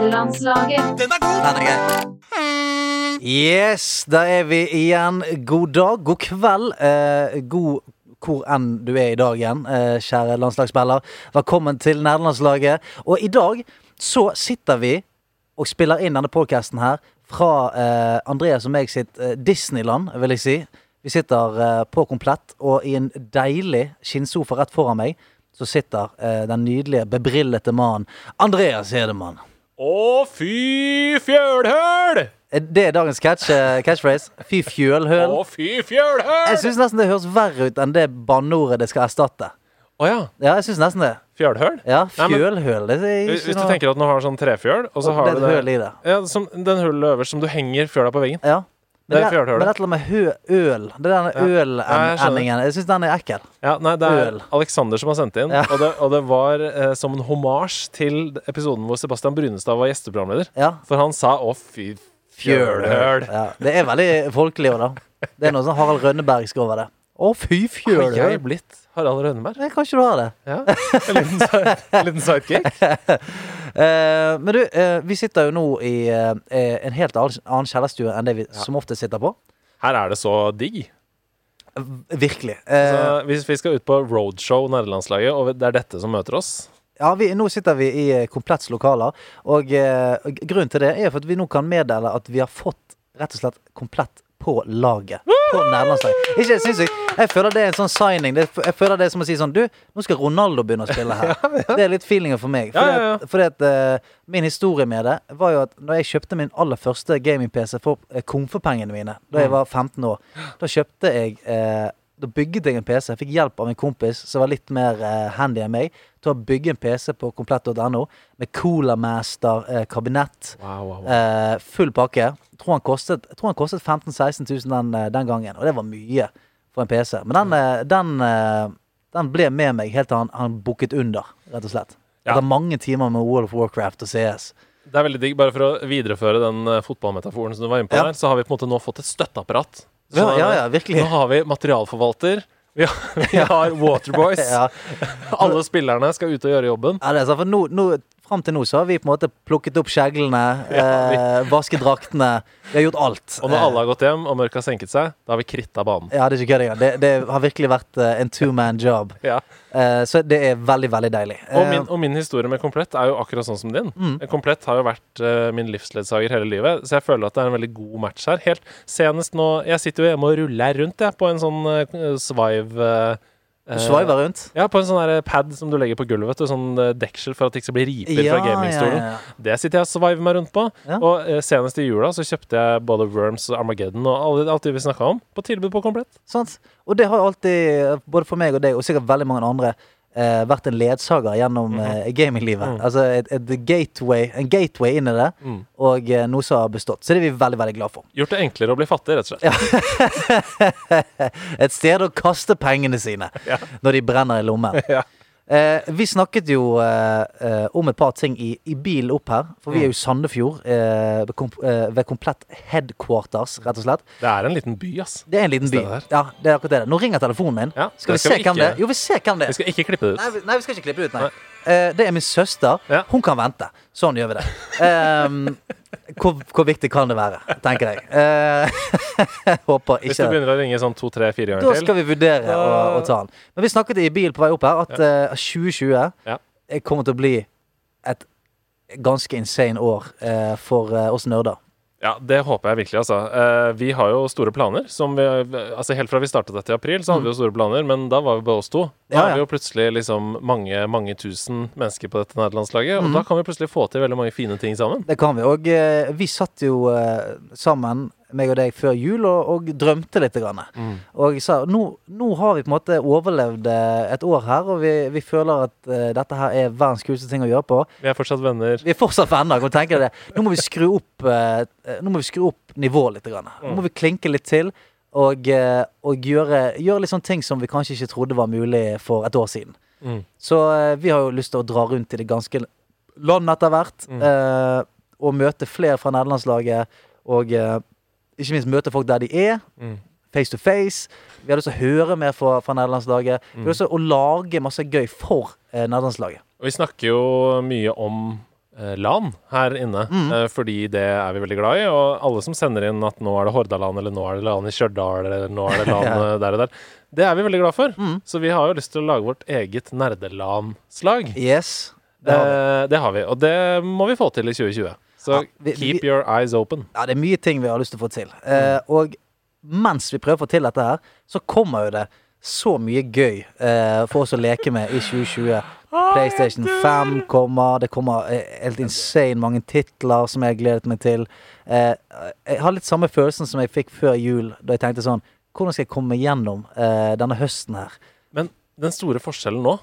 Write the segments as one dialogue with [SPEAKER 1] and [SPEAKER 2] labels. [SPEAKER 1] Nordlandslaget.
[SPEAKER 2] Den er god!
[SPEAKER 3] Den er gøy.
[SPEAKER 4] Yes, da er vi igjen. God dag, god kveld, eh, god hvor enn du er i dag igjen, eh, kjære landslagsspiller. Velkommen til nerdelandslaget. Og i dag så sitter vi og spiller inn denne podcasten her fra eh, Andreas og meg sitt eh, Disneyland, vil jeg si. Vi sitter eh, på komplett, og i en deilig skinnsofa rett foran meg så sitter eh, den nydelige, bebrillete mannen Andreas Hedemann.
[SPEAKER 2] Å, fy fjølhøl!
[SPEAKER 4] Eh, Det er dagens catch, eh, catchphrase. Fy fjølhøl.
[SPEAKER 2] Å, fy fjølhøl!
[SPEAKER 4] Jeg syns nesten det høres verre ut enn det banneordet det skal erstatte.
[SPEAKER 2] Å ja.
[SPEAKER 4] Ja, jeg synes nesten det.
[SPEAKER 2] Fjølhøl?
[SPEAKER 4] Ja,
[SPEAKER 2] Nei, men-
[SPEAKER 4] Fjølhøl. Det er
[SPEAKER 2] Hvis
[SPEAKER 4] ikke
[SPEAKER 2] hvis du
[SPEAKER 4] noe
[SPEAKER 2] tenker at den har sånn trefjøl, og
[SPEAKER 4] Og
[SPEAKER 2] så har
[SPEAKER 4] det
[SPEAKER 2] du
[SPEAKER 4] er et høl i det.
[SPEAKER 2] Ja, som den hullet øverst som du henger fjøla på veggen.
[SPEAKER 4] ja. Men
[SPEAKER 2] Det er fjølhølet.
[SPEAKER 4] Men dette med hø, øl Det er
[SPEAKER 2] Ja.
[SPEAKER 4] den
[SPEAKER 2] Ja, jeg skjønner.
[SPEAKER 4] øl-endingen. Jeg syns den er ekkel.
[SPEAKER 2] Ja, nei, det er
[SPEAKER 4] Øl.
[SPEAKER 2] Alexander som har sendt inn,
[SPEAKER 4] Ja.
[SPEAKER 2] og, det, og det var eh, som en homasj til episoden hvor Sebastian Brunestad var gjesteprogramleder.
[SPEAKER 4] Ja.
[SPEAKER 2] For han sa 'å, fy fjølhøl'.
[SPEAKER 4] Ja. Det er veldig folkelig òg, da. Det er noe sånn Harald Rønnebergsk over det. Å, fy
[SPEAKER 2] Har jeg
[SPEAKER 4] fjølhøl.
[SPEAKER 2] blitt Harald Rønneberg?
[SPEAKER 4] Nei, Kanskje du har det.
[SPEAKER 2] Ja. En liten, side- en liten sidekick?
[SPEAKER 4] Eh, men du, eh, vi sitter jo nå i eh, en helt annen kjellerstue enn det vi som ofte sitter på.
[SPEAKER 2] Her er det så digg.
[SPEAKER 4] Virkelig. Eh,
[SPEAKER 2] Så hvis vi skal ut på roadshow nærlandslaget, og det er dette som møter oss
[SPEAKER 4] Ja, vi, nå sitter vi i eh, komplets lokaler, og eh, gr- grunnen til det er for at vi nå kan meddele at vi har fått rett og slett komplett på laget. På nærlandslaget. Ikke sinnssykt. Jeg føler det er en sånn signing. Det, jeg føler det er som å si sånn Du, nå skal Ronaldo begynne å spille her. Det er litt feelingen for meg.
[SPEAKER 2] Ja,
[SPEAKER 4] Fordi
[SPEAKER 2] ja, ja.
[SPEAKER 4] at, fordi at eh, min historie med det var jo at når jeg kjøpte min aller første gaming-PC for eh, komfepengene mine da jeg var 15 år, da kjøpte jeg eh, da bygget jeg en PC. Jeg fikk hjelp av en kompis som var litt mer eh, handy enn meg, til å bygge en PC på komplett.no med eh, Colamaster-kabinett.
[SPEAKER 2] Wow, wow, wow.
[SPEAKER 4] Eh, full pakke. Tror han kostet, jeg tror han kostet 15 000-16 000 den, eh, den gangen. Og det var mye for en PC. Men den, eh, den, eh, den ble med meg helt til han, han bukket under, rett og slett.
[SPEAKER 2] Ja.
[SPEAKER 4] Etter mange timer med World of Warcraft og CS.
[SPEAKER 2] Det er veldig digg. Bare for å videreføre den eh, fotballmetaforen som du var inne på
[SPEAKER 4] Ja.
[SPEAKER 2] der, så har vi på en måte nå fått et støtteapparat. Så
[SPEAKER 4] Ja, ja, ja, virkelig.
[SPEAKER 2] Nå har vi materialforvalter. Vi har, vi har Waterboys.
[SPEAKER 4] Ja,
[SPEAKER 2] Alle spillerne skal ut og gjøre jobben.
[SPEAKER 4] ja det er sant, for nå, nå, Fram til nå så har vi på en måte plukket opp skjeglene, eh, vasket draktene. Vi har gjort alt.
[SPEAKER 2] Og når alle har gått hjem og mørket har senket seg, da har vi kritta banen.
[SPEAKER 4] Eh, ja, det er ikke kødd engang. Det, det har virkelig vært eh, en two man job.
[SPEAKER 2] Ja.
[SPEAKER 4] Eh, så det er veldig, veldig deilig.
[SPEAKER 2] Og
[SPEAKER 4] Eh, Mm.
[SPEAKER 2] min, og min historie med Komplett er jo akkurat sånn som din. Komplett har jo vært eh, min livsledsager hele livet, så jeg føler at det er en veldig god match her. Helt senest nå Jeg sitter jo hjemme og ruller rundt, jeg, på en sånn uh, svive eh,
[SPEAKER 4] du sveiver rundt.
[SPEAKER 2] Ja, på en sånn der pad som du legger på gulvet. vet du, Sånn eh, deksel for at det ikke skal bli riper fra gamingstolen. Det sitter jeg og sveiver meg rundt på.
[SPEAKER 4] Ja.
[SPEAKER 2] Og eh, senest i jula så kjøpte jeg både Worms og Armageddon og alle, alt det vi snakka om, på tilbud på Komplett.
[SPEAKER 4] Sant? Og det har jo alltid, både for meg og deg, og sikkert veldig mange andre, eh, vært en ledsager gjennom
[SPEAKER 2] Mhm.
[SPEAKER 4] eh, gaminglivet.
[SPEAKER 2] Mm.
[SPEAKER 4] Altså et, et gateway, en gateway inn i det,
[SPEAKER 2] Mhm.
[SPEAKER 4] og eh, noe som har bestått. Så det er vi veldig, veldig glad for.
[SPEAKER 2] Gjort det enklere å bli fattig, rett og slett.
[SPEAKER 4] Et sted å kaste pengene sine
[SPEAKER 2] Ja.
[SPEAKER 4] når de brenner i lommen.
[SPEAKER 2] Ja.
[SPEAKER 4] Eh, vi snakket jo eh, eh, om et par ting i, i bilen opp her, for
[SPEAKER 2] Mm.
[SPEAKER 4] vi er jo i Sandefjord. Eh, ved, kom, eh, ved komplett headquarters, rett og slett.
[SPEAKER 2] Det er en liten by, ass.
[SPEAKER 4] Det er en liten by.
[SPEAKER 2] Stedet her.
[SPEAKER 4] Ja, det er akkurat det. Nå ringer telefonen min.
[SPEAKER 2] Ja,
[SPEAKER 4] skal vi
[SPEAKER 2] det
[SPEAKER 4] se
[SPEAKER 2] skal vi
[SPEAKER 4] hvem
[SPEAKER 2] ikke-
[SPEAKER 4] det er? Jo, vi ser hvem det
[SPEAKER 2] Jeg
[SPEAKER 4] er.
[SPEAKER 2] skal ikke klippe det ut.
[SPEAKER 4] Nei, vi, nei, vi skal ikke klippe det ut, nei.
[SPEAKER 2] Nei.
[SPEAKER 4] Eh, det er min søster.
[SPEAKER 2] Ja.
[SPEAKER 4] Hun kan vente. Sånn gjør vi det. Ehm, hvor, hvor viktig kan det være, tenker jeg. Eh, håper
[SPEAKER 2] Hvis du
[SPEAKER 4] ikke det.
[SPEAKER 2] begynner å ringe sånn to-tre-fire
[SPEAKER 4] Da
[SPEAKER 2] ganger til.
[SPEAKER 4] skal vi vurdere å, å ta den. Men vi snakket i bil på vei opp her at eh, 2020
[SPEAKER 2] Ja.
[SPEAKER 4] eh, kommer til å bli et ganske insane år eh, for eh, oss nerder.
[SPEAKER 2] Ja, det håper jeg virkelig, altså. Eh, vi har jo store planer. Som vi, altså helt fra vi startet dette i april, så hadde vi jo store planer, men da var vi bare oss to. Da
[SPEAKER 4] Mm. Ja,
[SPEAKER 2] er vi
[SPEAKER 4] ja.
[SPEAKER 2] jo plutselig liksom mange, mange tusen mennesker på dette nederlandslaget,
[SPEAKER 4] Mm.
[SPEAKER 2] og da kan vi plutselig få til veldig mange fine ting sammen.
[SPEAKER 4] Det kan vi. Og eh, vi satt jo eh, sammen, meg og deg, før jul og, og drømte litt. Grann. Og jeg sa nå, nå har vi på en måte overlevd eh, et år her, og vi, vi føler at eh, dette her er verdens kuleste ting å gjøre på.
[SPEAKER 2] Vi er fortsatt venner.
[SPEAKER 4] Vi er fortsatt venner. Kan du tenke deg det? Nå må vi skru opp, eh, eh, nå må vi skru opp nivået litt. Grann. Nå må vi klinke litt til. Og, eh, og gjøre, gjøre litt sånne ting som vi kanskje ikke trodde var mulig for et år siden.
[SPEAKER 2] Mm.
[SPEAKER 4] Så eh, vi har jo lyst til å dra rundt i det ganske land etter hvert.
[SPEAKER 2] Mm.
[SPEAKER 4] eh, og møte flere fra nederlandslaget. Og eh, ikke minst møte folk der de er.
[SPEAKER 2] Mm.
[SPEAKER 4] Face to face. Vi har lyst til å høre mer fra, fra nederlandslaget.
[SPEAKER 2] Mm.
[SPEAKER 4] Vi har lyst til å lage masse gøy for eh, nederlandslaget.
[SPEAKER 2] Og vi snakker jo mye om eh, eh, LAN her inne,
[SPEAKER 4] Mm.
[SPEAKER 2] eh, fordi det er vi veldig glad i. Og alle som sender inn at nå er det Hordaland, eller nå er det LAN i Stjørdal, eller nå er det LAN eh, der og der, det er vi veldig glad for. Så vi har jo lyst til å lage vårt eget nerdelan-slag.
[SPEAKER 4] Yes. Det
[SPEAKER 2] Det,
[SPEAKER 4] har vi.
[SPEAKER 2] det har vi, og det må vi få til i 2020. Så
[SPEAKER 4] Ja, vi-
[SPEAKER 2] keep
[SPEAKER 4] vi-
[SPEAKER 2] your eyes open.
[SPEAKER 4] Ja, det er mye ting vi har lyst til å få til. Eh, og mens vi prøver å få til dette her, så kommer jo det så mye gøy eh, for oss å leke med i 2020. PlayStation 5 kommer, det kommer eh, helt insane mange titler som jeg har gledet meg til. Eh, jeg har litt samme følelsen som jeg fikk før jul, da jeg tenkte sånn Hvordan skal jeg komme gjennom eh, denne høsten her?
[SPEAKER 2] Men den store forskjellen nå,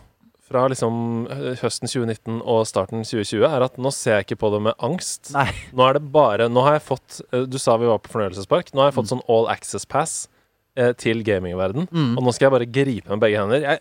[SPEAKER 2] fra liksom hø- høsten 2019 og starten 2020, er at nå ser jeg ikke på det med angst.
[SPEAKER 4] Nei.
[SPEAKER 2] Nå er det bare Nå har jeg fått eh, Du sa vi var på fornøyelsespark. Nå har jeg fått
[SPEAKER 4] Mm.
[SPEAKER 2] sånn all access pass eh, til gamingverden.
[SPEAKER 4] Mm.
[SPEAKER 2] Og nå skal jeg bare gripe med begge hender. Jeg,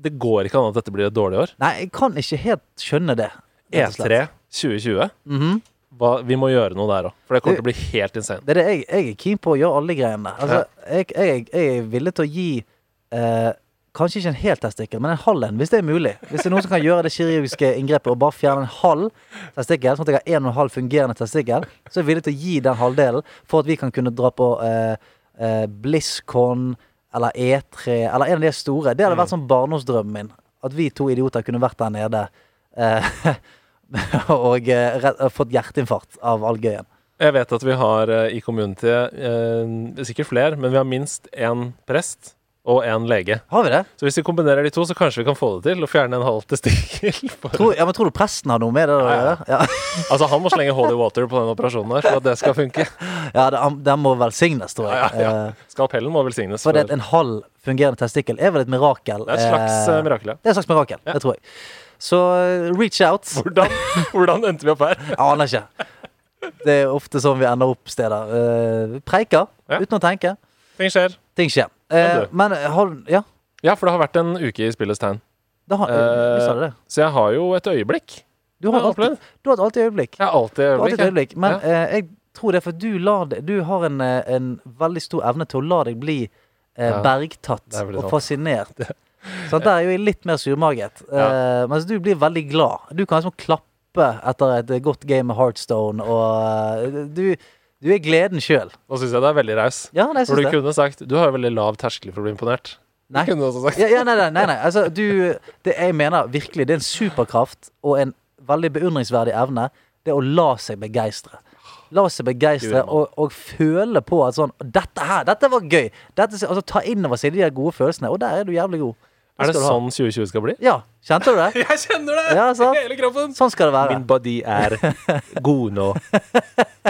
[SPEAKER 2] det går ikke an at dette blir et dårlig år. E
[SPEAKER 4] Nei, jeg kan ikke helt skjønne det. rett og slett. Mhm.
[SPEAKER 2] E3 2020. Hva, vi må gjøre noe der òg, for det kommer til å bli helt insane.
[SPEAKER 4] Det er det jeg, jeg er keen på å gjøre alle greiene. Altså, jeg, jeg, jeg er villig til å gi eh, Kanskje ikke en hel testikkel, men en halv en, hvis det er mulig. Hvis det er noen som kan gjøre det kirurgiske inngrepet og bare fjerne en halv testikkel, sånn at jeg har en og en halv fungerende testikkel, så er jeg villig til å gi den halvdelen for at vi kan kunne dra på eh, eh, BlizzCon eller E3 eller en av de store. Det hadde vært sånn barndomsdrømmen min. At vi to idioter kunne vært der nede eh, og eh, rett, fått hjerteinfarkt av all gøyen.
[SPEAKER 2] Jeg vet at vi har eh, i community eh, sikkert flere, men vi har minst én prest og én lege.
[SPEAKER 4] Har vi det?
[SPEAKER 2] Så hvis vi kombinerer de to, så kanskje vi kan få det til å fjerne en halv testikkel. For-
[SPEAKER 4] Tror, ja, men tror du presten har noe med det å
[SPEAKER 2] Ja, ja.
[SPEAKER 4] gjøre? Ja,
[SPEAKER 2] Altså, han må slenge holy water på den operasjonen her for at det skal funke.
[SPEAKER 4] ja det, den må velsignes, tror jeg.
[SPEAKER 2] Ja, ja, ja.
[SPEAKER 4] Eh,
[SPEAKER 2] Skalpellen må velsignes.
[SPEAKER 4] For
[SPEAKER 2] For
[SPEAKER 4] det at
[SPEAKER 2] det
[SPEAKER 4] en halv fungerende testikkel er vel et mirakel.
[SPEAKER 2] er et slags
[SPEAKER 4] eh,
[SPEAKER 2] eh, mirakel, ja.
[SPEAKER 4] Det er et slags mirakel, det tror jeg. Så eh, reach out.
[SPEAKER 2] Hvordan, hvordan endte vi opp her?
[SPEAKER 4] Jeg aner ikke. Det er ofte sånn vi ender opp steder. Eh, Preiker
[SPEAKER 2] Ja.
[SPEAKER 4] uten å tenke.
[SPEAKER 2] Ting skjer.
[SPEAKER 4] Ting skjer. Eh,
[SPEAKER 2] Men du.
[SPEAKER 4] men har du Ja,
[SPEAKER 2] Ja, for det har vært en uke i spillets tegn.
[SPEAKER 4] da har
[SPEAKER 2] Eh,
[SPEAKER 4] vi sa det.
[SPEAKER 2] Så jeg har jo et øyeblikk.
[SPEAKER 4] Du har
[SPEAKER 2] har jeg
[SPEAKER 4] alltid, du har alltid øyeblikk.
[SPEAKER 2] Jeg har alltid
[SPEAKER 4] Du har
[SPEAKER 2] øyeblikk.
[SPEAKER 4] alltid et
[SPEAKER 2] jeg.
[SPEAKER 4] øyeblikk. Men
[SPEAKER 2] Ja.
[SPEAKER 4] eh, jeg tror det er for du, lar det, du har en, eh, en veldig stor evne til å la deg bli eh,
[SPEAKER 2] Ja, det
[SPEAKER 4] bergtatt
[SPEAKER 2] er
[SPEAKER 4] og
[SPEAKER 2] veldig sant.
[SPEAKER 4] fascinert. Så der er jo jeg litt mer surmaget. Eh, mens du blir veldig glad. Du kan liksom klappe etter et godt game med Heartstone, og eh, du, du er gleden sjøl.
[SPEAKER 2] Nå syns jeg det er veldig raus.
[SPEAKER 4] Ja, nei, jeg
[SPEAKER 2] For
[SPEAKER 4] syns
[SPEAKER 2] du
[SPEAKER 4] det.
[SPEAKER 2] kunne sagt Du har jo veldig lav terskel for å bli imponert. Du
[SPEAKER 4] Nei.
[SPEAKER 2] kunne også sagt
[SPEAKER 4] Ja, ja, nei, nei, nei, nei. Altså, du Det jeg mener virkelig, det er en superkraft og en veldig beundringsverdig evne, det er å la seg begeistre. La seg begeistre
[SPEAKER 2] Gud, mann.
[SPEAKER 4] og, og føle på at sånn Dette her, dette var gøy! Dette, altså, ta inn over seg de der gode følelsene, og der er du jævlig god.
[SPEAKER 2] Er det
[SPEAKER 4] skal du ha.
[SPEAKER 2] sånn 2020 skal bli?
[SPEAKER 4] Ja, kjente du det?
[SPEAKER 2] Jeg kjenner det!
[SPEAKER 4] Ja, sant.
[SPEAKER 2] I hele kroppen.
[SPEAKER 4] Sånn skal det være.
[SPEAKER 2] Min body er god nå.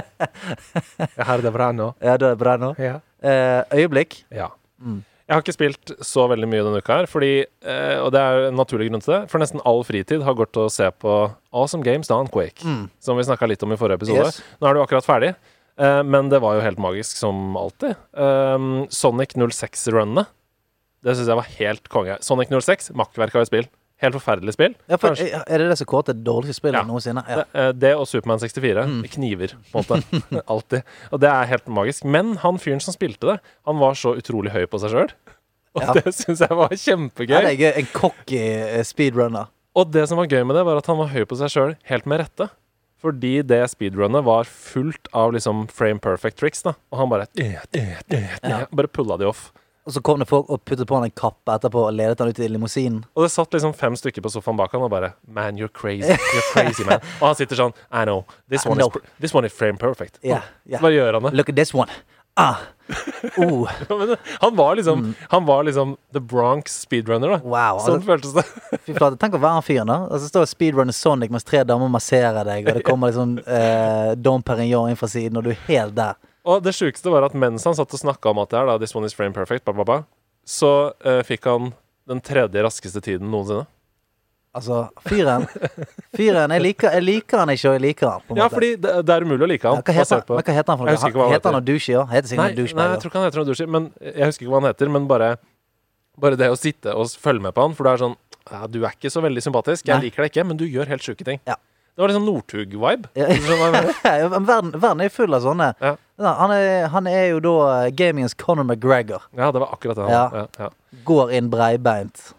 [SPEAKER 2] Jeg har det bra nå.
[SPEAKER 4] Ja, da er det bra nå.
[SPEAKER 2] Ja.
[SPEAKER 4] Eh, øyeblikk.
[SPEAKER 2] Ja.
[SPEAKER 4] Mm.
[SPEAKER 2] Jeg har ikke spilt så veldig mye denne uka her, fordi, eh, og det er en naturlig grunn til det, for nesten all fritid har gått til å se på Awesome Games Down Quake, som vi snakka litt om i forrige episode.
[SPEAKER 4] Mm. Yes.
[SPEAKER 2] Nå er det jo akkurat ferdig, eh, men det var jo helt magisk som alltid. Um, Sonic 06-runnene, det syns jeg var helt konge. Sonic 06, makkverk av et spill. Helt forferdelig spill.
[SPEAKER 4] Ja, for,
[SPEAKER 2] Kanskje-
[SPEAKER 4] er det det som kårer til det dårligste spillet
[SPEAKER 2] Ja.
[SPEAKER 4] noensinne? Ja. Mm.
[SPEAKER 2] det, eh, det og Supermann 64 kniver, på en måte. Alltid. Og det er helt magisk. Men han fyren som spilte det, han var så utrolig høy på seg sjøl. Og
[SPEAKER 4] Ja.
[SPEAKER 2] det syns jeg
[SPEAKER 4] Ja,
[SPEAKER 2] var
[SPEAKER 4] det
[SPEAKER 2] kjempegøy.
[SPEAKER 4] er gøy. En cocky eh, speedrunner.
[SPEAKER 2] Og det som var gøy med det, var at han var høy på seg sjøl, helt med rette. Fordi det speedrunnet var fullt av liksom frame perfect tricks, da. Og han bare eh, eh, eh, eh, Bare pulla de off.
[SPEAKER 4] Og så kom det folk og puttet på han en kappe etterpå og ledet han ut i limousinen.
[SPEAKER 2] Og det satt liksom fem stykker på sofaen bak han og bare Man, you're crazy. You're crazy, man. Og han sitter sånn I know. This
[SPEAKER 4] I
[SPEAKER 2] one,
[SPEAKER 4] know.
[SPEAKER 2] Is, pr- this one is frame perfect.
[SPEAKER 4] Ja, ja.
[SPEAKER 2] Hva gjør han da?
[SPEAKER 4] Look at this one. Ah. Oh,
[SPEAKER 2] Ja, men han var liksom
[SPEAKER 4] Mm.
[SPEAKER 2] Han var liksom The Bronx speedrunner, da.
[SPEAKER 4] wow. Altså,
[SPEAKER 2] Sånn føltes det.
[SPEAKER 4] fy flate. Tenk å være han fyren, da. Og så står speedrunner Sonic mens tre damer masserer deg, og det kommer liksom eh, Dom Perignon inn fra siden, og du er helt der.
[SPEAKER 2] Og det sjukeste var at mens han satt og snakka om at det her, da, This one is frame perfect, bla, bla, bla, så eh, fikk han den tredje raskeste tiden noensinne.
[SPEAKER 4] Altså, fyren Fyren, jeg liker, jeg liker han ikke, og jeg liker han. På en
[SPEAKER 2] Ja,
[SPEAKER 4] måte.
[SPEAKER 2] fordi det, det er umulig å like
[SPEAKER 4] Ja,
[SPEAKER 2] han.
[SPEAKER 4] hva, heter,
[SPEAKER 2] basert
[SPEAKER 4] han-
[SPEAKER 2] på-
[SPEAKER 4] men hva heter han? For
[SPEAKER 2] Jeg husker ikke hva
[SPEAKER 4] noe?
[SPEAKER 2] han
[SPEAKER 4] Heter han noe douche, ja? Heter
[SPEAKER 2] Nei,
[SPEAKER 4] sikkert noe
[SPEAKER 2] nei,
[SPEAKER 4] douchebag.
[SPEAKER 2] jeg tror ikke han heter noe douchey, men jeg husker ikke hva han heter. Men bare, bare det å sitte og s- følge med på han, for du er sånn ja, Du er ikke så veldig sympatisk. Jeg
[SPEAKER 4] Nei.
[SPEAKER 2] liker deg ikke, men du gjør helt sjuke ting.
[SPEAKER 4] Ja.
[SPEAKER 2] Det var litt sånn Northug-vibe.
[SPEAKER 4] Ja.
[SPEAKER 2] Hvis du skjønner hva jeg mener.
[SPEAKER 4] Ja, men verden, verden er jo full av sånne.
[SPEAKER 2] Ja.
[SPEAKER 4] Ja, Han, er, han er jo da eh, gamingens Conor McGregor.
[SPEAKER 2] Ja, det var akkurat det. han
[SPEAKER 4] Ja.
[SPEAKER 2] var. Ja, ja.
[SPEAKER 4] Går inn breibeint.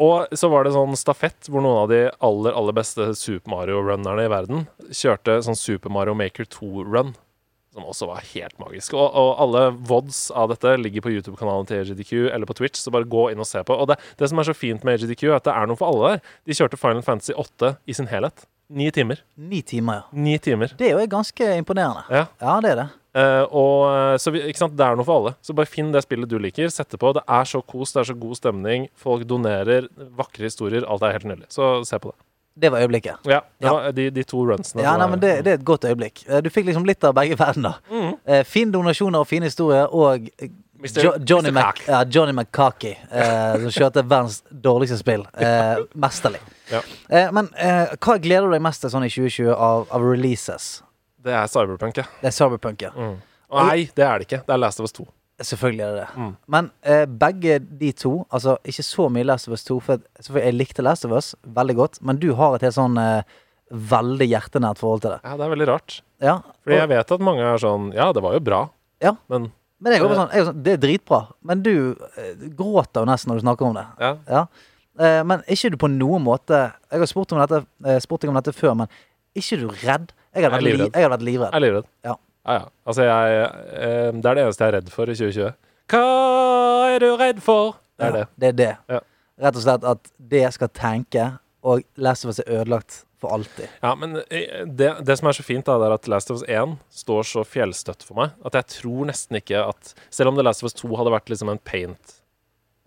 [SPEAKER 2] Og så var det sånn stafett hvor noen av de aller aller beste Super Mario-runnerne i verden kjørte sånn Super Mario Maker 2-run, som også var helt magisk. Og, og alle vods av dette ligger på YouTube-kanalen til AGDQ eller på Twitch, så bare gå inn og se på. Og det, det som er så fint med AGDQ, er at det er noe for alle der. De kjørte Final Fantasy 8 i sin helhet. Ni timer.
[SPEAKER 4] Ni timer, ja.
[SPEAKER 2] Ni timer.
[SPEAKER 4] Det er jo ganske imponerende.
[SPEAKER 2] Ja.
[SPEAKER 4] Ja, det er det.
[SPEAKER 2] Eh, og, eh, så vi, ikke sant, Det er noe for alle. Så bare finn det spillet du liker. Sett det på. Det er så kos, det er så god stemning. Folk donerer. Vakre historier. Alt er helt nydelig. Så se på det.
[SPEAKER 4] Det var øyeblikket.
[SPEAKER 2] Ja, det
[SPEAKER 4] Ja.
[SPEAKER 2] var De, de to runsene.
[SPEAKER 4] Ja,
[SPEAKER 2] som
[SPEAKER 4] nei,
[SPEAKER 2] er-
[SPEAKER 4] men det, det er et godt øyeblikk. Eh, Du fikk liksom litt av begge verdener.
[SPEAKER 2] Mm,
[SPEAKER 4] Eh, Fine donasjoner og fine historier, og eh,
[SPEAKER 2] Mr.
[SPEAKER 4] Jo Johnny,
[SPEAKER 2] Mr.
[SPEAKER 4] Mac
[SPEAKER 2] Cock.
[SPEAKER 4] ja, Johnny McCarkey, eh, som kjørte verdens dårligste spill. Eh, mesterlig.
[SPEAKER 2] Ja.
[SPEAKER 4] Eh, men eh, hva gleder du deg mest til sånn i 2020 av, av releases?
[SPEAKER 2] Det er Cyberpunk, ja.
[SPEAKER 4] Det er Cyberpunk, ja.
[SPEAKER 2] Og Nei, det er det ikke. Det er Last of Us 2.
[SPEAKER 4] Selvfølgelig er det det.
[SPEAKER 2] Mm.
[SPEAKER 4] Men eh, begge de to Altså, ikke så mye Last of Us 2, for at- selvfølgelig jeg likte Last of Us veldig godt, men du har et helt sånn eh, veldig hjertenært forhold til det.
[SPEAKER 2] Ja, Det er veldig rart.
[SPEAKER 4] Ja.
[SPEAKER 2] Fordi
[SPEAKER 4] og-
[SPEAKER 2] jeg vet at mange er sånn Ja, det var jo bra,
[SPEAKER 4] ja.
[SPEAKER 2] men
[SPEAKER 4] Men jeg er jo bare sånn, jeg er jo sånn, det er dritbra, men du eh, gråter jo nesten når du snakker om det.
[SPEAKER 2] ja.
[SPEAKER 4] Ja. Eh, men er ikke du på noen måte Jeg har spurt, om dette, eh, spurt deg om dette før, men er ikke du redd? Jeg hadde
[SPEAKER 2] Jeg er
[SPEAKER 4] vært, li,
[SPEAKER 2] livredd.
[SPEAKER 4] jeg hadde vært livredd.
[SPEAKER 2] jeg er livredd.
[SPEAKER 4] Ja.
[SPEAKER 2] ja, ja. Altså, jeg eh, Det er det eneste jeg er redd for i 2020. Hva er du redd for? Det er det.
[SPEAKER 4] Ja, det, er det.
[SPEAKER 2] Ja.
[SPEAKER 4] Rett og slett at det jeg skal tenke, og Last of Us er ødelagt for alltid.
[SPEAKER 2] Ja, men eh, det, det som er så fint, da, det er at Last of Us 1 står så fjellstøtt for meg at jeg tror nesten ikke at Selv om The Last of Us 2 hadde vært liksom en paint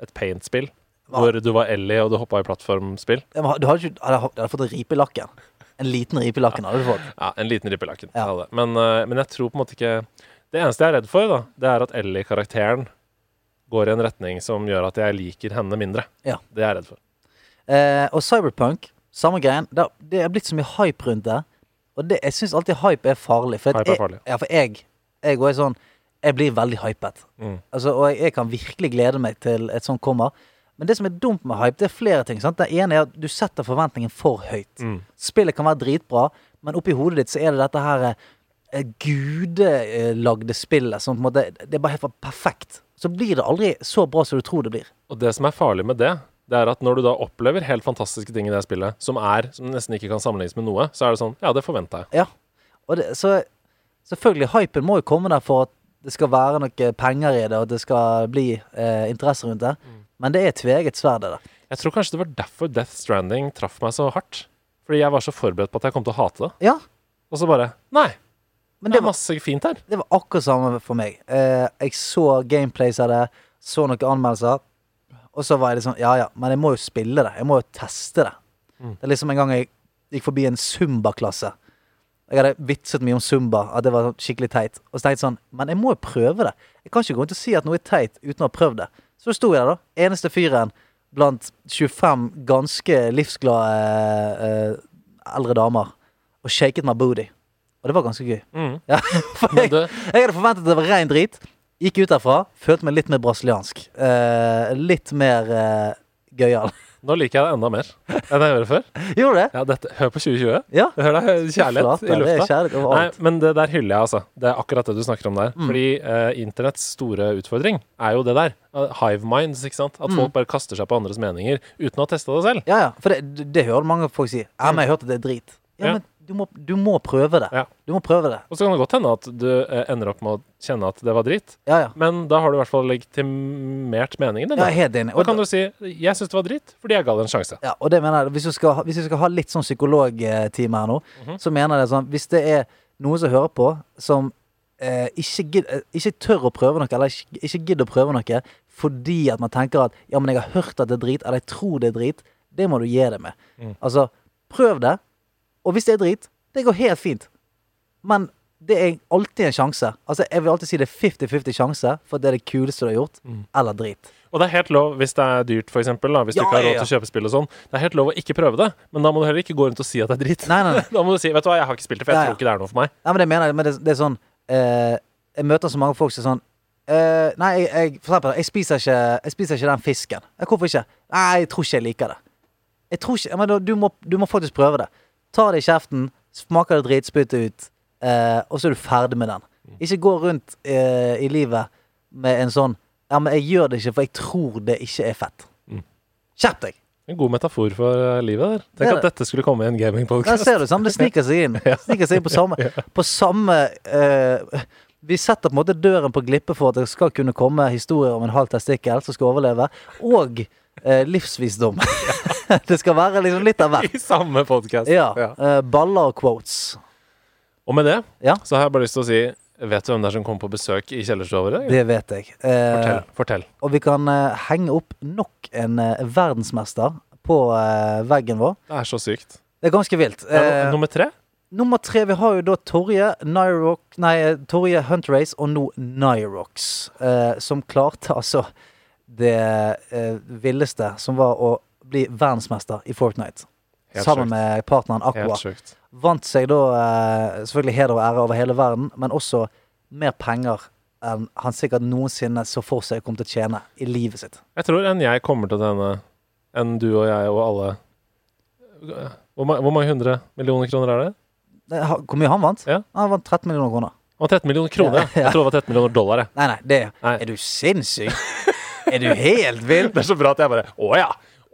[SPEAKER 2] et paint-spill, hvor du var Ellie og du hoppa i plattformspill
[SPEAKER 4] Ja, men Du hadde, ikke, hadde, hadde fått en ripe i lakken. En liten ripe i lakken hadde du fått.
[SPEAKER 2] Ja, en liten ripp i lakken.
[SPEAKER 4] Ja.
[SPEAKER 2] hadde det. Men, eh, men jeg tror på en måte ikke Det eneste jeg er redd for, da, det er at Ellie-karakteren går i en retning som gjør at jeg liker henne mindre.
[SPEAKER 4] Ja.
[SPEAKER 2] Det er jeg redd for.
[SPEAKER 4] Eh, og Cyberpunk, samme greien. Det, det er blitt så mye hype rundt det. Og det, jeg syns alltid hype er farlig. For, at
[SPEAKER 2] Hype er farlig.
[SPEAKER 4] Jeg, ja, for jeg, jeg går i sånn Jeg blir veldig hypet.
[SPEAKER 2] Mm.
[SPEAKER 4] Altså, og jeg, jeg kan virkelig glede meg til et sånt kommer. Men det som er dumt med hype, det er flere ting. Sant? Det ene er at du setter forventningen for høyt.
[SPEAKER 2] Mm.
[SPEAKER 4] Spillet kan være dritbra, men oppi hodet ditt så er det dette her eh, gudelagde spillet. Som på en måte, det er bare helt perfekt. Så blir det aldri så bra som du tror det blir.
[SPEAKER 2] Og det som er farlig med det, det er at når du da opplever helt fantastiske ting i det spillet, som er som nesten ikke kan sammenlignes med noe, så er det sånn Ja, det forventa jeg.
[SPEAKER 4] Ja. Og det, så selvfølgelig, hypen må jo komme der for at det skal være noe penger i det, og at det skal bli eh, interesse rundt det. Men det er tveget sverd, det der.
[SPEAKER 2] Jeg tror kanskje det var derfor Death Stranding traff meg så hardt. Fordi jeg var så forberedt på at jeg kom til å hate det.
[SPEAKER 4] Ja,
[SPEAKER 2] Og så bare Nei,
[SPEAKER 4] men
[SPEAKER 2] det
[SPEAKER 4] det
[SPEAKER 2] er
[SPEAKER 4] var,
[SPEAKER 2] masse fint her.
[SPEAKER 4] det var akkurat samme for meg. Eh, jeg så gameplays av det, så noen anmeldelser, og så var jeg litt sånn Ja ja, men jeg må jo spille det. Jeg må jo teste det. Det er liksom en gang jeg gikk forbi en Zumba-klasse. Jeg hadde vitset mye om Zumba, at det var sånn skikkelig teit. Og så tenkte jeg sånn, men jeg må jo prøve det. Jeg kan ikke gå rundt og si at noe er teit uten å ha prøvd det. Så sto jeg der, da. Eneste fyren blant 25 ganske livsglade eh, eldre damer og shaket my booty. Og det var ganske gøy.
[SPEAKER 2] Mm.
[SPEAKER 4] Ja, for
[SPEAKER 2] Men
[SPEAKER 4] jeg,
[SPEAKER 2] det-
[SPEAKER 4] jeg hadde forventet at det var rein drit. Gikk ut derfra, følte meg litt mer brasiliansk. Eh, litt mer eh, gøyal.
[SPEAKER 2] Nå liker jeg det enda mer enn jeg gjorde før.
[SPEAKER 4] Gjorde du det?
[SPEAKER 2] Ja, dette, hør på 2020.
[SPEAKER 4] Ja.
[SPEAKER 2] Hør da, kjærlighet
[SPEAKER 4] Flate,
[SPEAKER 2] i
[SPEAKER 4] Det er
[SPEAKER 2] lufta.
[SPEAKER 4] kjærlighet
[SPEAKER 2] Nei,
[SPEAKER 4] overalt.
[SPEAKER 2] men det der hyller jeg, altså. Det er akkurat det du snakker om
[SPEAKER 4] Mm.
[SPEAKER 2] der. Fordi eh, internetts store utfordring er jo det der. Eh, Hive minds, ikke sant. At
[SPEAKER 4] Mm.
[SPEAKER 2] folk bare kaster seg på andres meninger uten å ha testa det selv.
[SPEAKER 4] Ja, ja. For det, det hører mange folk si. Ja, men jeg hørte det er drit. Ja,
[SPEAKER 2] Ja.
[SPEAKER 4] men du må, du må prøve det.
[SPEAKER 2] Ja.
[SPEAKER 4] Du må prøve det.
[SPEAKER 2] Og så kan det godt hende at du eh, ender opp med å kjenne at det var dritt,
[SPEAKER 4] Ja, ja.
[SPEAKER 2] men da har du i hvert fall legitimert meningen din.
[SPEAKER 4] Jeg
[SPEAKER 2] Da.
[SPEAKER 4] er helt enig.
[SPEAKER 2] da kan
[SPEAKER 4] Og,
[SPEAKER 2] du si 'jeg syns det var dritt fordi jeg ga det en sjanse'.
[SPEAKER 4] ja, og det mener jeg, hvis du skal, ha- hvis du skal ha litt sånn psykologtime her nå, så mener jeg det sånn Hvis det er noen som hører på, som eh, ikke, gid, eh, ikke tør å prøve noe, eller ikke, ikke gidder å prøve noe fordi at man tenker at ja, men jeg har hørt at det er drit, eller jeg tror det er drit, det må du gi det med. Altså, prøv det. Og hvis det er drit, det går helt fint. Men det er alltid en sjanse. Altså, jeg vil alltid si det er 50-50 sjanse for at det er det kuleste du har gjort, eller drit.
[SPEAKER 2] Og det er helt lov hvis det er dyrt, for eksempel, da, hvis
[SPEAKER 4] Ja,
[SPEAKER 2] du ikke har
[SPEAKER 4] ja,
[SPEAKER 2] råd
[SPEAKER 4] ja.
[SPEAKER 2] til å kjøpe spill og sånn. Det er helt lov å ikke prøve det, men da må du heller ikke gå rundt og si at det er dritt.
[SPEAKER 4] Nei, nei, nei.
[SPEAKER 2] da må du si 'vet du hva, jeg har ikke spilt det, for jeg
[SPEAKER 4] Ja, ja.
[SPEAKER 2] tror ikke det er noe for meg'.
[SPEAKER 4] Nei, men det mener jeg, men det, det er sånn eh, Jeg møter så mange folk som er sånn eh, Nei, jeg, jeg, for eksempel, jeg spiser ikke Jeg spiser ikke den fisken. Eh, Hvorfor ikke? Nei, jeg tror ikke jeg liker det. Jeg tror ikke, ja, men da, du, må, du må faktisk prøve det. Ta det i kjeften, smaker det drit, spytt det ut, eh, og så er du ferdig med den. Ikke gå rundt eh, i livet med en sånn Ja, men jeg gjør det ikke, for jeg tror det ikke er fett. Skjerp deg!
[SPEAKER 2] En god metafor for eh, livet der.
[SPEAKER 4] Det er
[SPEAKER 2] Tenk at dette skulle komme i en
[SPEAKER 4] Der
[SPEAKER 2] gamingpodkast.
[SPEAKER 4] ser du sammen, det sniker seg inn. Sniker seg inn På samme, på samme eh, Vi setter på en måte døren på glippe for at det skal kunne komme historier om en halv testikkel som skal overleve, og eh, livsvisdom. det skal være liksom litt av hvert.
[SPEAKER 2] I samme podkast.
[SPEAKER 4] Ja. eh, baller og quotes.
[SPEAKER 2] Og med det
[SPEAKER 4] Ja.
[SPEAKER 2] så har jeg bare lyst til å si Vet du hvem det er som kommer på besøk i kjellerstua vår? i dag?
[SPEAKER 4] Det vet jeg. Eh,
[SPEAKER 2] Fortell. fortell.
[SPEAKER 4] Og vi kan eh, henge opp nok en eh, verdensmester på eh, veggen vår.
[SPEAKER 2] Det er så sykt.
[SPEAKER 4] Det er ganske vilt.
[SPEAKER 2] Det er
[SPEAKER 4] Eh,
[SPEAKER 2] no- nummer tre?
[SPEAKER 4] Nummer tre, vi har jo da Torje, Nyrock, nei, Torje Huntrace og nå Nyrox. Eh, som klarte altså det eh, villeste, som var å bli verdensmester i Fortnite.
[SPEAKER 2] Helt
[SPEAKER 4] sammen
[SPEAKER 2] sjukt.
[SPEAKER 4] med partneren Aqua.
[SPEAKER 2] Helt sjukt.
[SPEAKER 4] Vant seg da eh, selvfølgelig heder og ære over hele verden, men også mer penger enn han sikkert noensinne så for seg kom til å tjene i livet sitt.
[SPEAKER 2] Jeg tror enn jeg kommer til denne enn du og jeg og alle Hvor, ma hvor mange hundre millioner kroner er det?
[SPEAKER 4] Eh, ha- Hvor mye han vant?
[SPEAKER 2] Ja.
[SPEAKER 4] Han vant 13 millioner kroner.
[SPEAKER 2] Å, 13 millioner kroner!
[SPEAKER 4] Ja,
[SPEAKER 2] ja. Jeg tror det var 13 millioner dollar. Jeg.
[SPEAKER 4] Nei, nei, det
[SPEAKER 2] Nei.
[SPEAKER 4] Er du sinnssyk? er du helt vill?
[SPEAKER 2] Det er så bra at jeg bare Å ja!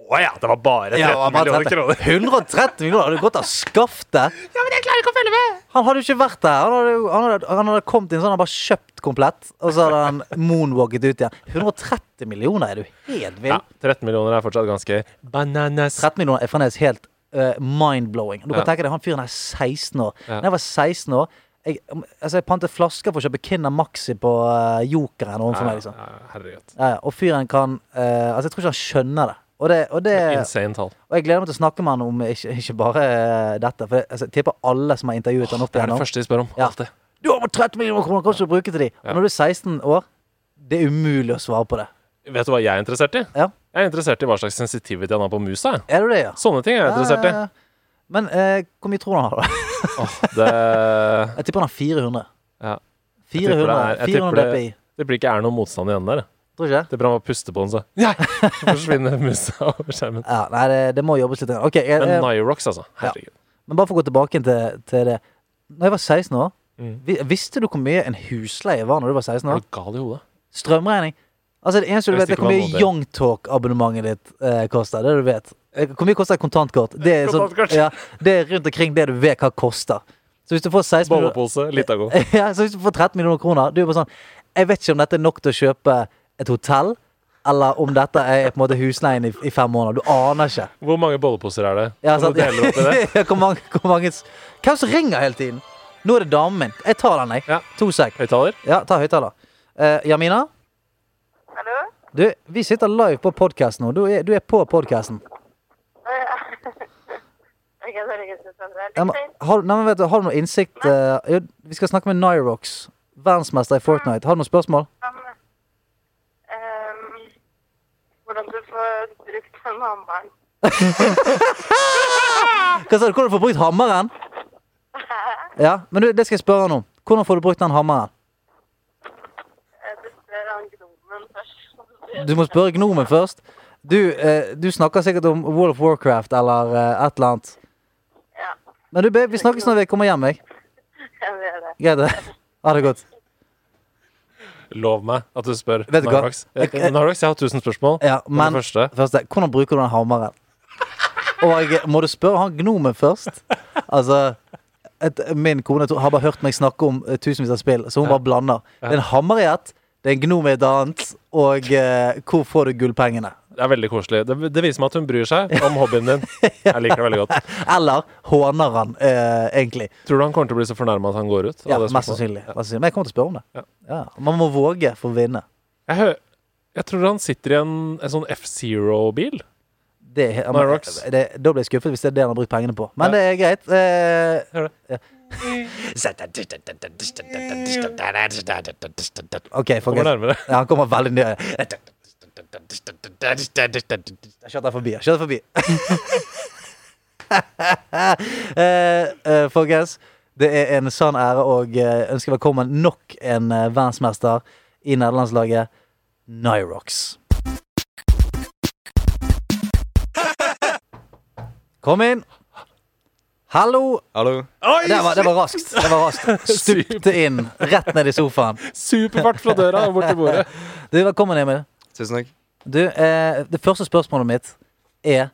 [SPEAKER 2] Å ja! Det var bare 13
[SPEAKER 4] Ja, han vant
[SPEAKER 2] millioner
[SPEAKER 4] 13.
[SPEAKER 2] kroner!
[SPEAKER 4] 130 millioner hadde gått av skaftet.
[SPEAKER 2] Ja, men jeg klarer ikke å følge med!
[SPEAKER 4] Han hadde jo ikke vært der. Han hadde, jo- han hadde, han hadde kommet inn sånn, han bare kjøpt komplett, og så hadde han moonwalket ut igjen. 130 millioner, er du helt vill?
[SPEAKER 2] Ja, 13 millioner er fortsatt ganske bananas.
[SPEAKER 4] 13 millioner er fremdeles helt eh, mind-blowing. Du kan
[SPEAKER 2] Ja.
[SPEAKER 4] tenke deg, han fyren er 16 år.
[SPEAKER 2] Ja.
[SPEAKER 4] Da jeg var 16 år jeg, altså jeg pantet flasker for å kjøpe Kinder Maxi på eh, Jokeren overfor meg. liksom
[SPEAKER 2] Ja, Herregud.
[SPEAKER 4] ja, ja. Og fyren kan eh, Altså, jeg tror ikke han skjønner det. Og det, og det
[SPEAKER 2] Insane tall.
[SPEAKER 4] Og jeg gleder meg til å snakke med han om ikke, ikke bare eh, dette. For jeg, altså, jeg tipper alle som har intervjuet han opp
[SPEAKER 2] Det er det
[SPEAKER 4] igjennom
[SPEAKER 2] første de spør om.
[SPEAKER 4] Ja.
[SPEAKER 2] Alltid.
[SPEAKER 4] Du har bare 30 millioner kroner, kan ikke du bruke til de?
[SPEAKER 2] Ja.
[SPEAKER 4] Og når du er 16 år, det er umulig å svare på det.
[SPEAKER 2] Vet du hva jeg er interessert i?
[SPEAKER 4] Ja.
[SPEAKER 2] Jeg er interessert i hva slags sensitivity han har på musa. jeg.
[SPEAKER 4] Er du det, ja?
[SPEAKER 2] Sånne ting er jeg interessert i.
[SPEAKER 4] Ja, ja, ja. Men eh, hvor mye tror du han har, da?
[SPEAKER 2] Åh, det,
[SPEAKER 4] Jeg tipper han har 400.
[SPEAKER 2] Ja. tipper det
[SPEAKER 4] 400,
[SPEAKER 2] er- jeg
[SPEAKER 4] 400
[SPEAKER 2] tipper
[SPEAKER 4] DPI.
[SPEAKER 2] det blir ikke er noe motstand igjen der.
[SPEAKER 4] Tror du ikke det?
[SPEAKER 2] Det er bra å puste på den, så Nei! forsvinner musa over skjermen.
[SPEAKER 4] Ja, nei, det, det må jobbes litt. grann. Ok, jeg,
[SPEAKER 2] Men
[SPEAKER 4] eh,
[SPEAKER 2] Nyrox, altså. Herregud.
[SPEAKER 4] men bare for å gå tilbake til, til det. Når jeg var 16 år,
[SPEAKER 2] Mm.
[SPEAKER 4] vi, visste du hvor mye en husleie var når du var 16
[SPEAKER 2] Er
[SPEAKER 4] år?
[SPEAKER 2] du gal i hodet?
[SPEAKER 4] Strømregning. Altså Det eneste du
[SPEAKER 2] Jeg
[SPEAKER 4] vet,
[SPEAKER 2] visste
[SPEAKER 4] er hvor
[SPEAKER 2] ikke hva
[SPEAKER 4] mye
[SPEAKER 2] det var.
[SPEAKER 4] Youngtalk-abonnementet ditt eh, koster. Det er det du vet. Eh, Hvor mye koster et kontantkort? Det er, sånn,
[SPEAKER 2] Kontantkort.
[SPEAKER 4] ja, det er rundt omkring det du vet hva koster. Så hvis du får 16 millioner,
[SPEAKER 2] Bollepose, Litago.
[SPEAKER 4] ja, så hvis du får 13 millioner kroner, du er bare sånn Jeg vet ikke om dette er nok til å kjøpe et hotell, eller om dette er på en måte husleien i, i fem måneder. Du aner ikke.
[SPEAKER 2] Hvor mange bolleposer er det?
[SPEAKER 4] Ja, altså,
[SPEAKER 2] Kan
[SPEAKER 4] sant?
[SPEAKER 2] du dele opp i det?
[SPEAKER 4] Ja, hvor mange, hvor mange s- Hvem som ringer hele tiden? Nå er det damen min. Jeg tar den, jeg.
[SPEAKER 2] Ja.
[SPEAKER 4] To sek.
[SPEAKER 2] Høyttaler?
[SPEAKER 4] Ja, ta høyttaler. Eh, Jamina?
[SPEAKER 1] Hallo?
[SPEAKER 4] Du, vi sitter live på podkast nå. Du er, du er på podkasten.
[SPEAKER 1] Å, ja. ok, så er det ikke så sant. Det er litt seint.
[SPEAKER 4] Har, nei, men vet du, har du noe innsikt eh, jo, Vi skal snakke med Nyrox, verdensmester i Fortnite. Har du noen spørsmål?
[SPEAKER 1] men, ehm, hvordan du får brukt den hammeren.
[SPEAKER 4] Hva sa du? Hvordan får du brukt hammeren? Ja, men du, det skal jeg spørre han om. Hvordan får du brukt den hammeren?
[SPEAKER 1] Eh, Du spør han gnomen først.
[SPEAKER 4] Du må spørre Gnomen først. Du, eh, du snakker sikkert om World of Warcraft eller eh, et eller annet.
[SPEAKER 1] Ja,
[SPEAKER 4] Men du, babe, vi snakkes når vi kommer hjem, jeg.
[SPEAKER 1] jeg vet det.
[SPEAKER 4] Greit det? Ha det godt.
[SPEAKER 2] Lov meg at du spør
[SPEAKER 4] Vet du hva?
[SPEAKER 2] Nyrox.
[SPEAKER 4] Jeg- jeg-
[SPEAKER 2] Nyrox, jeg har 1000 spørsmål.
[SPEAKER 4] Ja,
[SPEAKER 2] Og det
[SPEAKER 4] men
[SPEAKER 2] første
[SPEAKER 4] Første, hvordan bruker du den hammeren? Og jeg, må du spørre han gnomen først? Altså et, Min kone to- har bare hørt meg snakke om eh, tusenvis av spill, så hun bare blander. Det er en hammer i ett, det er en gnom i et annet, og eh, hvor får du gullpengene?
[SPEAKER 2] Det er veldig koselig. Det, det viser meg at hun bryr seg om hobbyen din. Jeg liker det veldig godt.
[SPEAKER 4] Eller håner han, eh, egentlig?
[SPEAKER 2] Tror du han kommer til å bli så fornærma at han går ut?
[SPEAKER 4] Ja,
[SPEAKER 2] av det
[SPEAKER 4] mest
[SPEAKER 2] spørsmålet?
[SPEAKER 4] sannsynlig. mest sannsynlig. Men jeg kommer til å spørre om det. Ja. Man må våge for å vinne.
[SPEAKER 2] Jeg, hø jeg tror han sitter i en, en sånn F-Zero-bil.
[SPEAKER 4] Det, er- ja, men-
[SPEAKER 2] Nyrox.
[SPEAKER 4] det, da blir jeg skuffet hvis det er det han har brukt pengene på. Men det
[SPEAKER 2] Ja.
[SPEAKER 4] er greit. Eh,
[SPEAKER 2] Hører du?
[SPEAKER 4] OK,
[SPEAKER 2] Kommer
[SPEAKER 4] folkens.
[SPEAKER 2] nærmere.
[SPEAKER 4] Ja, han kommer veldig nye. Kjør deg forbi. Kjør deg forbi. Eh, eh, folkens, det er en sann ære å eh, ønske velkommen nok en eh, verdensmester i nederlandslaget, Nyrox. Kom inn. Hallo.
[SPEAKER 3] Hallo.
[SPEAKER 2] Oi!
[SPEAKER 4] Det var, det var raskt. Det var raskt. Stupte inn rett ned i sofaen.
[SPEAKER 2] Superfart fra døra og bort til bordet.
[SPEAKER 4] Du, velkommen, Emil.
[SPEAKER 3] Tusen takk.
[SPEAKER 4] Du, eh, det første spørsmålet mitt er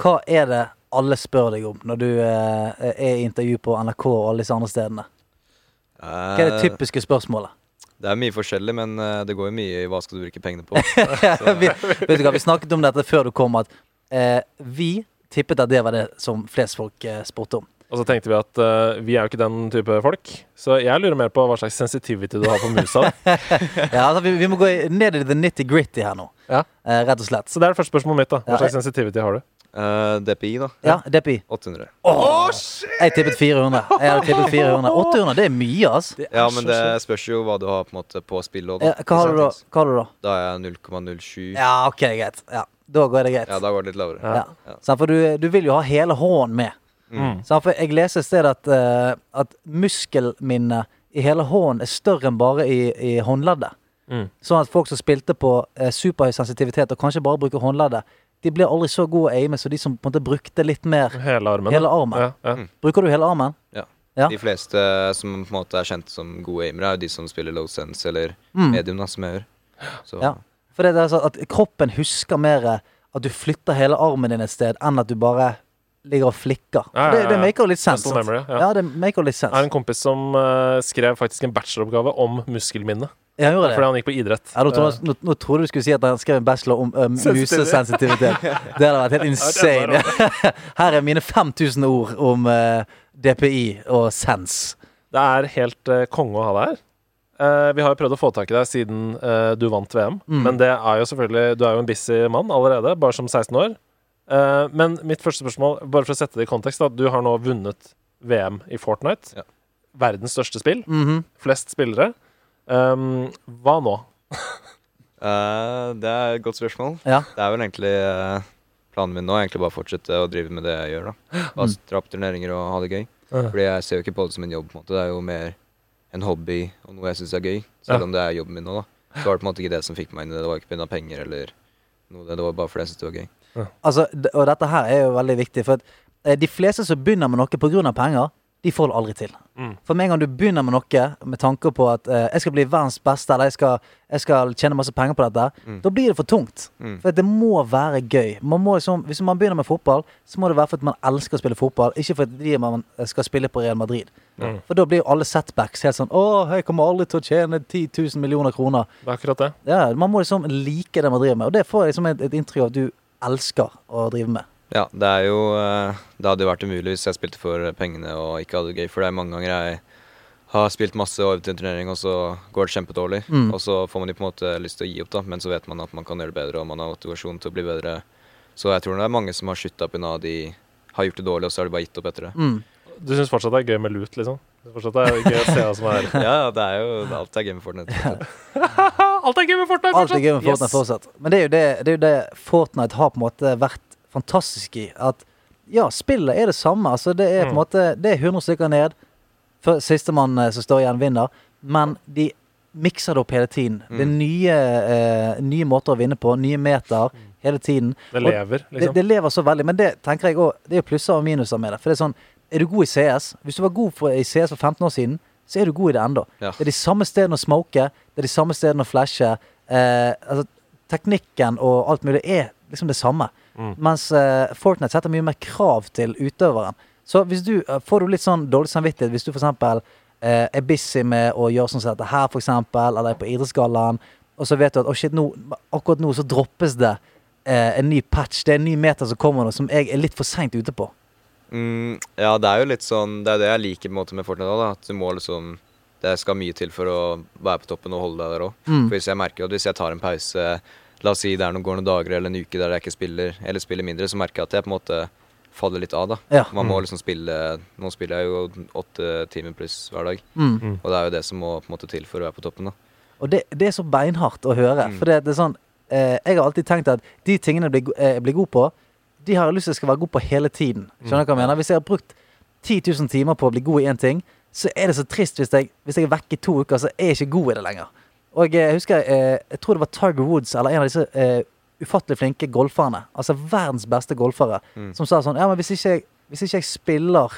[SPEAKER 4] Hva er det alle spør deg om når du eh, er i intervju på NRK og alle disse andre stedene? Hva er det typiske spørsmålet?
[SPEAKER 3] Eh, Det er mye forskjellig, men eh, det går jo mye i hva skal du bruke pengene på. Så,
[SPEAKER 4] vi, vet du hva, vi snakket om dette før du kom, at eh, vi tippet at det var det som flest folk eh, spurte om.
[SPEAKER 2] Og så tenkte vi at eh, vi er jo ikke den type folk, så jeg lurer mer på hva slags sensitivity du har på musa.
[SPEAKER 4] Ja, altså, vi, vi må gå i- ned i the nitty-gritty her nå,
[SPEAKER 2] Ja.
[SPEAKER 4] eh, rett og slett.
[SPEAKER 2] Så det er det første spørsmålet mitt, da.
[SPEAKER 4] Ja,
[SPEAKER 2] Hva slags sensitivity har du?
[SPEAKER 3] eh, DPI, da.
[SPEAKER 4] Ja, DPI.
[SPEAKER 3] 800.
[SPEAKER 4] Jeg tippet 400. Jeg hadde tippet 400. 800, det er mye, altså.
[SPEAKER 3] Ja, men det spørs jo hva du har på, en måte, på spillet. og
[SPEAKER 4] Ja,
[SPEAKER 3] da.
[SPEAKER 4] hva har du da? Hva har du da?
[SPEAKER 3] Da er jeg 0,07. Ja.
[SPEAKER 4] Ja, OK, greit. Ja, da går det greit.
[SPEAKER 3] da går det litt lavere.
[SPEAKER 4] Ja. Sant, for du, du vil jo ha hele hånden med.
[SPEAKER 2] Mm.
[SPEAKER 4] Sant, for jeg leser et sted at, eh, at muskelminnet i hele hånden er større enn bare i, i håndleddet.
[SPEAKER 2] Mm.
[SPEAKER 4] Sånn at folk som spilte på eh, superhøy sensitivitet og kanskje bare bruker håndleddet, de ble aldri så gode å aime som de som på en måte brukte litt mer.
[SPEAKER 2] Hele armen? da.
[SPEAKER 4] Hele armen.
[SPEAKER 2] Ja, ja.
[SPEAKER 4] Bruker du hele armen?
[SPEAKER 3] Ja.
[SPEAKER 4] Ja.
[SPEAKER 3] De fleste som på en måte er kjent som gode aimere, er jo de som spiller low sense eller
[SPEAKER 4] Mm.
[SPEAKER 3] medium, da, som jeg gjør. Så
[SPEAKER 4] Ja. For det er sånn at kroppen husker mer at du flytter hele armen din et sted, enn at du bare ligger og flikker.
[SPEAKER 2] Ja, ja,
[SPEAKER 4] Det, det
[SPEAKER 2] ja.
[SPEAKER 4] maker jo litt sens.
[SPEAKER 2] Muscle memory, ja.
[SPEAKER 4] ja. det maker jo litt
[SPEAKER 2] Jeg har
[SPEAKER 4] sens.
[SPEAKER 2] en kompis som eh, skrev faktisk en bacheloroppgave om muskelminne.
[SPEAKER 4] Jeg gjorde det.
[SPEAKER 2] Fordi han gikk på idrett.
[SPEAKER 4] Ja, nå, trodde, nå, nå trodde du skulle si at han skrev en bachelor om ø, musesensitivitet. Det hadde vært helt insane. Her er mine 5000 ord om eh, ø, DPI og sens.
[SPEAKER 2] Det er helt eh, konge å ha deg her. Eh, vi har jo prøvd å få tak i deg siden eh, du vant VM,
[SPEAKER 4] Mm.
[SPEAKER 2] men det er jo selvfølgelig Du er jo en busy mann allerede, bare som 16 år. Eh, men mitt første spørsmål, bare for å sette det i kontekst, da. Du har nå vunnet VM i Fortnite.
[SPEAKER 3] Ja.
[SPEAKER 2] Verdens største spill.
[SPEAKER 4] Mhm.
[SPEAKER 2] Flest spillere. Um, hva nå?
[SPEAKER 3] Eh, det er et godt spørsmål.
[SPEAKER 4] Ja.
[SPEAKER 3] Det er vel egentlig eh, planen min nå. er Egentlig bare fortsette å drive med det jeg gjør. da Bare Dra på turneringer og ha det gøy.
[SPEAKER 2] Mm. Ja.
[SPEAKER 3] Fordi jeg ser jo ikke på det som en jobb. på en måte Det er jo mer en hobby og noe jeg syns er gøy. Selv
[SPEAKER 2] Ja.
[SPEAKER 3] om det er jobben min nå, da. Så var det på en måte ikke det som fikk meg inn i det. Det var ikke pga. penger eller noe. Det var bare fordi jeg syntes det var gøy.
[SPEAKER 4] Altså, d- og dette her er jo veldig viktig, for at ø, de fleste som begynner med noe pga. penger, de får det aldri til.
[SPEAKER 2] Mm.
[SPEAKER 4] For med en gang du begynner med noe med tanke på at ø, jeg skal bli verdens beste, eller jeg skal, jeg skal tjene masse penger på dette, da blir det for tungt.
[SPEAKER 3] Mm.
[SPEAKER 4] For det må være gøy. Man må liksom, hvis man begynner med fotball, så må det være fordi man elsker å spille fotball, ikke fordi man eh, skal spille på Real Madrid.
[SPEAKER 2] Mm.
[SPEAKER 4] For da blir jo alle setbacks helt sånn Å, jeg kommer aldri til å tjene 10 000 millioner kroner.
[SPEAKER 2] Det er akkurat det.
[SPEAKER 4] Ja, man må liksom like det man driver med, og det får jeg liksom et, et inntrykk av at du elsker å drive med.
[SPEAKER 3] Ja, det er jo eh, Det hadde jo vært umulig hvis jeg spilte for pengene og ikke hadde det gøy. For det er mange ganger jeg har spilt masse og øvd til en turnering, og så går det kjempedårlig.
[SPEAKER 4] Mm.
[SPEAKER 3] Og så får man jo på en måte lyst til å gi opp, da, men så vet man at man kan gjøre det bedre, og man har motivasjon til å bli bedre. Så jeg tror det er mange som har skutta pga. de har gjort det dårlig, og så har de bare gitt opp etter det.
[SPEAKER 4] Mm.
[SPEAKER 2] Du syns fortsatt det er gøy med lut, liksom? Du synes fortsatt det er gøy å se hva som er
[SPEAKER 3] Ja, ja, det er jo Alt er game for den.
[SPEAKER 2] Alt er gøy med Fortnite
[SPEAKER 4] Alt er gøy med Fortnite fortsatt. Men det er, jo det, det er jo det Fortnite har på en måte vært fantastisk i. At ja, spillet er det samme. Altså det er på
[SPEAKER 2] Mm.
[SPEAKER 4] en måte Det er 100 stykker ned. Før Sistemann eh, som står igjen, vinner. Men de mikser det opp hele tiden. Det
[SPEAKER 2] Mm.
[SPEAKER 4] er nye, eh, nye måter å vinne på. Nye meter hele tiden.
[SPEAKER 2] Mm. Det
[SPEAKER 4] Og-
[SPEAKER 2] lever,
[SPEAKER 4] det,
[SPEAKER 2] liksom.
[SPEAKER 4] det lever så veldig, men det tenker jeg også, det er jo plusser og minuser med det. For det er sånn, er du god i CS? Hvis du var god for, i CS for 15 år siden, så er du god i det ennå.
[SPEAKER 3] Ja.
[SPEAKER 4] Det er de samme stedene å smoke, det er de samme stedene å flashe. Eh, altså, teknikken og alt mulig er liksom det samme.
[SPEAKER 2] Mm.
[SPEAKER 4] Mens eh, Fortnite setter mye mer krav til utøveren. Så hvis du, eh, får du litt sånn dårlig samvittighet hvis du for eksempel eh, er busy med å gjøre sånn som dette her, for eksempel, eller er på idrettsgallaen, og så vet du at å shit, nå, akkurat nå så droppes det eh, en ny patch, det er en ny meter som kommer nå, som jeg er litt for seint ute på.
[SPEAKER 3] Mm, ja, det er jo litt sånn Det er jo det jeg liker på en måte med Fortnite òg, at du må liksom Det skal mye til for å være på toppen og holde deg der òg.
[SPEAKER 4] Mm.
[SPEAKER 3] For hvis jeg merker at hvis jeg tar en pause, la oss si det er noen, går noen dager eller en uke der jeg ikke spiller, eller spiller mindre, så merker jeg at jeg på en måte faller litt av, da.
[SPEAKER 4] Ja.
[SPEAKER 3] Man må liksom spille Nå spiller jeg jo åtte timer pluss hver dag,
[SPEAKER 4] Mm.
[SPEAKER 3] og det er jo det som må på en måte til for å være på toppen, da.
[SPEAKER 4] Og det, det er så beinhardt å høre. For det, det er sånn eh, Jeg har alltid tenkt at de tingene jeg blir, go- eh, jeg blir god på, de har jeg lyst til å skal være god på hele tiden. Skjønner du hva jeg mener? Hvis jeg har brukt 10 000 timer på å bli god i én ting, så er det så trist hvis jeg, hvis jeg er vekke i to uker, så er jeg ikke god i det lenger. Og eh, jeg husker eh, Jeg tror det var Tiger Woods eller en av disse eh, ufattelig flinke golferne, altså verdens beste golfere, som sa sånn Ja, men hvis ikke jeg, hvis ikke jeg spiller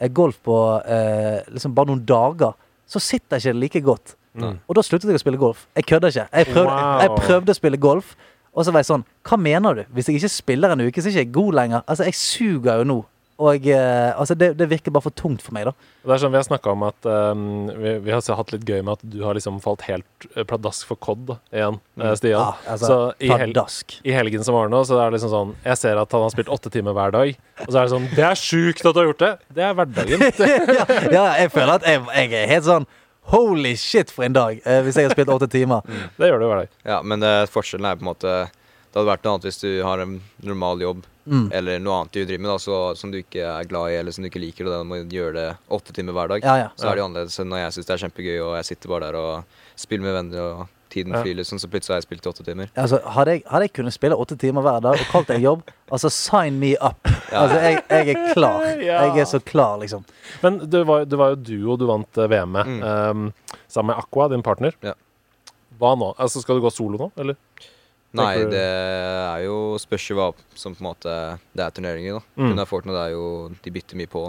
[SPEAKER 4] eh, golf på eh, liksom bare noen dager, så sitter jeg ikke like godt. Og da sluttet jeg å spille golf. Jeg kødder ikke. Jeg prøvde,
[SPEAKER 2] Wow.
[SPEAKER 4] jeg prøvde å spille golf, Og så var jeg sånn Hva mener du? Hvis jeg ikke spiller en uke, så er jeg ikke god lenger. Altså, jeg suger jo nå. Og eh, altså, det, det virker bare for tungt for meg, da.
[SPEAKER 2] Det er sånn Vi har snakka om at eh, vi, vi har hatt litt gøy med at du har liksom falt helt eh, pladask for COD igjen, eh, Stian.
[SPEAKER 4] Ja, altså,
[SPEAKER 2] så i, hel
[SPEAKER 4] Pladask.
[SPEAKER 2] i helgen som var nå, så er det liksom sånn Jeg ser at han har spilt åtte timer hver dag. Og så er det sånn Det er sjukt at du har gjort det! Det er hverdagen.
[SPEAKER 4] ja, ja, jeg føler at jeg, jeg er helt sånn Holy shit for en dag, eh, hvis jeg har spilt åtte timer.
[SPEAKER 2] Det gjør du hver dag.
[SPEAKER 3] Ja, men det, forskjellen er på en måte Det hadde vært noe annet hvis du har en normal jobb
[SPEAKER 4] Mm.
[SPEAKER 3] eller noe annet du driver med da, så, som du ikke er glad i eller som du ikke liker, og da må du gjøre det åtte timer hver dag.
[SPEAKER 4] Ja, ja.
[SPEAKER 3] Så er det jo annerledes enn når jeg syns det er kjempegøy og jeg sitter bare der og spiller med venner og tiden
[SPEAKER 2] Ja.
[SPEAKER 3] flyr, liksom, så plutselig har jeg spilt i åtte timer.
[SPEAKER 4] Altså, hadde, jeg, hadde jeg kunnet spille åtte timer hver dag og kalt det en jobb, altså sign me up. Altså, jeg, jeg er klar.
[SPEAKER 2] Ja.
[SPEAKER 4] Jeg er så klar, liksom.
[SPEAKER 2] Men det var, det var jo duo du vant eh, VM med,
[SPEAKER 4] Mm.
[SPEAKER 2] eh, sammen med Aqua, din partner.
[SPEAKER 3] Ja.
[SPEAKER 2] Hva nå? Altså, skal du gå solo nå, eller?
[SPEAKER 3] Nei,
[SPEAKER 2] Tenker du-
[SPEAKER 3] det er jo spørs jo hva som på en måte Det er turneringer, da.
[SPEAKER 2] Mm.
[SPEAKER 3] Under Fortnite er jo De bytter mye på.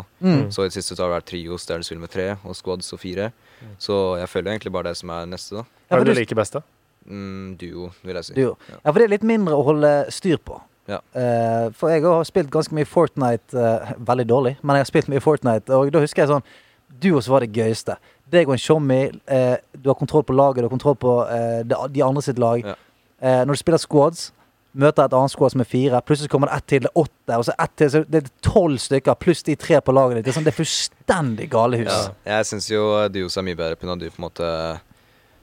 [SPEAKER 3] Så i det siste så har det vært trios der du spiller med tre, og squads og fire. Så jeg føler egentlig bare det som er neste, da.
[SPEAKER 4] Ja,
[SPEAKER 2] Hva
[SPEAKER 4] for
[SPEAKER 2] er det
[SPEAKER 4] du-
[SPEAKER 2] du liker best, da?
[SPEAKER 3] Mm, duo, vil jeg si.
[SPEAKER 4] Du, ja, for det er litt mindre å holde styr på.
[SPEAKER 3] Ja.
[SPEAKER 4] Eh, for jeg har spilt ganske mye Fortnite, eh, veldig dårlig, men jeg har spilt mye Fortnite, og da husker jeg sånn Duos var det gøyeste. Deg og en tjommi, eh, du har kontroll på laget, du har kontroll på eh, det, de andre sitt lag.
[SPEAKER 3] Ja.
[SPEAKER 4] Eh, når du spiller squads, møter et annet squad som er fire, plutselig kommer det ett til, det er åtte, og så ett til, så det er tolv stykker, pluss de tre på laget ditt. Det er, sånn, det er fullstendig galehus.
[SPEAKER 3] Ja. Jeg syns jo duos er mye bedre pga. du på en måte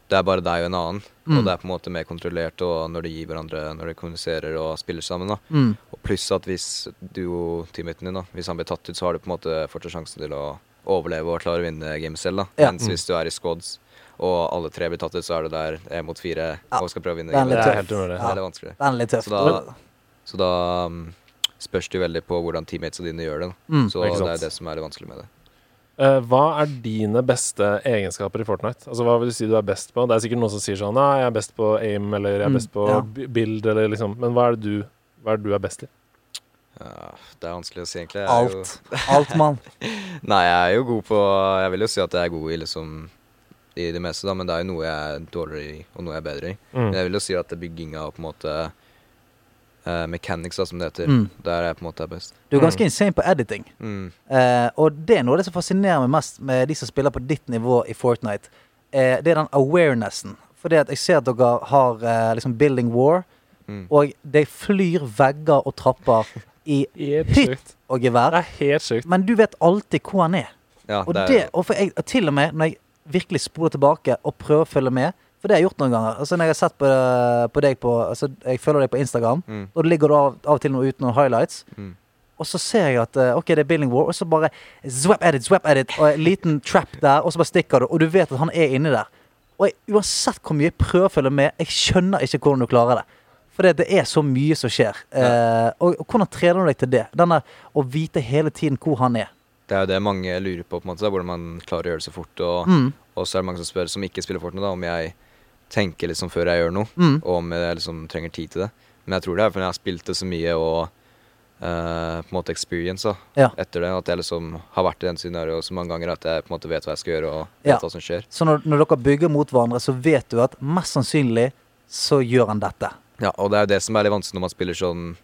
[SPEAKER 3] Det er bare deg og en annen,
[SPEAKER 4] Mm.
[SPEAKER 3] og det er på en måte mer kontrollert og når de gir hverandre når de kommuniserer og spiller sammen. da
[SPEAKER 4] Mm.
[SPEAKER 3] Og Pluss at hvis duo-teammaten din da Hvis han blir tatt ut, så har du på en måte fortsatt sjansen til å overleve og klare å vinne gamet selv. da
[SPEAKER 4] Ja.
[SPEAKER 3] Mens hvis du er i squads og alle tre blir tatt ut, så er du der én mot fire
[SPEAKER 4] Ja.
[SPEAKER 3] og skal prøve å vinne.
[SPEAKER 4] Det er
[SPEAKER 3] gamet.
[SPEAKER 2] Det
[SPEAKER 4] litt
[SPEAKER 2] er
[SPEAKER 4] tøft.
[SPEAKER 2] helt umulig.
[SPEAKER 3] Det er litt vanskelig.
[SPEAKER 4] Den er litt tøff.
[SPEAKER 3] Så da, så da mm, spørs det jo veldig på hvordan teammatesa dine gjør det. Da.
[SPEAKER 4] Mm.
[SPEAKER 3] Så
[SPEAKER 2] Ikke
[SPEAKER 3] det
[SPEAKER 2] sant.
[SPEAKER 3] er det som er litt vanskelig med det.
[SPEAKER 2] Eh, hva er dine beste egenskaper i Fortnite? Altså, Hva vil du si du er best på? Det er sikkert noen som sier sånn Nei, jeg er best på aim, eller jeg er
[SPEAKER 4] Mm,
[SPEAKER 2] best på
[SPEAKER 4] ja.
[SPEAKER 2] b- build, eller liksom Men hva er det du, hva er, det du er best i?
[SPEAKER 3] Ja, det er vanskelig å si, egentlig. Jeg er jo-
[SPEAKER 4] Alt. Alt, mann.
[SPEAKER 3] Nei, jeg er jo god på Jeg vil jo si at jeg er god i liksom i det meste, da, men det er jo noe jeg er dårligere i, og noe jeg er bedre i.
[SPEAKER 4] Mm.
[SPEAKER 3] Men jeg vil jo si at det er bygginga og på en måte eh, mechanics, da, som det heter,
[SPEAKER 4] Mm.
[SPEAKER 3] der jeg på en måte er best.
[SPEAKER 4] Du er ganske insane på editing.
[SPEAKER 3] Mm.
[SPEAKER 4] Eh, og det er noe av det som fascinerer meg mest med de som spiller på ditt nivå i Fortnite. Eh, det er den awarenessen. For det at jeg ser at dere har eh, liksom building war,
[SPEAKER 3] Mm.
[SPEAKER 4] og det flyr vegger og trapper i
[SPEAKER 2] Helt
[SPEAKER 4] hytt
[SPEAKER 2] sjukt.
[SPEAKER 4] og
[SPEAKER 2] Det
[SPEAKER 4] gevær.
[SPEAKER 2] er helt sjukt.
[SPEAKER 4] Men du vet alltid hvor han er.
[SPEAKER 3] Ja,
[SPEAKER 4] Og,
[SPEAKER 3] det er,
[SPEAKER 4] det, og, for jeg, og til og med når jeg virkelig spoler tilbake og prøver å følge med For det har jeg gjort noen ganger. Altså Når jeg har sett på, på deg på altså Jeg følger deg på Instagram,
[SPEAKER 3] Mm.
[SPEAKER 4] og da ligger du av, av og til noe uten noen highlights.
[SPEAKER 3] Mm.
[SPEAKER 4] Og så ser jeg at eh, OK, det er Billing War, og så bare zwap edit, zwap edit, og en liten trap der, og så bare stikker du, og du vet at han er inni der. Og jeg, uansett hvor mye jeg prøver å følge med, jeg skjønner ikke hvordan du klarer det. For det, det er så mye som skjer. Eh, og, og hvordan trener du deg til det? Denne, å vite hele tiden hvor han er.
[SPEAKER 3] det er jo det mange lurer på, på en måte, da, hvordan man klarer å gjøre det så fort. Og,
[SPEAKER 4] Mm,
[SPEAKER 3] og så er det mange som spør, som ikke spiller Fortnite, da, om jeg tenker liksom før jeg gjør noe,
[SPEAKER 4] mm.
[SPEAKER 3] og om jeg liksom trenger tid til det. Men jeg tror det er fordi jeg har spilt det så mye og eh, på en måte experience da,
[SPEAKER 4] Ja.
[SPEAKER 3] etter det. At jeg liksom har vært i den scenarioet så mange ganger at jeg på en måte vet hva jeg skal gjøre og vet
[SPEAKER 4] Ja.
[SPEAKER 3] hva som skjer.
[SPEAKER 4] Så når, når dere bygger mot hverandre, så vet du at mest sannsynlig så gjør han dette.
[SPEAKER 3] Ja, og det er jo det som er litt vanskelig når man spiller sånn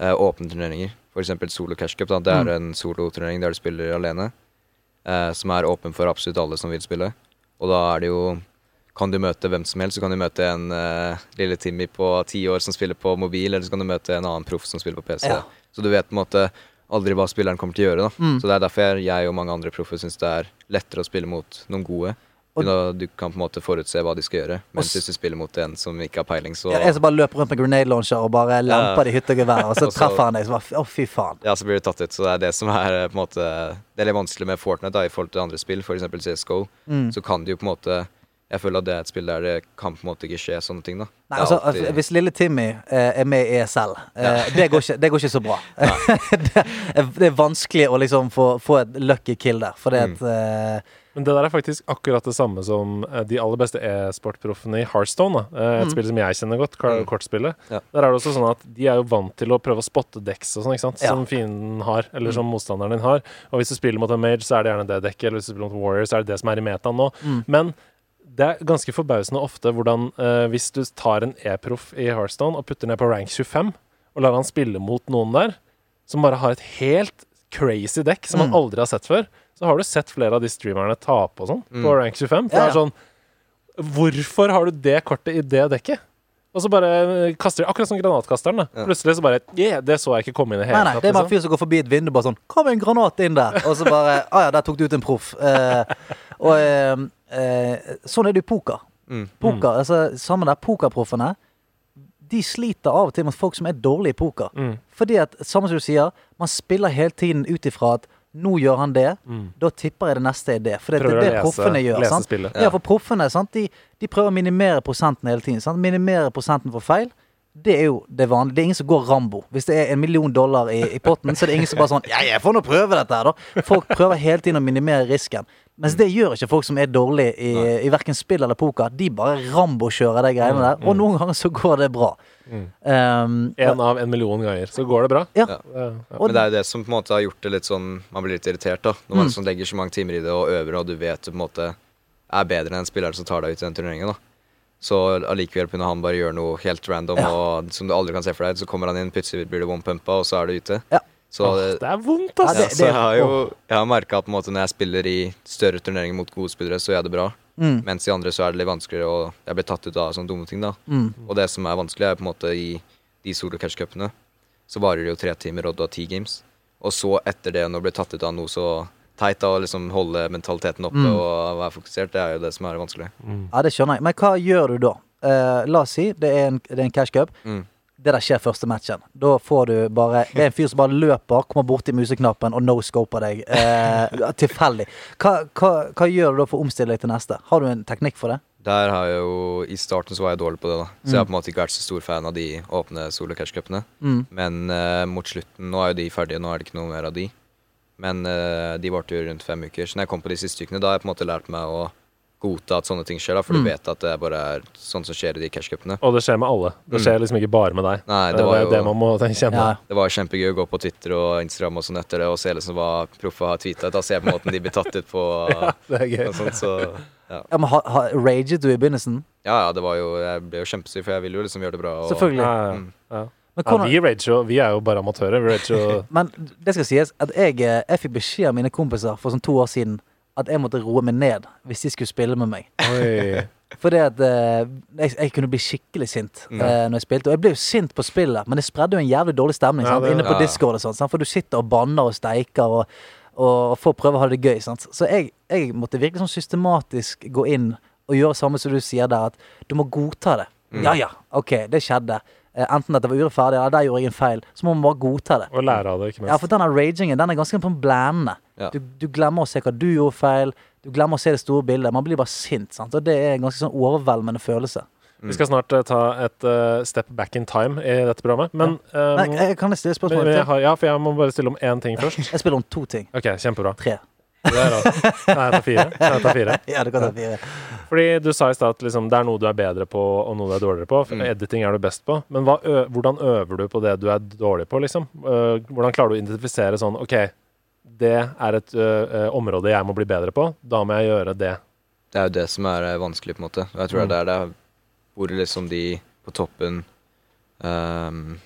[SPEAKER 3] eh, åpne turneringer. For eksempel solo cash cup. Da. Det
[SPEAKER 4] Mm.
[SPEAKER 3] er en soloturnering der du spiller alene, eh, som er åpen for absolutt alle som vil spille. Og da er det jo Kan du møte hvem som helst? Du kan jo møte en eh, lille Timmy på ti år som spiller på mobil, eller så kan du møte en annen proff som spiller på PC.
[SPEAKER 4] Ja.
[SPEAKER 3] Så du vet på en måte aldri hva spilleren kommer til å gjøre. Da.
[SPEAKER 4] Mm.
[SPEAKER 3] Så det er derfor jeg og mange andre proffer syns det er lettere å spille mot noen gode.
[SPEAKER 4] Og-
[SPEAKER 3] Da du kan på en måte forutse hva de skal gjøre. Mens
[SPEAKER 4] s-
[SPEAKER 3] hvis du spiller mot en som ikke har peiling, så
[SPEAKER 4] Ja, Jeg som bare løper rundt med grenade launcher og bare lemper det i hytte og gevær, og så
[SPEAKER 3] Og så-
[SPEAKER 4] treffer han deg. Så bare, f- Å, fy faen.
[SPEAKER 3] Ja, så blir du tatt ut. Så det er det som er eh, på en måte Det er litt vanskelig med Fortnite da, i forhold til andre spill, f.eks. CSGO.
[SPEAKER 4] Mm.
[SPEAKER 3] Så kan det jo på en måte Jeg føler at det er et spill der det kan på en måte ikke skje sånne ting, da.
[SPEAKER 4] Nei,
[SPEAKER 3] Det er
[SPEAKER 4] altså,
[SPEAKER 3] alltid-
[SPEAKER 4] Hvis lille Timmy eh, er med i ESL, eh, det, går ikke, det går ikke så bra. det, er- det er vanskelig å liksom få, få et lucky kill der, fordi
[SPEAKER 3] Mm.
[SPEAKER 4] at eh,
[SPEAKER 2] Men det der er faktisk akkurat det samme som eh, de aller beste e-sportproffene i Heartstone. Da. Eh, Et spill som jeg kjenner godt, kar-
[SPEAKER 3] Mm.
[SPEAKER 2] kortspillet.
[SPEAKER 3] Ja.
[SPEAKER 2] Der er det også sånn at de er jo vant til å prøve å spotte dekks og sånn, ikke sant?
[SPEAKER 4] Ja.
[SPEAKER 2] som fienden har, eller
[SPEAKER 3] Mm.
[SPEAKER 2] som motstanderen din
[SPEAKER 3] Mm.
[SPEAKER 2] har. Og hvis du spiller mot en mage, så er det gjerne det dekket, eller hvis du spiller mot Warrior, så er det det som er i metaen nå. Men det er ganske forbausende ofte hvordan eh, hvis du tar en e-proff i Hearthstone og putter ned på rank 25, og lar han spille mot noen der, som bare har et helt crazy dekk som
[SPEAKER 3] Mm.
[SPEAKER 2] man aldri har sett før, så har du sett flere av de streamerne tape og sånn på rank 25. For
[SPEAKER 4] Ja,
[SPEAKER 2] det er
[SPEAKER 4] ja.
[SPEAKER 2] sånn Hvorfor har du det kortet i det dekket? Og så bare eh, kaster de Akkurat som granatkasteren. da Plutselig så bare yeah, Det så jeg ikke komme inn i
[SPEAKER 4] Nei,
[SPEAKER 2] hele liksom.»
[SPEAKER 4] nei, det er bare en fyr som går forbi et vindu bare sånn 'Kom en granat inn der!' Og så bare 'Å ja, der tok du ut en proff'. Eh, og eh, eh, sånn er det i poker.
[SPEAKER 3] Mm.
[SPEAKER 4] Poker, altså Sammen der, pokerproffene De sliter av og til mot folk som er dårlige i poker.
[SPEAKER 2] Mm.
[SPEAKER 4] Fordi at, samme som du sier, man spiller hele tiden ut ifra at 'nå gjør han det',
[SPEAKER 2] Mm.
[SPEAKER 4] da tipper jeg det neste er det. For det, det
[SPEAKER 2] Prøver
[SPEAKER 4] er
[SPEAKER 2] å
[SPEAKER 4] det
[SPEAKER 2] lese-
[SPEAKER 4] proffene gjør.
[SPEAKER 2] lese
[SPEAKER 4] sant?
[SPEAKER 2] spillet.
[SPEAKER 4] Ja, for proffene sant? De, de prøver å minimere prosenten hele tiden. Sant? Minimere prosenten for feil. Det er jo det vanlige. Det er ingen som går Rambo. Hvis det er en million dollar i, i potten, så er det ingen som bare sånn Ja, jeg får nå prøve dette her, da. Folk prøver hele tiden å minimere risken. Mens det gjør ikke folk som er dårlige i, i verken spill eller poker. De bare Rambo-kjører de
[SPEAKER 3] Mm.
[SPEAKER 4] greiene der. Og noen ganger så går det bra. Um,
[SPEAKER 2] En av en million ganger. Så går det bra.
[SPEAKER 4] ja.
[SPEAKER 3] Ja.
[SPEAKER 2] Eh, ja.
[SPEAKER 4] Og
[SPEAKER 3] Men det er jo det som på en måte har gjort det litt sånn Man blir litt irritert, da. Når
[SPEAKER 4] Mm.
[SPEAKER 3] man sånn legger så mange timer i det og øver, og du vet du på en måte er bedre enn spilleren som tar deg ut i den turneringen, da. Så allikevel kunne han bare gjøre noe helt random og som du aldri kan se for deg. Så kommer han inn, plutselig blir du one-pumpa, og så er du ute.
[SPEAKER 4] Ja.
[SPEAKER 3] Så
[SPEAKER 2] Åh,
[SPEAKER 3] det,
[SPEAKER 2] det er vondt,
[SPEAKER 4] Ja,
[SPEAKER 2] altså.
[SPEAKER 3] ja,
[SPEAKER 4] det-
[SPEAKER 3] så jeg har jo Jeg har merka på en måte når jeg spiller i større turneringer mot gode spillere, så gjør jeg det bra.
[SPEAKER 4] Mm.
[SPEAKER 3] Mens i andre så er det litt vanskeligere, og jeg blir tatt ut av sånne dumme ting, da.
[SPEAKER 4] Mm.
[SPEAKER 3] Og det som er vanskelig, er på en måte i de solo cash cupene, så varer det jo tre timer, og du har ti games. Og så etter det, når du blir tatt ut av noe så teit, da, å liksom holde mentaliteten oppe
[SPEAKER 4] Mm.
[SPEAKER 3] og være fokusert, det er jo det som er vanskelig.
[SPEAKER 4] Ja, det skjønner jeg. Men hva gjør du da? Eh, la oss si det er en, det er en cash cup.
[SPEAKER 3] Mm.
[SPEAKER 4] Det der skjer første matchen. Da får du bare Det er en fyr som bare løper, kommer borti museknappen og no-scoper deg. Eh, tilfeldig. Hva, hva, hva gjør du da for å omstille deg til neste? Har du en teknikk for det?
[SPEAKER 3] Der har jeg jo I starten så var jeg dårlig på det, da. Så jeg har på en måte ikke vært så stor fan av de åpne solo cash cupene.
[SPEAKER 4] Mm.
[SPEAKER 3] Men eh, mot slutten Nå er jo de ferdige, nå er det ikke noe mer av de. Men eh, de varte jo rundt fem uker. Så når jeg kom på de siste ukene, da har jeg på en måte lært meg å godta at sånne ting skjer, da. For
[SPEAKER 4] Mm.
[SPEAKER 3] du vet at det bare er sånn som skjer i de cash cupene.
[SPEAKER 2] Og det skjer med alle. Det skjer liksom ikke bare med deg.
[SPEAKER 3] Nei, det
[SPEAKER 2] det,
[SPEAKER 3] var
[SPEAKER 2] er
[SPEAKER 3] jo-
[SPEAKER 2] det man må tenke- kjenne.
[SPEAKER 4] Ja.
[SPEAKER 3] Det var kjempegøy å gå på Twitter og Instagram og sånn etter det og se liksom hva proffa har tweeta. Da ser jeg på måten de blir tatt ut på.
[SPEAKER 2] Det er gøy.
[SPEAKER 3] og sånt, så ja.
[SPEAKER 4] Ja, men ha, ha, Raget du i begynnelsen?
[SPEAKER 3] ja, ja, det var jo Jeg ble jo kjempesur, for jeg ville jo liksom gjøre det bra. Og,
[SPEAKER 4] Selvfølgelig.
[SPEAKER 2] Ja, ja, ja.
[SPEAKER 4] Men
[SPEAKER 2] Ja,
[SPEAKER 4] hvordan,
[SPEAKER 2] vi, rager jo, vi er jo bare amatører. Vi rager jo
[SPEAKER 4] Men det skal sies at jeg, eh, jeg fikk beskjed av mine kompiser for sånn to år siden at jeg måtte roe meg ned hvis de skulle spille med meg.
[SPEAKER 2] Oi.
[SPEAKER 4] Fordi at eh, jeg, jeg kunne bli skikkelig sint
[SPEAKER 2] Mm.
[SPEAKER 4] eh, når jeg spilte. Og jeg ble jo sint på spillet, men det spredde jo en jævlig dårlig stemning.
[SPEAKER 2] Ja,
[SPEAKER 4] Sant?
[SPEAKER 2] det-
[SPEAKER 4] Inne på
[SPEAKER 3] ja, ja.
[SPEAKER 4] Discord og sånt, sant? For du sitter og banner og steiker og, og får prøve å ha det gøy. Sant? Så jeg, jeg måtte virkelig sånn systematisk gå inn og gjøre samme som du sier der, at du må godta det.
[SPEAKER 2] Mm.
[SPEAKER 4] Ja ja, OK, det skjedde. Eh, Enten at det var urettferdig, eller der gjorde jeg en feil. Så må man bare godta det.
[SPEAKER 2] Og lære av det, ikke minst.
[SPEAKER 4] Ja, for denne ragingen den er ganske på en blændende.
[SPEAKER 3] Ja.
[SPEAKER 4] Du, du glemmer å se hva du gjorde feil. Du glemmer å se det store bildet. Man blir bare sint. sant? Og det er en ganske sånn overveldende følelse.
[SPEAKER 2] Vi skal snart eh, ta et eh, step back in time i dette programmet. Men, um,
[SPEAKER 4] Nei, jeg, kan jeg stille
[SPEAKER 2] men,
[SPEAKER 4] spørsmål
[SPEAKER 2] men jeg
[SPEAKER 4] til?
[SPEAKER 2] har, ja, for jeg må bare stille om én ting først.
[SPEAKER 4] Jeg spiller om to ting.
[SPEAKER 2] OK, kjempebra.
[SPEAKER 4] Tre.
[SPEAKER 2] Det er rart. Nei, jeg tar fire. Nei, jeg tar fire.
[SPEAKER 4] Ja, det kan ta fire.
[SPEAKER 2] Fordi du sa i stad at liksom, det er noe du er bedre på, og noe du er dårligere på. For Editing er du best på. Men hva, ø hvordan øver du på det du er dårlig på, liksom? Eh, hvordan klarer du å identifisere sånn OK, det er et ø, ø, område jeg må bli bedre på. Da må jeg gjøre det.
[SPEAKER 3] Det er jo det som er eh, vanskelig, på en måte. Og jeg tror
[SPEAKER 4] Mm.
[SPEAKER 3] det er der det er hvor liksom de på toppen ehm,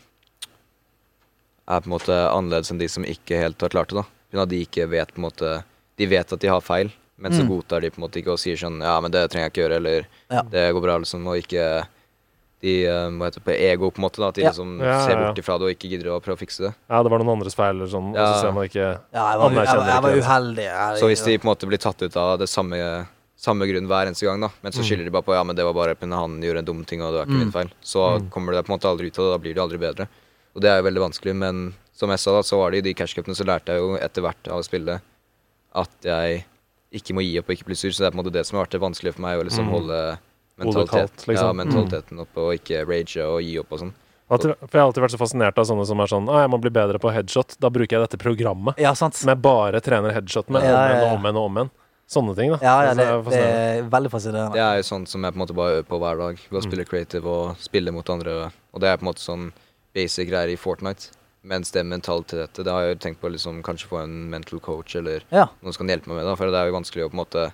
[SPEAKER 3] er på en måte annerledes enn de som ikke helt har klart det, da. Pga. at de ikke vet på en måte De vet at de har feil, men så
[SPEAKER 4] Mm.
[SPEAKER 3] godtar de på en måte ikke og sier sånn Ja, men det trenger jeg ikke gjøre, eller
[SPEAKER 4] Ja.
[SPEAKER 3] Det går bra, liksom, og ikke de eh, hva heter det, på ego, på en måte, da. At de
[SPEAKER 4] Ja.
[SPEAKER 3] liksom
[SPEAKER 2] Ja, ja,
[SPEAKER 3] ser
[SPEAKER 2] ja.
[SPEAKER 3] bort ifra det og ikke gidder å prøve å fikse det.
[SPEAKER 2] Ja, det var noen andres feil, eller sånn, og
[SPEAKER 3] Ja.
[SPEAKER 2] så ser man ikke
[SPEAKER 4] Ja, jeg var, jeg, var- jeg var uheldig.
[SPEAKER 3] Så hvis de på en måte blir tatt ut av det samme, samme grunn hver eneste gang, da, men så skylder de bare på ja, men det var bare pga. han gjorde en dum ting, og det var ikke min feil, så kommer du deg på en måte aldri ut av det, da blir du aldri bedre. Og det er jo veldig vanskelig, men som jeg sa, da, så var det i de cashcupene så lærte jeg jo etter hvert av å spille at jeg ikke må gi opp og ikke bli sur, så det er på en måte det som har vært det vanskelige for meg, å liksom holde
[SPEAKER 2] Hodet kaldt,
[SPEAKER 3] mentalitet, ja,
[SPEAKER 2] liksom.
[SPEAKER 3] mentaliteten oppe og ikke rage og gi opp og sånn.
[SPEAKER 2] At- For jeg har alltid vært så fascinert av sånne som er sånn Å, jeg må bli bedre på headshot. Da bruker jeg dette programmet
[SPEAKER 4] Ja, sant.
[SPEAKER 2] som jeg bare trener headshot med.
[SPEAKER 4] Ja, ja, ja.
[SPEAKER 2] Om igjen og om igjen og om igjen. Sånne ting, da.
[SPEAKER 4] Ja, ja, det,
[SPEAKER 2] er
[SPEAKER 4] det
[SPEAKER 2] fascinerende.
[SPEAKER 4] er veldig fascinerende.
[SPEAKER 3] Det er jo sånn som jeg på en måte bare øver på hver dag. Ved å spille
[SPEAKER 4] Mm.
[SPEAKER 3] creative og spille mot andre. Og det er på en måte sånn basic greier i Fortnite. Mens det mentaliteten, det har jeg jo tenkt på liksom kanskje få en mental coach eller
[SPEAKER 4] Ja.
[SPEAKER 3] noen som kan hjelpe meg med, da. For det er jo vanskelig å på en måte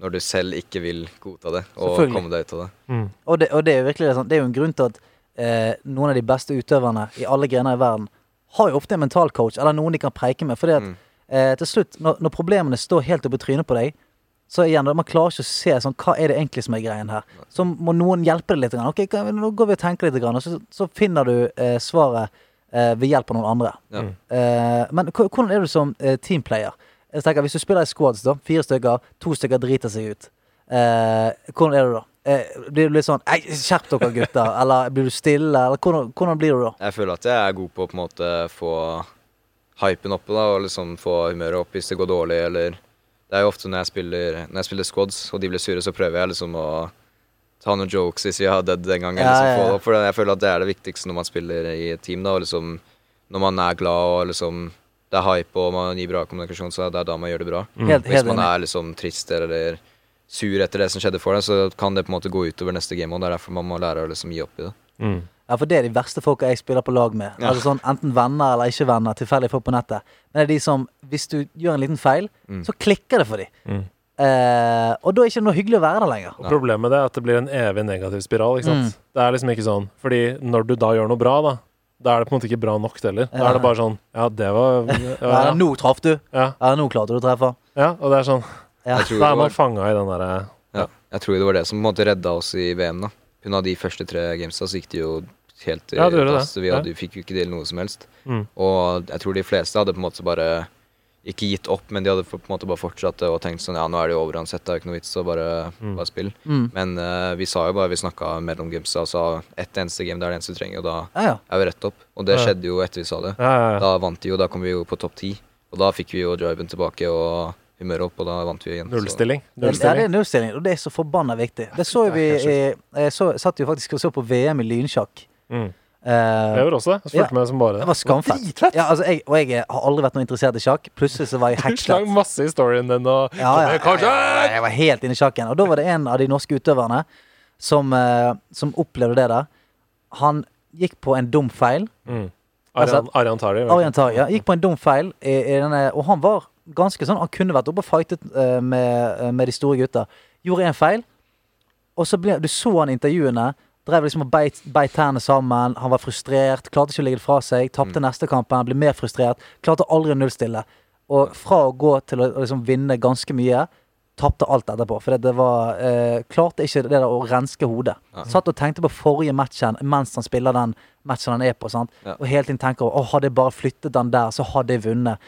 [SPEAKER 3] Når når du selv ikke vil godta det og
[SPEAKER 4] Selvfølgelig.
[SPEAKER 3] komme deg ut av det.
[SPEAKER 2] Mm.
[SPEAKER 4] Og det, og det er jo virkelig sånn, det er jo en grunn til at eh, noen av de beste utøverne i alle grener i verden har jo ofte en mental coach eller noen de kan preike med. Fordi at
[SPEAKER 3] Mm.
[SPEAKER 4] eh, til slutt, når, når problemene står helt oppe i trynet på deg, så igjen, da, man klarer ikke å se sånn, hva er det egentlig som er greien her. Så må noen hjelpe deg litt. Grann. Ok, hva- nå går vi og tenker litt, grann, og så, så finner du eh, svaret eh, ved hjelp av noen andre.
[SPEAKER 3] Ja.
[SPEAKER 2] Mm.
[SPEAKER 4] Eh, men h- hvordan er du som eh, teamplayer? Jeg tenker, hvis du spiller i squads, da, fire stykker, to stykker driter seg ut. Eh, hvordan er du da? Eh, blir du litt sånn Ei, skjerp dere, gutter! Eller blir du stille? Eller hvordan, hvordan blir du da?
[SPEAKER 3] Jeg føler at jeg er god på å på en måte få hypen oppe da, og liksom få humøret opp hvis det går dårlig, eller Det er jo ofte når jeg spiller, når jeg spiller squads og de blir sure, så prøver jeg liksom å ta noen jokes hvis jeg har dødd en gang, eller
[SPEAKER 4] Ja, ja,
[SPEAKER 3] liksom få
[SPEAKER 4] ja.
[SPEAKER 3] det opp. For jeg føler at det er det viktigste når man spiller i et team, da, og liksom når man er glad og liksom det er hype og man gir bra kommunikasjon, så det er da man gjør det bra.
[SPEAKER 4] Helt,
[SPEAKER 3] Hvis
[SPEAKER 4] helt
[SPEAKER 3] man
[SPEAKER 4] enig.
[SPEAKER 3] er liksom trist eller sur etter det som skjedde for deg, så kan det på en måte gå utover neste game, og det er derfor man må lære å liksom gi opp i det.
[SPEAKER 2] Mm.
[SPEAKER 4] Ja, for det er de verste folka jeg spiller på lag med.
[SPEAKER 3] Ja.
[SPEAKER 4] Altså sånn, Enten venner eller ikke venner. Tilfeldige folk på nettet. Men det er de som, hvis du gjør en liten feil,
[SPEAKER 3] Mm.
[SPEAKER 4] så klikker det for dem.
[SPEAKER 2] Mm.
[SPEAKER 4] Eh, og da er det ikke noe hyggelig å være der lenger.
[SPEAKER 2] Og problemet med det er at det blir en evig negativ spiral. Ikke
[SPEAKER 4] Mm.
[SPEAKER 2] sant? Det er liksom ikke sånn Fordi når du da gjør noe bra, da da er det på en måte ikke bra nok det heller. Da
[SPEAKER 4] Ja.
[SPEAKER 2] er det bare sånn Ja, det var
[SPEAKER 4] Ja,
[SPEAKER 2] Ja,
[SPEAKER 4] nå traff du.
[SPEAKER 2] ja,
[SPEAKER 4] Ja, nå klarte du å treffe.
[SPEAKER 2] ja og det er sånn
[SPEAKER 4] Ja.
[SPEAKER 3] Jeg tror
[SPEAKER 2] Da
[SPEAKER 3] det
[SPEAKER 2] er
[SPEAKER 3] var-
[SPEAKER 2] man fanga i den eh, derre
[SPEAKER 3] Ja. Jeg tror det var det som på en måte redda oss i VM, da. Pga. de første tre gamesa så gikk det jo helt i
[SPEAKER 2] Ja, det gjorde det.
[SPEAKER 3] dass. Vi hadde, fikk jo ikke til noe som helst.
[SPEAKER 2] Mm.
[SPEAKER 3] Og jeg tror de fleste hadde på en måte bare ikke gitt opp, men de hadde på en måte bare fortsatt og tenkt sånn ja, nå er det jo over uansett, det er jo ikke noe vits, så bare,
[SPEAKER 2] Mm.
[SPEAKER 3] bare spill.
[SPEAKER 4] Mm.
[SPEAKER 3] Men eh, vi sa jo bare, vi snakka mellom gamesa og sa ett eneste game, det er det eneste du trenger, og da
[SPEAKER 4] Ja, ja.
[SPEAKER 3] er vi rett opp. Og det
[SPEAKER 2] Ja.
[SPEAKER 3] skjedde jo etter vi sa det.
[SPEAKER 2] Ja, ja, ja.
[SPEAKER 3] Da vant de jo, da kom vi jo på topp ti. Og da fikk vi jo driven tilbake og humøret opp, og da vant vi igjen. så-
[SPEAKER 2] Nullstilling.
[SPEAKER 4] Ja, det er
[SPEAKER 2] Nullstilling.
[SPEAKER 4] nullstilling, og det er så forbanna viktig. Det så jo vi
[SPEAKER 3] Ja,
[SPEAKER 4] i, Jeg så, satt jo faktisk og så på VM i lynsjakk.
[SPEAKER 2] Mm.
[SPEAKER 4] Eh,
[SPEAKER 2] Jeg gjorde også det. Jeg
[SPEAKER 4] Ja.
[SPEAKER 2] Fulgte med som bare
[SPEAKER 4] det
[SPEAKER 2] det.
[SPEAKER 4] var skamfett. Ja, altså, jeg, og jeg har aldri vært noe interessert i sjakk. Plutselig så var jeg
[SPEAKER 2] Du slang
[SPEAKER 4] heklet.
[SPEAKER 2] masse i storyen din og
[SPEAKER 4] Ja, ja,
[SPEAKER 2] Kom igjen,
[SPEAKER 4] jeg,
[SPEAKER 2] Karsten!
[SPEAKER 4] jeg var helt inne i sjakken. Og da var det en av de norske utøverne som, eh, som opplevde det der. Han gikk på en dum feil.
[SPEAKER 2] Mm.
[SPEAKER 4] Altså,
[SPEAKER 2] Arian, Arian Tari. vet du.
[SPEAKER 4] Arian Tarja gikk på en dum feil, i, i denne, og han var ganske sånn Han kunne vært oppe og fightet eh, med, med de store gutta. Gjorde en feil, og så ble, du så han i intervjuene. Drev liksom og beit, beit tærne sammen. Han var frustrert. Klarte ikke å legge det fra seg. Tapte
[SPEAKER 3] Mm.
[SPEAKER 4] neste kampen. Ble mer frustrert. Klarte aldri å nullstille. Og fra å gå til å å liksom vinne ganske mye, tapte alt etterpå. For det var eh, Klarte ikke det der å renske hodet.
[SPEAKER 3] Ja.
[SPEAKER 4] Satt og tenkte på forrige matchen mens han spiller den matchen han er på. sant?
[SPEAKER 3] Ja.
[SPEAKER 4] Og hele tiden tenker over, «Å, hadde jeg bare flyttet den der, så hadde jeg vunnet.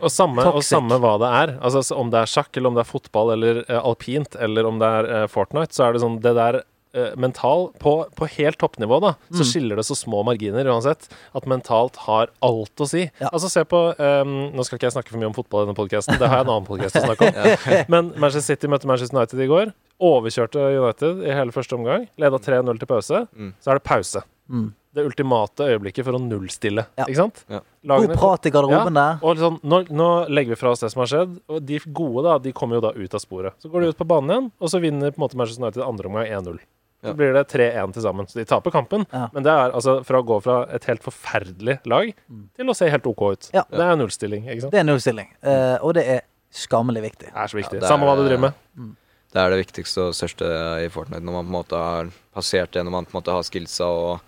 [SPEAKER 2] Og samme, og
[SPEAKER 4] Toxic.
[SPEAKER 2] samme hva det er. Altså så Om det er sjakk, eller om det er fotball, eller eh, alpint, eller om det er eh, Fortnite, så er det sånn Det der eh, mental På, på helt toppnivå, da,
[SPEAKER 4] Mm.
[SPEAKER 2] så skiller det så små marginer uansett. At mentalt har alt å si.
[SPEAKER 4] Ja.
[SPEAKER 2] Altså, se på ehm, Nå skal ikke jeg snakke for mye om fotball i denne podkasten, det har jeg en annen podkast å snakke om. Men Manchester City møtte Manchester United i går. Overkjørte United i hele første omgang. Leda 3-0 til pause.
[SPEAKER 3] Mm.
[SPEAKER 2] Så er det pause.
[SPEAKER 4] Mm.
[SPEAKER 2] Det ultimate øyeblikket for å nullstille,
[SPEAKER 4] Ja.
[SPEAKER 2] ikke sant?
[SPEAKER 3] Ja.
[SPEAKER 4] God prat i garderoben der.
[SPEAKER 2] og liksom, nå, nå legger vi fra oss det som har skjedd, og de gode da, de kommer jo da ut av sporet. Så går de ut på banen igjen, og så vinner på en måte Manchester United andre omgang 1-0.
[SPEAKER 3] Ja.
[SPEAKER 2] Så blir det 3-1 til sammen. Så de taper kampen.
[SPEAKER 4] Ja.
[SPEAKER 2] Men det er altså fra å gå fra et helt forferdelig lag
[SPEAKER 4] Mm.
[SPEAKER 2] til å se helt OK ut.
[SPEAKER 4] Ja.
[SPEAKER 2] Det er nullstilling, ikke sant?
[SPEAKER 4] Det er nullstilling, eh, og det er skammelig viktig.
[SPEAKER 2] Det er så viktig.
[SPEAKER 3] Ja, det er-
[SPEAKER 2] Samme hva du driver med.
[SPEAKER 3] Det er det viktigste og største i Fortnite, når man på en måte har passert det, når man på en måte har skillsa og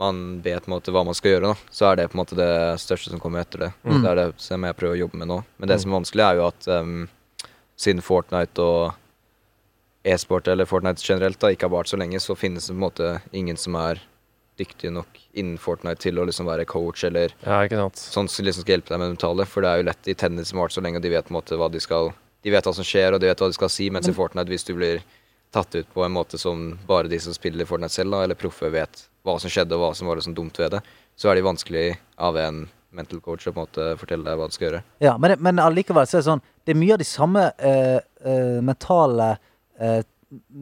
[SPEAKER 3] man vet på en måte hva man skal gjøre, da. så er det på en måte det største som kommer etter det.
[SPEAKER 4] Mm.
[SPEAKER 3] Det er det som jeg prøver å jobbe med nå. Men det
[SPEAKER 2] Mm.
[SPEAKER 3] som er vanskelig, er jo at em, siden Fortnite og e-sport eller Fortnite generelt da, ikke har vart så lenge, så finnes det på en måte ingen som er dyktige nok innen Fortnite til å liksom være coach eller
[SPEAKER 2] Ja, ikke sant.
[SPEAKER 3] sånn som liksom skal hjelpe deg med det mentale. For det er jo lett i tennis som har vært så lenge, og de vet på en måte hva de skal De vet hva som skjer, og de vet hva de skal si, mens i Fortnite, hvis du blir tatt ut på en måte som bare de som spiller Fortnite selv, da, eller proffe, vet hva som skjedde, og hva som var liksom dumt ved det, så er de vanskelig av en mental coach å på en måte fortelle deg hva du skal gjøre.
[SPEAKER 4] Ja, men, det- men allikevel så er det sånn Det er mye av de samme eh, eh, mentale eh,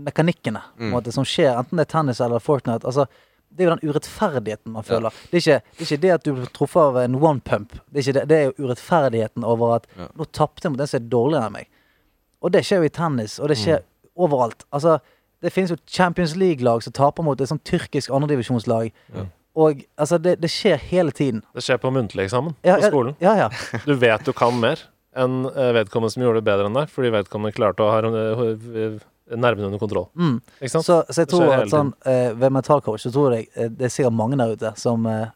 [SPEAKER 4] mekanikkene på en
[SPEAKER 3] Mm.
[SPEAKER 4] måte, som skjer, enten det er tennis eller Fortnite. Altså, det er jo den urettferdigheten man føler. Det, er ikke, det er ikke det at du blir truffet av en one pump. Det er, ikke det, det er jo urettferdigheten over at
[SPEAKER 3] Ja.
[SPEAKER 4] nå tapte jeg mot den som er dårligere enn meg. Og det skjer jo i tennis, og det skjer
[SPEAKER 3] Mm.
[SPEAKER 4] overalt. Altså, det finnes jo Champions League-lag som taper mot et sånt tyrkisk andredivisjonslag.
[SPEAKER 3] Ja.
[SPEAKER 4] Og altså, det, det skjer hele tiden.
[SPEAKER 2] Det skjer på muntlig eksamen
[SPEAKER 4] Ja,
[SPEAKER 2] på skolen.
[SPEAKER 4] Ja, ja, ja.
[SPEAKER 2] Du vet du kan mer. enn eh, vedkommende som gjorde det bedre enn deg, fordi vedkommende klarte å ha eh, nervene under kontroll.
[SPEAKER 4] Mm.
[SPEAKER 2] Ikke sant?
[SPEAKER 4] Så, så jeg
[SPEAKER 2] Det skjer
[SPEAKER 4] tror
[SPEAKER 2] hele
[SPEAKER 4] at sånn, eh, ved Mental Coach så tror jeg eh, det er sikkert mange der ute som eh,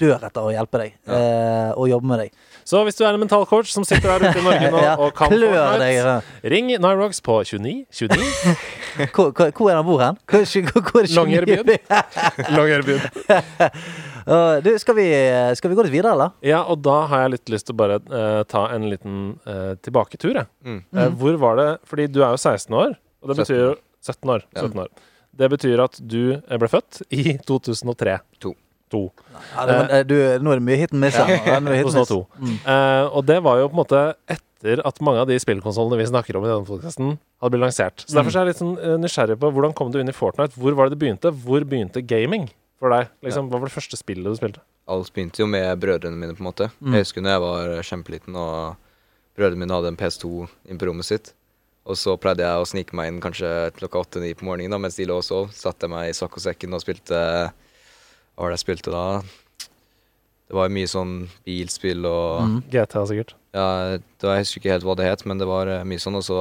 [SPEAKER 4] dør etter å hjelpe deg
[SPEAKER 3] Ja.
[SPEAKER 4] eh, og jobbe med deg.
[SPEAKER 2] Så hvis du er en mental coach som sitter der ute i Norge nå
[SPEAKER 4] Ja,
[SPEAKER 2] og kan
[SPEAKER 4] klør deg.
[SPEAKER 2] Fortnite,
[SPEAKER 4] ja.
[SPEAKER 2] ring Nyrox på 29 29
[SPEAKER 4] Hvor, hvor, hvor er han bor hen? Hvor, hvor, hvor er det
[SPEAKER 2] Longyearbyen.
[SPEAKER 4] 29?
[SPEAKER 2] Longyearbyen.
[SPEAKER 4] Åh, Du, skal vi, eh, skal vi gå litt videre, eller?
[SPEAKER 2] Ja, og da har jeg litt lyst til å bare eh, ta en liten eh, tilbaketur, jeg.
[SPEAKER 3] Mm.
[SPEAKER 2] Eh,
[SPEAKER 4] Mhm.
[SPEAKER 2] hvor var det Fordi du er jo 16 år, og det betyr 17 år.
[SPEAKER 3] Ja.
[SPEAKER 2] 17 år. Det betyr at du eh, ble født i 2003.
[SPEAKER 3] To.
[SPEAKER 2] To.
[SPEAKER 4] Ja, det, men, eh, du, nå er det mye hit and miss. her, nå. Ja, nå er det hit and miss.
[SPEAKER 2] 2002. Eh, og det var jo på en måte etter at mange av de spillkonsollene vi snakker om i denne podcasten hadde blitt lansert. Så derfor så er jeg litt sånn eh, nysgjerrig på hvordan kom du inn i Fortnite? Hvor var det det begynte? Hvor begynte gaming for deg? Liksom, Hva var det første spillet du spilte?
[SPEAKER 3] Alt begynte jo med brødrene mine, på en måte. Jeg husker når jeg var kjempeliten og brødrene mine hadde en PS2 inne på rommet sitt. Og så pleide jeg å snike meg inn kanskje klokka åtte-ni på morgenen da, mens de lå og sov. Satte jeg meg i saccosekken og spilte Hva var det jeg spilte da? Det var jo mye sånn bilspill og
[SPEAKER 2] GTA, sikkert.
[SPEAKER 3] ja, det var, Jeg husker ikke helt hva det het, men det var eh, mye sånn. Og så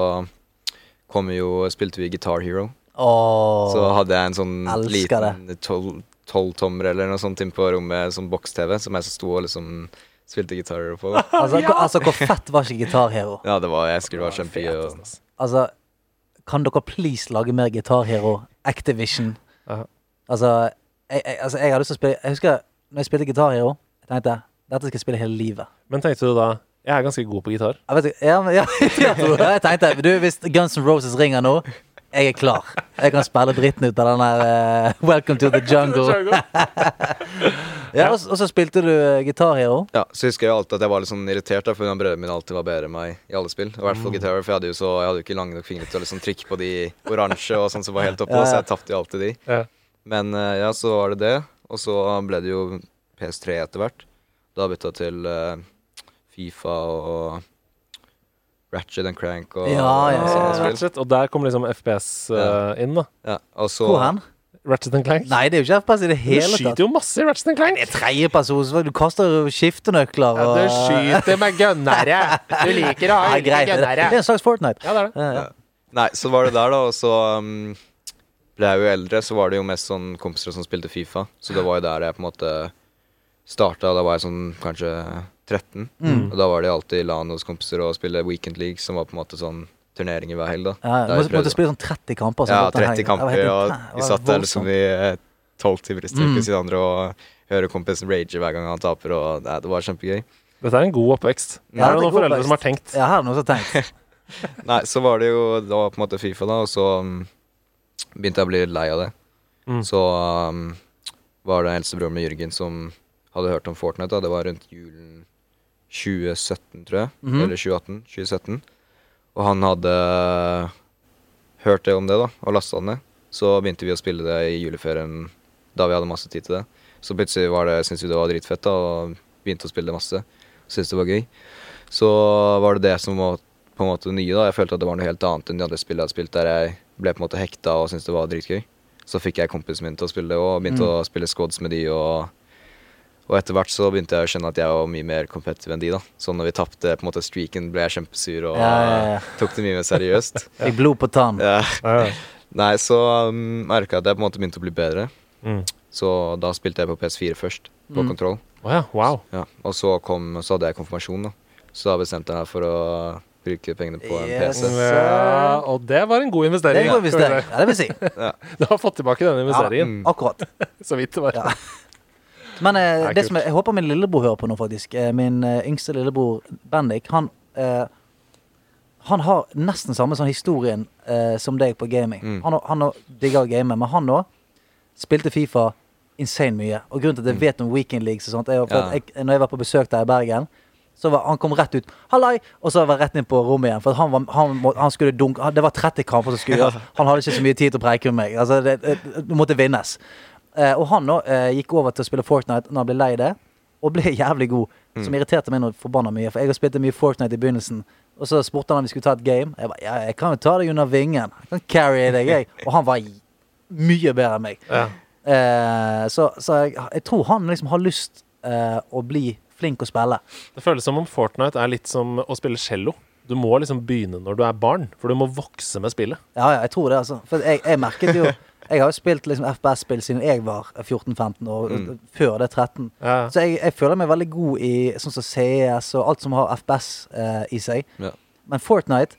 [SPEAKER 3] kom jo, spilte vi Guitar Hero.
[SPEAKER 4] Åh.
[SPEAKER 3] Så hadde jeg en sånn
[SPEAKER 4] Elsker
[SPEAKER 3] liten tolv- tolvtommer eller noe sånt inne på rommet, sånn boks-TV, som jeg så sto og liksom spilte gitarer på.
[SPEAKER 4] altså, hvor- altså, hvor fett var ikke Gitar Hero?
[SPEAKER 3] Ja, det var, jeg skulle være kjempegøy. og-
[SPEAKER 4] Altså, kan dere please lage mer Gitar Hero? Activision.
[SPEAKER 2] Ja.
[SPEAKER 4] Altså, jeg, jeg, altså, jeg har lyst til å spille Jeg husker når jeg spilte Gitar Hero, jeg tenkte dette skal jeg spille hele livet.
[SPEAKER 2] Men tenkte du da Jeg er ganske god på gitar.
[SPEAKER 4] Jeg vet ikke, ja, men, ja, ja, jeg tenkte du, Hvis Guns N' Roses ringer nå, jeg er klar. Jeg kan spille dritten ut av den der eh, Welcome to the jungle. Ja, og, og så spilte du eh, Guitar Hero.
[SPEAKER 3] Ja, så husker jeg jo alltid at jeg var litt sånn irritert, da, for hun og brødrene mine alltid var bedre enn meg i alle spill. Og i hvert
[SPEAKER 4] Mm.
[SPEAKER 3] fall gitarer, for jeg hadde jo så, jeg hadde jo ikke lange nok fingre til å liksom trykke på de oransje og sånn som var helt oppe, da, så jeg tapte jo alltid de.
[SPEAKER 2] Ja.
[SPEAKER 3] Men eh, ja, så var det det. Og så ble det jo PS3 etter hvert. Da bytta jeg til eh, Fifa og Ratchet and Crank og
[SPEAKER 4] Ja, ja,
[SPEAKER 3] og
[SPEAKER 4] ja,
[SPEAKER 3] sånne
[SPEAKER 4] ja.
[SPEAKER 3] spill.
[SPEAKER 2] Ratchet, og der kom liksom FPS eh,
[SPEAKER 3] Ja.
[SPEAKER 2] inn, da.
[SPEAKER 3] Ja, og så
[SPEAKER 4] Hvor hen?
[SPEAKER 2] Ratchet and Clank.
[SPEAKER 4] Nei, det er jo ikke FPS i det
[SPEAKER 2] du
[SPEAKER 4] hele tatt.
[SPEAKER 2] skyter jo masse i Ratchet and Clank.
[SPEAKER 4] Tredjeperson, så du kaster jo skiftenøkler og
[SPEAKER 2] med gønnere. Du liker å
[SPEAKER 4] Nei, greit. Det det er en slags Fortnite.
[SPEAKER 2] Ja, det er det.
[SPEAKER 4] Ja, ja.
[SPEAKER 3] Nei, så var det der, da. Og så um, ble jeg jo eldre, så var det jo mest sånn kompiser som spilte Fifa. Så det var jo der jeg på en måte starta. Da var jeg sånn kanskje 13.
[SPEAKER 4] Mm.
[SPEAKER 3] Og da var det alltid LAN hos kompiser og spille Weekend League, som var på en måte sånn turneringer hver helg, da.
[SPEAKER 4] Ja,
[SPEAKER 3] Der
[SPEAKER 4] du måtte,
[SPEAKER 3] jeg prøvde.
[SPEAKER 4] måtte spille sånn 30 kamper. sånn
[SPEAKER 3] Ja,
[SPEAKER 4] at den
[SPEAKER 3] 30
[SPEAKER 4] helgen.
[SPEAKER 3] kamper,
[SPEAKER 4] Det var helt intern-
[SPEAKER 3] og vi
[SPEAKER 4] det var
[SPEAKER 3] satt der liksom
[SPEAKER 4] voldsomt.
[SPEAKER 3] i tolv timer i strekk ved siden av hverandre og hører kompisen rage hver gang han taper, og nei, det var kjempegøy.
[SPEAKER 2] Dette er en god oppvekst.
[SPEAKER 4] Ja, det
[SPEAKER 2] Her er det
[SPEAKER 4] er
[SPEAKER 2] noen
[SPEAKER 4] god
[SPEAKER 2] foreldre
[SPEAKER 4] oppvekst.
[SPEAKER 2] som har tenkt.
[SPEAKER 4] Ja, her er det noen som har tenkt.
[SPEAKER 3] Nei, så var det jo Det var på en måte Fifa, da, og så um, begynte jeg å bli lei av det.
[SPEAKER 2] Mm.
[SPEAKER 3] Så um, var det eldstebroren min Jørgen som hadde hørt om Fortnite, da. Det var rundt julen 2017, tror jeg.
[SPEAKER 4] Mhm.
[SPEAKER 3] Eller 2018. 2017. Og han hadde hørt det om det, da, og lasta det ned. Så begynte vi å spille det i juleferien da vi hadde masse tid til det. Så plutselig var det, syntes vi det var dritfett, da, og begynte å spille det masse. Syntes det var gøy. Så var det det som var på en måte det nye. da Jeg følte at det var noe helt annet enn de andre spillene jeg hadde spilt, der jeg ble på en måte hekta og syntes det var dritgøy. Så fikk jeg kompisen min til å spille det òg, og begynte
[SPEAKER 4] Mm.
[SPEAKER 3] å spille squads med de. Og, og etter hvert så begynte jeg å skjønne at jeg var mye mer competitive enn de. da Så når vi tapte på en måte streaken, ble jeg kjempesur og
[SPEAKER 4] Ja, ja, ja.
[SPEAKER 3] tok det mye mer seriøst.
[SPEAKER 4] Fikk blod på tann.
[SPEAKER 3] Ja.
[SPEAKER 2] Ja, ja.
[SPEAKER 3] Nei, så um, merka jeg at jeg på en måte begynte å bli bedre.
[SPEAKER 2] Mm.
[SPEAKER 3] Så da spilte jeg på PS4 først, på
[SPEAKER 4] Mm.
[SPEAKER 3] kontroll.
[SPEAKER 2] Å ja, wow.
[SPEAKER 3] Ja, og så, kom, så hadde jeg konfirmasjon, da. Så da bestemte jeg meg for å bruke pengene på en
[SPEAKER 4] Yes.
[SPEAKER 3] PC.
[SPEAKER 2] Ja, Eh, og det var en god
[SPEAKER 4] Det er
[SPEAKER 2] investering.
[SPEAKER 4] en god
[SPEAKER 2] da, skal vi
[SPEAKER 4] investering. Ja, det vil si.
[SPEAKER 2] si. Du har fått tilbake denne investeringen.
[SPEAKER 3] mm.
[SPEAKER 4] Ja, akkurat.
[SPEAKER 2] Så vidt det var.
[SPEAKER 4] Ja. Men eh,
[SPEAKER 2] er
[SPEAKER 4] det,
[SPEAKER 2] kult.
[SPEAKER 4] som jeg, jeg håper min lillebror hører på nå, faktisk. Eh, Min eh, yngste lillebror Bendik. Han, eh, han har nesten samme sånn historien eh, som deg på gaming.
[SPEAKER 3] Mm.
[SPEAKER 4] Han, og- han og digger å game, men han òg spilte Fifa insane mye. Og grunnen til at jeg vet om Weekend Leagues og sånt, er jo for
[SPEAKER 3] Ja.
[SPEAKER 4] at jeg, når jeg var på besøk der i Bergen så var, han kom rett ut Hallai! Og så var jeg rett inn på rommet igjen. For at han, var, han, må, han skulle dunke han- Det var 30 kamper som skulle gjøres. Han hadde ikke så mye tid til å preike med meg. Altså, det, det, det måtte vinnes. Eh, og han nå eh, gikk over til å spille Fortnite når han ble lei det, og ble jævlig god. Som irriterte meg noe forbanna mye, for jeg har spilt mye Fortnite i begynnelsen. Og så spurte han om vi skulle ta et game. Jeg bare, ja, jeg kan jo ta deg under vingen. Jeg kan carry deg, jeg. Og han var j- mye bedre enn meg.
[SPEAKER 2] Ja.
[SPEAKER 4] Eh, så så jeg, jeg tror han liksom har lyst eh, å bli flink å spille.
[SPEAKER 2] Det føles som om Fortnite er litt som å spille cello. Du må liksom begynne når du er barn, for du må vokse med spillet.
[SPEAKER 4] Ja, ja, jeg tror det, altså. For jeg, jeg merket jo Jeg har jo spilt liksom FPS-spill siden jeg var 14-15 år, før det 13.
[SPEAKER 2] Ja.
[SPEAKER 4] Så jeg, jeg føler meg veldig god i sånn som CS og alt som har FPS eh, i seg.
[SPEAKER 3] Ja.
[SPEAKER 4] Men Fortnite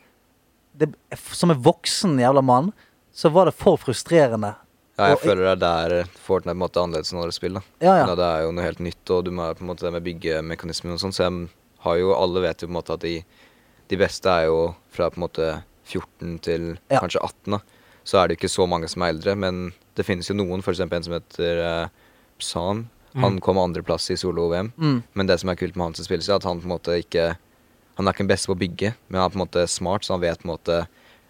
[SPEAKER 4] det, Som en voksen jævla mann, så var det for frustrerende.
[SPEAKER 3] Ja, jeg
[SPEAKER 4] Og-
[SPEAKER 3] føler det er der Fortnite er på en måte annerledes enn andre spill. da.
[SPEAKER 4] Ja, ja.
[SPEAKER 3] Da Det er jo noe helt nytt, og du må på en måte det med byggemekanismer og sånn, så jeg har jo, alle vet jo på en måte at de, de beste er jo fra på en måte 14 til
[SPEAKER 4] Ja.
[SPEAKER 3] kanskje 18, da. Så er det ikke så mange som er eldre, men det finnes jo noen, f.eks. en som heter uh, Psan. Han kom andreplass i solo-VM,
[SPEAKER 4] Mm.
[SPEAKER 3] men det som er kult med hans spillelse, er at han på en måte ikke Han er ikke den beste på å bygge, men han er på en måte smart, så han vet på en måte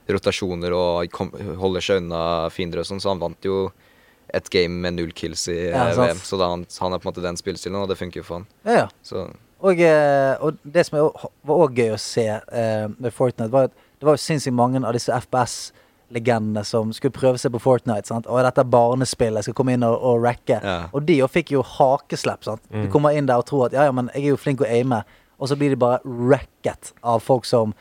[SPEAKER 3] rotasjoner og kom, holder seg unna fiender og sånn, så han vant jo et game med null kills i
[SPEAKER 4] Ja,
[SPEAKER 3] eh,
[SPEAKER 4] sant.
[SPEAKER 3] VM. Så da han, han er på en måte den spillestilen, og det funker jo for han.
[SPEAKER 4] Ja, ja.
[SPEAKER 3] Så
[SPEAKER 4] Og, eh, og det som er å- var òg gøy å se eh, med Fortnite, var at det var jo sinnssykt mange av disse FPS-legendene som skulle prøve seg på Fortnite. sant? Og dette er barnespill, jeg skal komme inn og, og racke.
[SPEAKER 3] Ja.
[SPEAKER 4] Og de jo fikk jo hakeslepp. sant? Du kommer inn der og tror at ja, ja, men jeg er jo flink å aime, og så blir de bare racket av folk som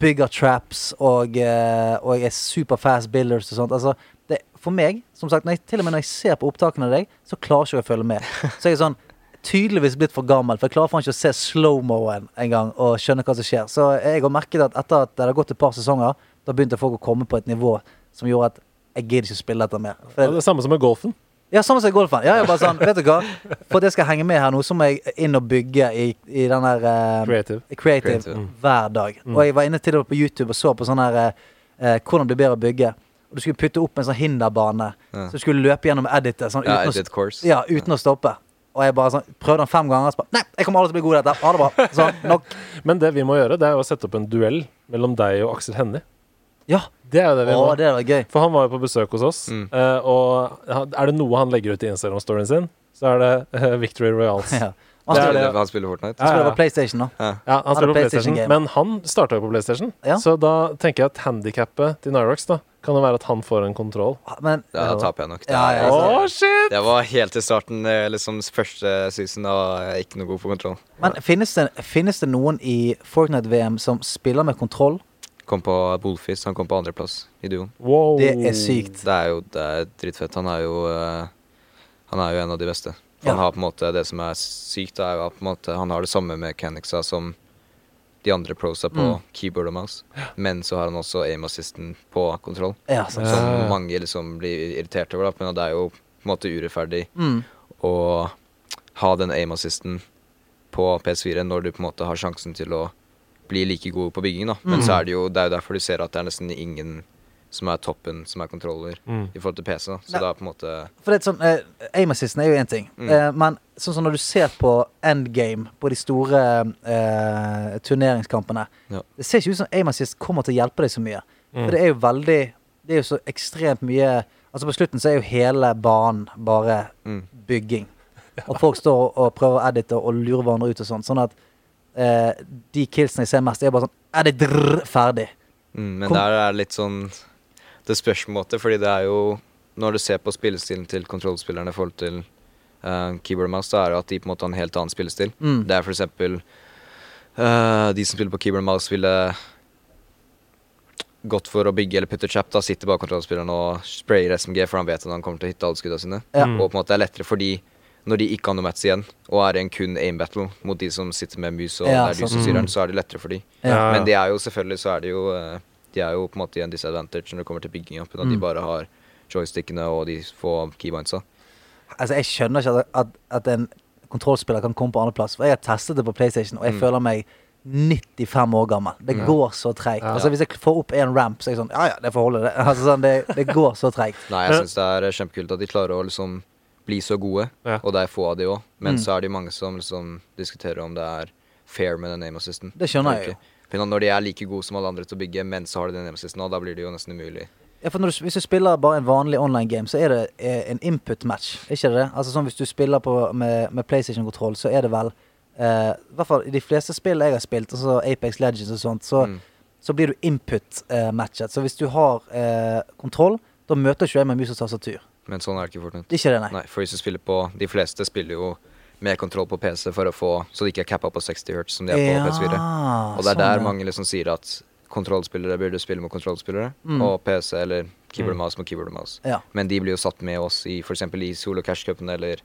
[SPEAKER 4] bygger traps og, eh, og er super fast builders og sånt. Altså, det, for meg, som sagt, når jeg, til og med når jeg ser på opptakene av deg, så klarer ikke jeg å følge med. Så jeg er sånn tydeligvis blitt for gammel, for jeg klarer faen ikke å se slow-moen engang og skjønne hva som skjer. Så jeg har merket at etter at det har gått et par sesonger, da begynte folk å komme på et nivå som gjorde at jeg gidder ikke å spille dette mer. For
[SPEAKER 2] Det er det samme som med golfen.
[SPEAKER 4] ja, samme som i golfen. Ja, jeg bare sånn, vet du hva? For at jeg skal henge med her nå, så må jeg inn og bygge i, i den der eh,
[SPEAKER 2] Creative. Mm.
[SPEAKER 4] creative,
[SPEAKER 3] Creative.
[SPEAKER 4] hver dag. Og jeg var inne til og med på YouTube og så på sånn her eh, eh, Hvordan bli bedre å bygge. Og du skulle putte opp en sånn hinderbane.
[SPEAKER 3] Ja.
[SPEAKER 4] Så du skulle løpe gjennom editet sånn, uten,
[SPEAKER 3] ja,
[SPEAKER 4] å-
[SPEAKER 3] edit course.
[SPEAKER 4] ja, uten å stoppe. Og jeg bare sånn, prøvde den fem ganger. Så bare, Nei, jeg kommer aldri til å bli god i dette. Ha det bra. Sånn, nok.
[SPEAKER 2] Men det vi må gjøre, det er jo å sette opp en duell mellom deg og Aksel Hennie.
[SPEAKER 4] Ja,
[SPEAKER 2] Det er jo det vi
[SPEAKER 4] å,
[SPEAKER 2] må.
[SPEAKER 4] det var gøy.
[SPEAKER 2] For han var jo på besøk hos oss,
[SPEAKER 3] Mm.
[SPEAKER 2] eh, og han- er det noe han legger ut i Instagram-storyen sin, så er det eh, Victory Royals.
[SPEAKER 4] Ja.
[SPEAKER 2] Ja.
[SPEAKER 4] Han
[SPEAKER 2] Det er
[SPEAKER 4] skulle
[SPEAKER 2] det.
[SPEAKER 3] Spiller, han spiller Fortnite.
[SPEAKER 2] Ja.
[SPEAKER 4] han skulle være på PlayStation, da.
[SPEAKER 2] han
[SPEAKER 4] er
[SPEAKER 2] spiller på
[SPEAKER 4] PlayStation
[SPEAKER 2] PlayStation,
[SPEAKER 4] gamer.
[SPEAKER 2] men han starta jo på PlayStation,
[SPEAKER 4] Ja.
[SPEAKER 2] så da tenker jeg at handikappet til Nyrox da kan jo være at han får en kontroll.
[SPEAKER 4] Men
[SPEAKER 3] Ja, da taper jeg nok. Det,
[SPEAKER 4] Ja,
[SPEAKER 2] Å,
[SPEAKER 4] ja,
[SPEAKER 3] er-
[SPEAKER 2] shit!
[SPEAKER 3] det var helt til starten, eh, liksom første season, da var jeg ikke noe god på kontroll.
[SPEAKER 4] Men finnes det, finnes det noen i Fortnite-VM som spiller med kontroll?
[SPEAKER 3] Kom på Bullfist, han kom på andreplass i duoen.
[SPEAKER 2] Wow.
[SPEAKER 4] Det er sykt.
[SPEAKER 3] Det er jo det er dritfett. Han er jo eh, Han er jo en av de beste.
[SPEAKER 4] Ja.
[SPEAKER 3] Han har på en måte Det som er sykt, er jo at på en måte, han har det samme mechanicsa som de andre prosa på
[SPEAKER 4] Mm.
[SPEAKER 3] keyboard og mouse, men så har han også aim assisten på kontroll.
[SPEAKER 4] Ja, altså. sant.
[SPEAKER 2] Ja.
[SPEAKER 3] Som mange liksom blir irritert over, da, men det er jo på en måte urettferdig
[SPEAKER 4] Mm.
[SPEAKER 3] å ha den aim assisten på PS4 når du på en måte har sjansen til å bli like god på bygging, da. Men så er det jo det er jo derfor du ser at det er nesten ingen som er toppen, som er kontroller,
[SPEAKER 2] Mm.
[SPEAKER 3] i forhold til PC. da. Så
[SPEAKER 4] Nei.
[SPEAKER 3] det er på en måte
[SPEAKER 4] For det er sånn, eh, aim assisten er jo én ting,
[SPEAKER 3] Mm.
[SPEAKER 4] eh, men sånn som når du ser på endgame på de store eh, turneringskampene
[SPEAKER 3] Ja.
[SPEAKER 4] Det ser ikke ut som aim assist kommer til å hjelpe deg så mye.
[SPEAKER 2] Mm.
[SPEAKER 4] For det er jo veldig Det er jo så ekstremt mye Altså På slutten så er jo hele banen bare
[SPEAKER 3] mm.
[SPEAKER 4] bygging. Og folk står og prøver å edite og lure hverandre ut og sånn. Sånn at eh, de killsene jeg ser mest, er bare sånn Edit, drrr, ferdig.
[SPEAKER 3] Mm, men
[SPEAKER 4] Kom-
[SPEAKER 3] der er det litt sånn Det spørs på en måte, fordi det er jo Når du ser på spillestilen til kontrollspillerne i forhold til eh, keyboard og mouse, så er det at de på en måte har en helt annen spillestil.
[SPEAKER 4] Mm.
[SPEAKER 3] Det er for eksempel eh, De som spiller på keyboard og mouse, ville gått for å bygge eller putte chap. Da sitter bare kontrollspilleren og sprayer SMG, for han vet at han kommer til å hitte alle skuddene sine.
[SPEAKER 4] Ja.
[SPEAKER 3] Og på en måte det er lettere fordi når de ikke har noe match igjen, og er i en kun aim battle mot de som sitter med mus og
[SPEAKER 4] Ja,
[SPEAKER 3] det er
[SPEAKER 4] sant.
[SPEAKER 3] du som styrer den, så er det lettere for de.
[SPEAKER 2] Ja.
[SPEAKER 3] Men de er jo selvfølgelig så er det jo eh, De er jo på en måte i en disadvantage når det kommer til bygginga. Pga.
[SPEAKER 4] Mm.
[SPEAKER 3] at de bare har joystickene og de få keybindsa.
[SPEAKER 4] Altså Jeg skjønner ikke at, at, at en kontrollspiller kan komme på andreplass. For jeg har testet det på PlayStation, og jeg føler meg 95 år gammel. Det går så treigt.
[SPEAKER 2] Mm. Ja.
[SPEAKER 4] Altså Hvis jeg får opp en ramp, så er jeg sånn Ja ja, det får holde, det. Altså sånn, Det, det går så treigt.
[SPEAKER 3] Nei, jeg syns det er eh, kjempekult at de klarer å liksom bli så gode,
[SPEAKER 2] Ja.
[SPEAKER 3] og det er få av de òg. Men
[SPEAKER 4] Mm.
[SPEAKER 3] så er det jo mange som liksom diskuterer om det er fair med den name assisten.
[SPEAKER 4] Det skjønner jeg jo.
[SPEAKER 3] Men når de er like gode som alle andre til å bygge, men så har de den name assisten, og da blir det jo nesten umulig.
[SPEAKER 4] Ja, for når du, Hvis du spiller bare en vanlig online game, så er det eh, en input match. Er Ikke det? Altså sånn Hvis du spiller på, med, med PlayStation-kontroll, så er det vel eh, I hvert fall i de fleste spill jeg har spilt, altså Apex Legends og sånt, så,
[SPEAKER 3] Mm.
[SPEAKER 4] så blir du input-matchet. så hvis du har eh, kontroll, da møter ikke jeg med mus og tastatur.
[SPEAKER 3] Men sånn er det ikke i Fortnite.
[SPEAKER 4] Det er Ikke det, nei.
[SPEAKER 3] Nei, for hvis du spiller på De fleste spiller jo mer kontroll på PC for å få Så de ikke er cappa på 60 hertz som de er på
[SPEAKER 4] Ja,
[SPEAKER 3] PS4. Og det er
[SPEAKER 4] sånn,
[SPEAKER 3] der
[SPEAKER 4] ja.
[SPEAKER 3] mange liksom sier at kontrollspillere burde spille med kontrollspillere.
[SPEAKER 4] Mm.
[SPEAKER 3] Og PC eller keyboard og mouse med keyboard og mouse.
[SPEAKER 4] Ja.
[SPEAKER 3] Men de blir jo satt med oss i f.eks. i solo cash cupen eller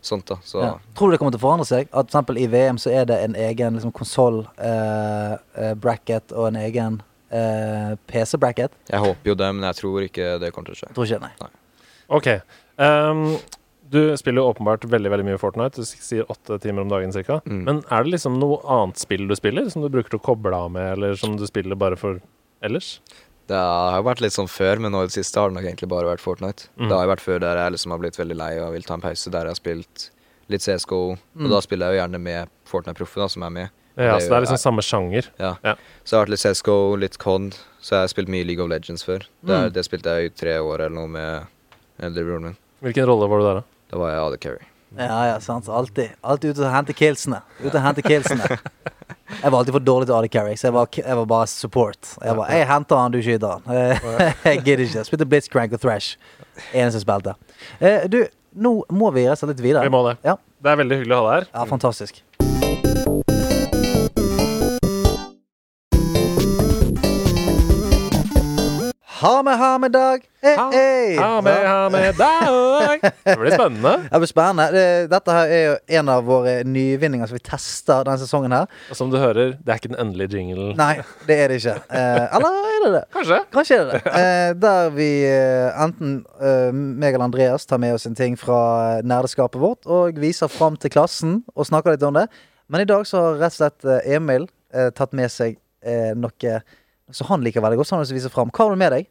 [SPEAKER 3] sånt, da. Så
[SPEAKER 4] Ja. Tror du det kommer til å forandre seg? At for eksempel i VM så er det en egen liksom, konsoll-bracket og en egen eh, PC-bracket?
[SPEAKER 3] jeg håper jo det, men jeg tror ikke det kommer til å skje.
[SPEAKER 4] Tror ikke det, nei.
[SPEAKER 2] OK. ehm, du spiller jo åpenbart veldig veldig mye Fortnite. Du sier åtte timer om dagen ca.
[SPEAKER 3] Mm.
[SPEAKER 2] Men er det liksom noe annet spill du spiller, som du bruker til å koble av med, eller som du spiller bare for ellers?
[SPEAKER 3] Det har jo vært litt sånn før, men nå i det siste har det nok egentlig bare vært Fortnite.
[SPEAKER 2] Mm.
[SPEAKER 3] Det har jo vært før der jeg liksom har blitt veldig lei og vil ta en pause, der jeg har spilt litt CSGO.
[SPEAKER 4] Mm.
[SPEAKER 3] Og da spiller jeg jo gjerne med Fortnite-proffe, da, som er med.
[SPEAKER 2] Ja,
[SPEAKER 3] Det
[SPEAKER 2] så
[SPEAKER 3] er
[SPEAKER 2] det er
[SPEAKER 3] jo-
[SPEAKER 2] liksom samme sjanger.
[SPEAKER 3] Ja.
[SPEAKER 2] Ja.
[SPEAKER 3] Så det har vært litt CSGO, litt COD, så jeg har spilt mye League of Legends før.
[SPEAKER 4] Mm.
[SPEAKER 3] Det, er- det spilte jeg i tre år eller noe med eldrebroren min.
[SPEAKER 2] Hvilken rolle var du der, da?
[SPEAKER 3] Da var jeg AD Carry.
[SPEAKER 4] Ja, ja, sant. Alltid. Alltid ute og hente killsene. Ute og hente killsene. Jeg var alltid for dårlig til AD Carry, så jeg var, jeg var bare support. Jeg var, jeg henter han, du skyter han. Eh, Jeg gidder ikke. Spilte Blitzcrank og Thrash. Eneste som spilte. Eh, Du, nå må vi rett og slett litt videre.
[SPEAKER 2] Vi må det.
[SPEAKER 4] Ja,
[SPEAKER 2] Det er veldig hyggelig å ha deg her.
[SPEAKER 4] ja fantastisk. Ha med, ha med, Dag. Hey, hey.
[SPEAKER 2] Ha med, ha med deg! Det blir spennende.
[SPEAKER 4] Ja, Det blir spennende. Det- Dette her er jo en av våre nyvinninger som vi tester denne sesongen her.
[SPEAKER 2] Og som du hører, det er ikke den endelige jinglen.
[SPEAKER 4] Nei, det er det ikke. Eh, eller er det det?
[SPEAKER 2] Kanskje.
[SPEAKER 4] Kanskje er det det. Eh, der vi eh, enten eh, meg eller Andreas tar med oss en ting fra eh, nerdeskapet vårt og viser fram til klassen og snakker litt om det. Men i dag så har rett og slett eh, Emil eh, tatt med seg eh, noe som han liker veldig godt. Så han har lyst til å vise frem. Hva har du med deg?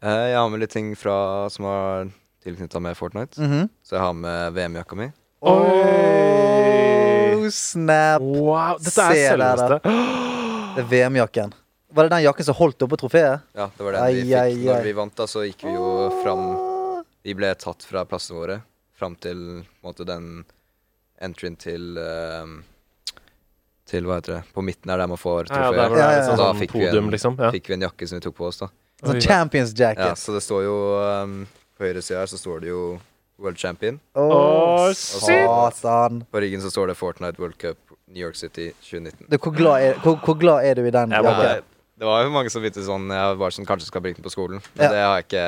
[SPEAKER 3] Eh, Jeg har med litt ting fra, som har tilknytta med Fortnite.
[SPEAKER 4] Mhm.
[SPEAKER 3] Så jeg har med VM-jakka mi.
[SPEAKER 2] Oi!
[SPEAKER 4] Oh, snap!
[SPEAKER 2] Wow, dette er
[SPEAKER 4] Se der, da.
[SPEAKER 2] selveste.
[SPEAKER 4] Det er VM-jakken. Var det den jakken som holdt oppe trofeet?
[SPEAKER 3] Ja, det var den
[SPEAKER 4] Ai,
[SPEAKER 3] vi fikk.
[SPEAKER 4] ai, ai.
[SPEAKER 3] Når vi vant, da, så gikk vi jo fram Vi ble tatt fra plassene våre fram til på en måte, den entryen til ehm, Til hva heter det På midten er der man får
[SPEAKER 2] Ja, ja,
[SPEAKER 3] trofeet.
[SPEAKER 2] der hvor det er litt
[SPEAKER 4] Ja,
[SPEAKER 2] sånn,
[SPEAKER 3] Da
[SPEAKER 2] sånn
[SPEAKER 3] fikk vi en-
[SPEAKER 2] podium, liksom. Ja.
[SPEAKER 3] Fikk vi en jakke som vi tok på oss, da.
[SPEAKER 4] Sånn
[SPEAKER 2] Oi.
[SPEAKER 4] Champions
[SPEAKER 3] Ja,
[SPEAKER 4] jacket.
[SPEAKER 3] så det står jo ehm, På høyre side her så står det jo World Champion.
[SPEAKER 4] Å,
[SPEAKER 2] Å, shit.
[SPEAKER 4] satan.
[SPEAKER 3] På ryggen så står det Fortnite World Cup New York City 2019.
[SPEAKER 4] Du, hvor, glad er, hvor, hvor glad er du i den
[SPEAKER 2] Jeg var
[SPEAKER 4] jakken?
[SPEAKER 2] bare-
[SPEAKER 3] det, det var jo mange som begynte sånn Jeg var sånn Kanskje skal bruke den på skolen. Men
[SPEAKER 4] Ja.
[SPEAKER 3] det har jeg ikke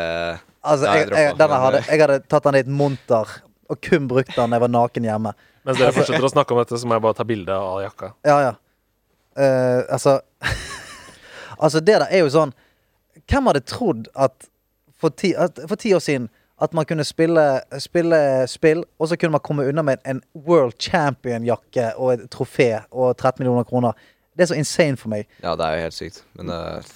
[SPEAKER 4] Altså,
[SPEAKER 3] Nei,
[SPEAKER 4] jeg,
[SPEAKER 3] jeg dropper
[SPEAKER 4] jeg,
[SPEAKER 3] den,
[SPEAKER 4] denne
[SPEAKER 3] men-
[SPEAKER 4] hadde, jeg hadde tatt den i et monter og kun brukt den da jeg var naken hjemme.
[SPEAKER 2] Mens dere fortsetter å snakke om dette, så må jeg bare ta bilde av jakka.
[SPEAKER 4] Ja, ja. Eh, altså Altså, det der er jo sånn Hvem hadde trodd at for ti, at, for ti år siden at man kunne spille, spille spill, og så kunne man komme unna med en World Champion-jakke og et trofé og 13 millioner kroner? Det er så insane for meg.
[SPEAKER 3] Ja, det er jo helt sykt. Men eh,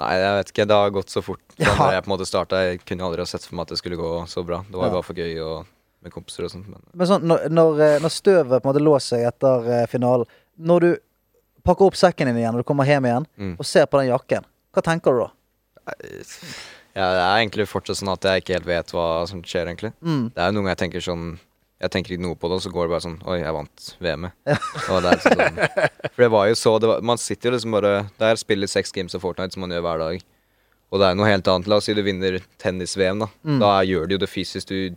[SPEAKER 3] Nei, jeg vet ikke. Det har gått så fort. Da
[SPEAKER 4] Mm. Ja.
[SPEAKER 3] jeg på en måte starta, jeg kunne aldri ha sett for meg at det skulle gå så bra. Det var
[SPEAKER 4] Ja.
[SPEAKER 3] jo bare for gøy og med kompiser og sånt. Men
[SPEAKER 4] Men sånn, når, når, eh, når støvet på en måte lå seg etter eh, finalen Når du pakker opp sekken din igjen og du kommer hjem igjen
[SPEAKER 3] Mm.
[SPEAKER 4] og ser på den jakken, hva tenker du da?
[SPEAKER 3] ja, det er egentlig fortsatt sånn at jeg ikke helt vet hva som skjer, egentlig.
[SPEAKER 4] Mm.
[SPEAKER 3] Det er jo noen ganger jeg tenker sånn Jeg tenker ikke noe på det, og så går det bare sånn Oi, jeg vant VM-et. Og det er liksom sånn For det var jo så det var, Man sitter jo liksom bare Der spiller seks games av Fortnite, som man gjør hver dag. Og det er jo noe helt annet. La oss si du vinner tennis-VM, da.
[SPEAKER 4] Mm.
[SPEAKER 3] Da gjør du jo det fysisk. Du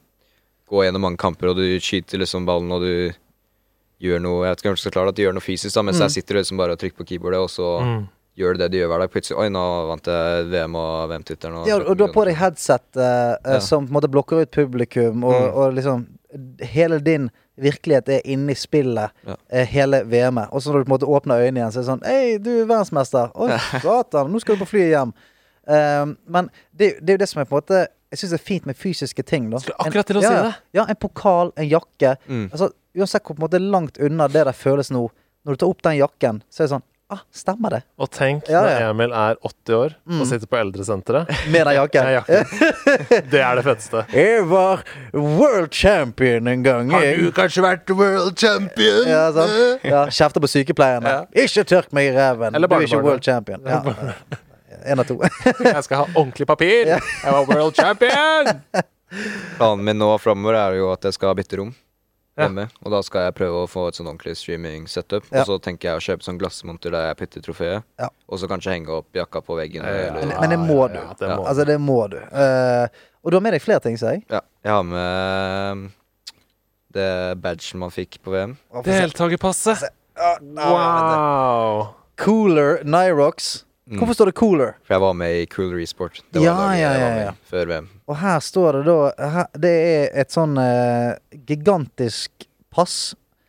[SPEAKER 3] går gjennom mange kamper, og du skyter liksom ballen, og du gjør noe Jeg vet ikke om jeg skal klare det, at du gjør noe fysisk, da,
[SPEAKER 4] Mm.
[SPEAKER 3] mens jeg sitter liksom bare og trykker på keyboardet, og så gjør du det du gjør hver dag. Plutselig Oi, nå vant jeg VM og VM-tittelen.
[SPEAKER 4] Ja, og du har på deg headset eh, eh,
[SPEAKER 3] Ja.
[SPEAKER 4] som på en måte blokker ut publikum, og,
[SPEAKER 2] Mm.
[SPEAKER 4] og liksom Hele din virkelighet er inni spillet
[SPEAKER 3] Ja.
[SPEAKER 4] eh, hele VM-et. Og så når du på en måte åpner øynene igjen, så er det sånn Hei, du er verdensmester. Oi, satan, nå skal du på flyet hjem. Eh, men det, det er jo det som er på en måte jeg syns det er fint med fysiske ting. da
[SPEAKER 2] Skulle akkurat til å
[SPEAKER 4] en, ja,
[SPEAKER 2] si
[SPEAKER 4] ja.
[SPEAKER 2] det.
[SPEAKER 4] Ja, en pokal, en jakke.
[SPEAKER 3] Mm.
[SPEAKER 4] Altså, uansett hvor på en måte langt unna det der føles nå, når du tar opp den jakken, så er det sånn Ah, stemmer det?
[SPEAKER 2] Og tenk
[SPEAKER 4] Ja,
[SPEAKER 2] når
[SPEAKER 4] ja. Mm.
[SPEAKER 2] Emil er 80 år og sitter på eldresenteret.
[SPEAKER 4] Med den jakken.
[SPEAKER 2] Med jakke. Det er det feteste.
[SPEAKER 4] Jeg var world champion en gang. jeg.
[SPEAKER 3] kanskje vært world champion?
[SPEAKER 4] Ja, sant? ja Kjefter på sykepleierne. Ikke tørk meg i ræven. Du
[SPEAKER 2] Eller
[SPEAKER 4] er ikke
[SPEAKER 2] barnebarnet.
[SPEAKER 4] world champion. Ja. En av to.
[SPEAKER 2] Jeg skal ha ordentlig papir! Jeg var world champion!
[SPEAKER 3] Planen min nå framover er jo at jeg skal bytte rom
[SPEAKER 2] Ja.
[SPEAKER 3] hjemme. Og da skal jeg prøve å få et sånn ordentlig streaming-setup.
[SPEAKER 4] Ja.
[SPEAKER 3] Og så tenker jeg å kjøpe sånn glassmonter der jeg putter trofeet.
[SPEAKER 4] Ja.
[SPEAKER 3] Og så kanskje henge opp jakka på veggen.
[SPEAKER 4] Men,
[SPEAKER 3] Eller,
[SPEAKER 4] men det må du.
[SPEAKER 2] Ja, det må.
[SPEAKER 4] Altså, det må du. Eh, og du har med deg flere ting, sier jeg.
[SPEAKER 3] ja. Jeg har med um, det badgen man fikk på VM.
[SPEAKER 4] Altså,
[SPEAKER 2] Deltakerpasset!
[SPEAKER 4] Ah,
[SPEAKER 2] Wow!
[SPEAKER 4] Cooler Nyrox. Hvorfor står det Cooler?
[SPEAKER 3] For jeg var med i Cooler Esport. Det var
[SPEAKER 4] Ja,
[SPEAKER 3] laget
[SPEAKER 4] ja,
[SPEAKER 3] jeg var
[SPEAKER 4] ja,
[SPEAKER 3] med
[SPEAKER 4] ja.
[SPEAKER 3] i Før VM.
[SPEAKER 4] Og her står det da her, Det er et sånn eh, gigantisk pass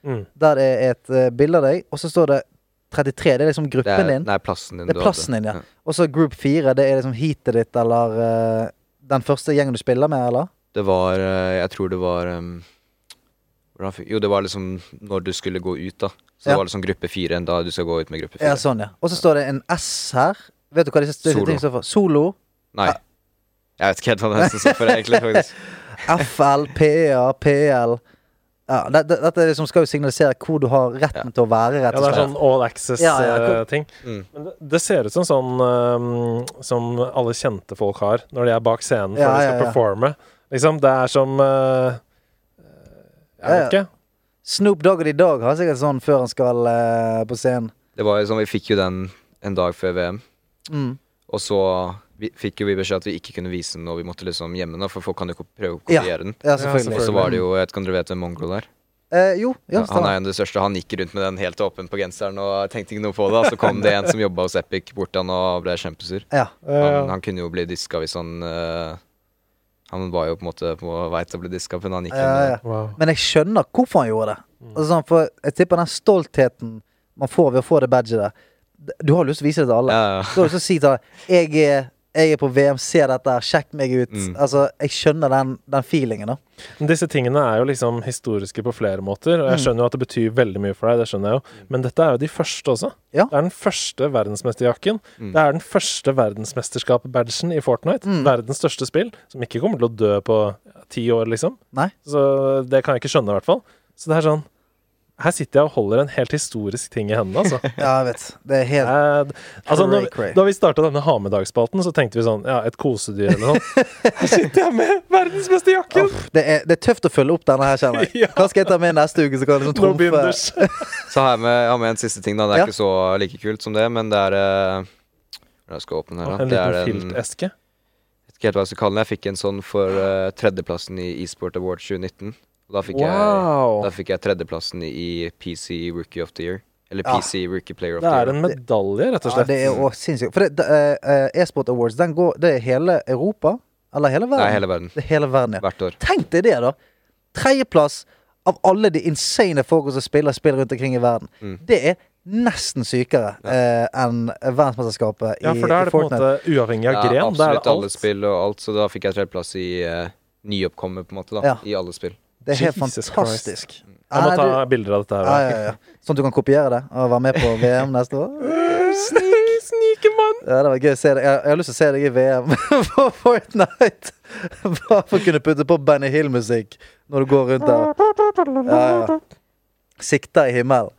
[SPEAKER 2] Mm.
[SPEAKER 4] der det er et eh, bilde av deg, og så står det 33. Det er liksom
[SPEAKER 3] Det
[SPEAKER 4] gruppen
[SPEAKER 3] er,
[SPEAKER 4] din.
[SPEAKER 3] nei, plassen din.
[SPEAKER 4] Det
[SPEAKER 3] du
[SPEAKER 4] er plassen
[SPEAKER 3] hadde.
[SPEAKER 4] din, ja. Og så group 4. Det er liksom heatet ditt eller eh, den første gjengen du spiller med, eller?
[SPEAKER 3] Det var eh, Jeg tror det var ehm, hvordan fikk- Jo, det var liksom når du skulle gå ut, da. Så
[SPEAKER 4] Ja.
[SPEAKER 3] det var liksom gruppe fire da du skal gå ut med gruppe
[SPEAKER 4] Ja,
[SPEAKER 3] fire.
[SPEAKER 4] sånn, ja. Og så står det en S her. Vet du hva disse disse
[SPEAKER 3] Solo.
[SPEAKER 4] tingene står for? Solo.
[SPEAKER 3] Nei.
[SPEAKER 4] Ah.
[SPEAKER 3] Jeg vet ikke helt hva det heter. for egentlig, faktisk.
[SPEAKER 4] FL, PA, PL. Ja, det, det, dette er liksom skal jo signalisere hvor du har retten til å være,
[SPEAKER 2] Ja,
[SPEAKER 4] rett og
[SPEAKER 2] det er
[SPEAKER 4] slett.
[SPEAKER 2] sånn all access-ting.
[SPEAKER 4] Ja, ja, cool.
[SPEAKER 3] Mm.
[SPEAKER 2] Men det, det ser ut som sånn ehm, som alle kjente folk har når de er bak scenen for
[SPEAKER 4] Ja, ja,
[SPEAKER 2] de skal
[SPEAKER 4] ja.
[SPEAKER 2] performe. Liksom, det er som eh, Jeg vet
[SPEAKER 4] Ja,
[SPEAKER 2] ikke.
[SPEAKER 4] Snoop Dogg og de Dogg har sikkert sånn før han skal eh, på scenen.
[SPEAKER 3] Det var jo sånn, Vi fikk jo den en dag før VM,
[SPEAKER 4] Mm.
[SPEAKER 3] og så vi, fikk jo vi beskjed at vi ikke kunne vise den, og vi måtte liksom gjemme den, da, for folk kan jo ko- prøve å
[SPEAKER 4] Ja.
[SPEAKER 3] kopiere den.
[SPEAKER 4] Ja, selvfølgelig.
[SPEAKER 3] Og så var det jo, jeg vet ikke om dere vet hvem Mongol er?
[SPEAKER 4] Eh, jo, ja,
[SPEAKER 3] han er
[SPEAKER 4] stemmer.
[SPEAKER 3] en av de største. Han gikk rundt med den helt åpen på genseren og tenkte ikke noe på det. og Så kom det en som jobba hos Epic bort til han og ble kjempesur.
[SPEAKER 4] Ja.
[SPEAKER 3] Han,
[SPEAKER 2] Eh,
[SPEAKER 3] han kunne jo bli diska hvis han eh, Han var jo på en måte på vei til å bli diska, men han gikk
[SPEAKER 4] Ja, ja.
[SPEAKER 3] inn.
[SPEAKER 2] wow.
[SPEAKER 4] Men jeg skjønner hvorfor han gjorde det. Altså, sånn, for jeg tipper den stoltheten man får ved å få det badget der D- Du har lyst til å vise det til alle.
[SPEAKER 3] Ja, ja.
[SPEAKER 4] Du har lyst til å si til alle jeg er, jeg er på VM, se dette, her, sjekk meg ut.
[SPEAKER 3] Mm.
[SPEAKER 4] Altså, jeg skjønner den, den feelingen, da.
[SPEAKER 2] Men Disse tingene er jo liksom historiske på flere måter, og jeg skjønner jo at det betyr veldig mye for deg. det skjønner jeg jo. Men dette er jo de første også.
[SPEAKER 4] Ja.
[SPEAKER 2] Det er den første verdensmesterjakken. Det er den første verdensmesterskap-badgen i Fortnite. Verdens største spill, som ikke kommer til å dø på ti år, liksom.
[SPEAKER 4] Nei?
[SPEAKER 2] Så det kan jeg ikke skjønne, i hvert fall. Så det er sånn Her sitter jeg og holder en helt historisk ting i hendene, altså.
[SPEAKER 4] Ja, jeg vet. Det er helt
[SPEAKER 2] Eh, altså når,
[SPEAKER 4] Cray, cray.
[SPEAKER 2] da vi starta denne hamedagsspalten, så tenkte vi sånn Ja, et kosedyr eller noe. Her sitter jeg med verdensmesterjakken!
[SPEAKER 4] Uff, det, er, det er tøft å følge opp denne her, kjenner
[SPEAKER 2] Ja.
[SPEAKER 4] jeg. Hva skal jeg ta med neste uke? Så kan jeg liksom
[SPEAKER 2] No
[SPEAKER 4] trumfe
[SPEAKER 2] binders.
[SPEAKER 3] Så har jeg med, jeg har med en siste ting. da Det er
[SPEAKER 4] Ja.
[SPEAKER 3] ikke så like kult som det, men det er eh, Jeg skal åpne her, da.
[SPEAKER 2] En
[SPEAKER 3] Det er
[SPEAKER 2] liten
[SPEAKER 3] den-
[SPEAKER 2] filteske.
[SPEAKER 3] Jeg vet ikke helt hva jeg skal kalle den. Jeg fikk en sånn for eh, tredjeplassen i eSport Award 2019. Og da fikk jeg
[SPEAKER 2] Wow!
[SPEAKER 3] Da fikk jeg tredjeplassen i PC Rookie of the Year. Eller
[SPEAKER 4] Ja.
[SPEAKER 3] PC Rookie Player of
[SPEAKER 2] Det
[SPEAKER 3] the
[SPEAKER 2] er
[SPEAKER 3] Year.
[SPEAKER 2] en medalje, rett og
[SPEAKER 4] Ja,
[SPEAKER 2] slett.
[SPEAKER 4] det er jo sinnssykt. For det, det, eh, eh, E-Sport Awards, den går Det er hele Europa? Eller hele verden?
[SPEAKER 3] Nei, hele verden.
[SPEAKER 4] Det er hele verden, ja.
[SPEAKER 3] Hvert år.
[SPEAKER 4] Tenk deg det, da! Tredjeplass av alle de insane folka som spiller spill rundt omkring i verden. Det er nesten sykere eh, enn verdensmesterskapet
[SPEAKER 2] Ja,
[SPEAKER 4] i,
[SPEAKER 2] for da
[SPEAKER 4] i
[SPEAKER 2] er det på en
[SPEAKER 4] Fortnite.
[SPEAKER 2] måte uavhengig av
[SPEAKER 3] Ja,
[SPEAKER 2] gren. Da er
[SPEAKER 3] absolutt
[SPEAKER 2] det
[SPEAKER 3] alle
[SPEAKER 2] alt.
[SPEAKER 3] spill og alt, så da fikk jeg tredjeplass i eh, nyoppkommer, på en måte, da.
[SPEAKER 4] Ja.
[SPEAKER 3] I alle spill.
[SPEAKER 4] det er helt
[SPEAKER 2] Jesus Christ.
[SPEAKER 4] fantastisk.
[SPEAKER 2] Jeg må
[SPEAKER 4] Er
[SPEAKER 2] ta
[SPEAKER 4] du-
[SPEAKER 2] bilder av dette
[SPEAKER 4] ja,
[SPEAKER 2] her.
[SPEAKER 4] ja, ja. Sånn at du kan kopiere det og være med på VM neste år?
[SPEAKER 2] Snikemann!
[SPEAKER 4] Ja, det var gøy å se deg. Jeg, jeg har lyst til å se deg i VM på Fortnite. Bare for å kunne putte på Benny Hill-musikk når du går rundt der. Ja, ja. Sikta i himmelen.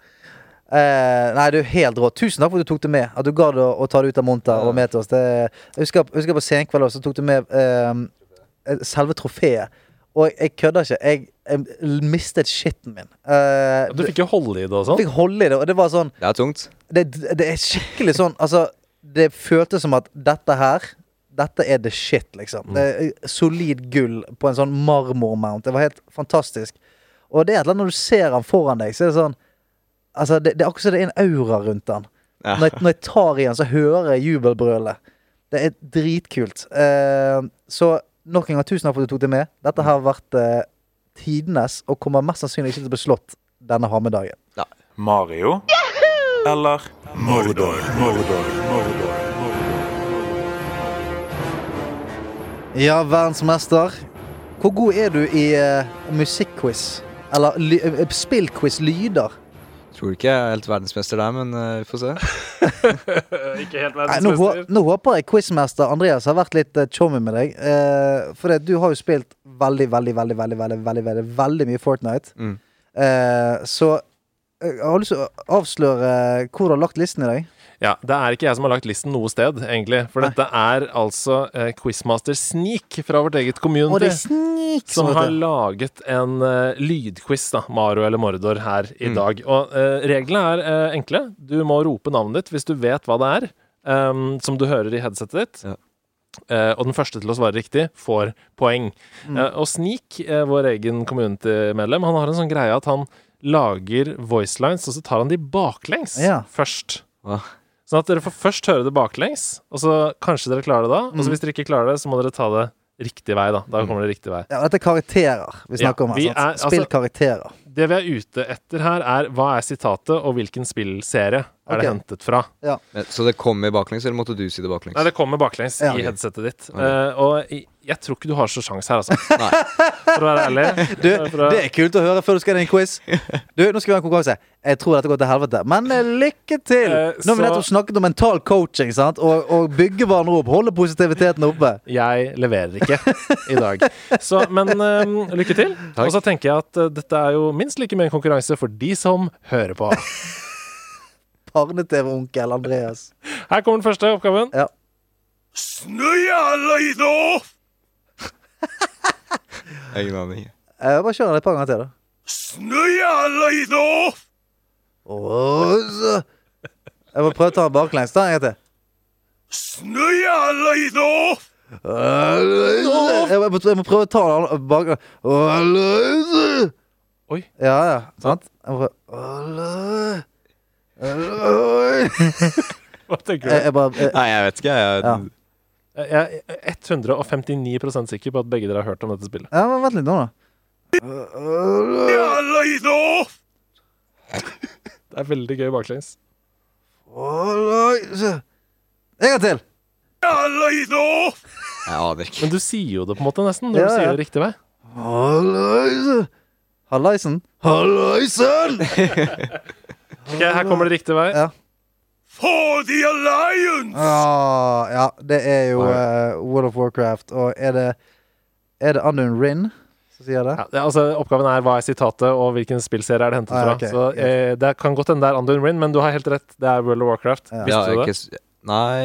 [SPEAKER 4] Eh, nei, du er helt rå. Tusen takk for at du tok det med. At du gadd å, å ta det ut av monter og med til oss. Det, jeg husker, jeg husker på senkveld også, så tok du med eh, selve trofeet. Og jeg kødder ikke. Jeg, jeg mistet skitten min. Eh,
[SPEAKER 2] Du fikk jo holde i det og
[SPEAKER 4] jeg
[SPEAKER 2] sånn.
[SPEAKER 4] fikk holde i det, og det var sånn
[SPEAKER 3] Det er tungt.
[SPEAKER 4] det, det er skikkelig sånn Altså, det føltes som at dette her Dette er the shit, liksom. Det er solid gull på en sånn marmormount. Det var helt fantastisk. Og det er et eller annet når du ser han foran deg, så er det sånn Altså, det, det er akkurat som det er en aura rundt han.
[SPEAKER 3] Ja.
[SPEAKER 4] Når, jeg, når jeg tar i han, så hører jeg jubelbrølet. Det er dritkult. Eh, så nok en gang, tusen takk for at du tok det med. Dette har vært eh, tidenes, og kommer mest sannsynlig ikke til å bli slått denne hammedagen.
[SPEAKER 5] Mario eller Mordor. Mordor. Mordor. Mordor.
[SPEAKER 4] Ja, verdensmester. Hvor god er du i eh, musikkquiz? Eller ly eh, spillquiz lyder?
[SPEAKER 3] Tror ikke jeg er helt verdensmester der, men eh, vi får se.
[SPEAKER 2] Ikke helt
[SPEAKER 4] Nei, nå, hå- nå håper jeg quizmester Andreas har vært litt eh, chummy med deg. eh, for det, du har jo spilt veldig, veldig, veldig, veldig veldig, veldig, veldig, veldig mye Fortnite.
[SPEAKER 3] Mm.
[SPEAKER 4] Eh, så eh, jeg har lyst til å avsløre eh, hvor du har lagt listen i dag.
[SPEAKER 2] Ja, Det er ikke jeg som har lagt listen noe sted, egentlig. For dette er altså eh, Quizmaster Sneak fra vårt eget
[SPEAKER 4] Og det
[SPEAKER 2] community.
[SPEAKER 4] er snik
[SPEAKER 2] Som
[SPEAKER 4] som
[SPEAKER 2] har
[SPEAKER 4] heter.
[SPEAKER 2] laget en eh, lydquiz, da, Mario eller Mordor, her i dag. Og eh, reglene er eh, enkle. Du må rope navnet ditt hvis du vet hva det er, ehm, som du hører i headsetet ditt.
[SPEAKER 3] Ja.
[SPEAKER 2] Eh, og den første til å svare riktig får poeng. Eh, og Sneak, eh, vår egen community-medlem, han har en sånn greie at han lager voicelines, og så tar han de baklengs
[SPEAKER 4] Ja.
[SPEAKER 2] først.
[SPEAKER 3] Hva?
[SPEAKER 2] Sånn at dere får først høre det baklengs, og så kanskje dere klarer det da. Og så hvis dere ikke klarer det, så må dere ta det riktig vei, da. Da kommer det riktig vei.
[SPEAKER 4] Ja, dette er karakterer vi snakker om.
[SPEAKER 2] vi
[SPEAKER 4] her
[SPEAKER 2] er-
[SPEAKER 4] sant? Spill
[SPEAKER 2] altså-
[SPEAKER 4] karakterer.
[SPEAKER 2] Det vi er ute etter her, er hva er sitatet, og hvilken spillserie er
[SPEAKER 4] Ok.
[SPEAKER 2] det hentet fra?
[SPEAKER 3] Men, så det kommer baklengs, eller måtte du si det baklengs?
[SPEAKER 2] Nei, det kommer baklengs
[SPEAKER 4] Ja.
[SPEAKER 2] i headsetet ditt.
[SPEAKER 3] Ok.
[SPEAKER 2] Eh, og i- jeg tror ikke du har så sjans her, altså.
[SPEAKER 3] Nei.
[SPEAKER 2] For å være ærlig.
[SPEAKER 4] Du,
[SPEAKER 2] For å-
[SPEAKER 4] det er kult å høre før du skal inn i en quiz. Du, Nå skal vi ha en konkurranse. Jeg tror dette går til helvete, men eh, lykke til!
[SPEAKER 2] Eh,
[SPEAKER 4] Nå har vi
[SPEAKER 2] så-
[SPEAKER 4] nettopp snakket om mental coaching sant? Og, og bygge hverandre opp. Holde positiviteten oppe.
[SPEAKER 2] Jeg leverer ikke i dag. Så, men eh, lykke til. Og så tenker jeg at eh, dette er jo minst like mye en konkurranse for de som hører på.
[SPEAKER 4] Barne-TV-onkel Andreas.
[SPEAKER 2] Her kommer den første oppgaven.
[SPEAKER 4] Ja.
[SPEAKER 3] Ingen aning.
[SPEAKER 4] Eh, bare kjør den et par ganger til, da. Åh, så. Jeg må prøve å ta den baklengs. Ta den en gang til. Jeg må, jeg må prøve å ta den baklengs.
[SPEAKER 2] Oi.
[SPEAKER 4] Ja, ja. Sant? Jeg må prøve jeg,
[SPEAKER 2] Hva tenker du?
[SPEAKER 4] jeg bare jeg,
[SPEAKER 3] Nei, jeg vet ikke. Jeg,
[SPEAKER 4] Ja.
[SPEAKER 2] Jeg er 159 sikker på at begge dere har hørt om dette spillet.
[SPEAKER 4] ja, men Vent litt nå, da.
[SPEAKER 2] Det er veldig gøy baklengs.
[SPEAKER 4] En gang til.
[SPEAKER 3] jeg aner ikke.
[SPEAKER 2] Men du sier jo det på en måte nesten når
[SPEAKER 4] Ja,
[SPEAKER 2] du sier
[SPEAKER 4] ja.
[SPEAKER 2] det riktig vei.
[SPEAKER 4] Hallaisen. Hallaisen!
[SPEAKER 2] Ok, Her kommer det riktig vei.
[SPEAKER 4] Ja. Ah, ja, det er jo eh, World of Warcraft, og er det Er det Andun Rin som sier det?
[SPEAKER 2] Ja, det, altså, oppgaven er hva er sitatet, og hvilken spillserie er det hentet
[SPEAKER 4] Ah,
[SPEAKER 2] fra.
[SPEAKER 4] ok,
[SPEAKER 2] Så eh, Det kan godt hende det er Undone Rin, men du har helt rett. Det er World of Warcraft.
[SPEAKER 4] Ja.
[SPEAKER 3] Ja,
[SPEAKER 2] Visste du
[SPEAKER 3] jeg
[SPEAKER 2] det?
[SPEAKER 3] ikke, s- nei,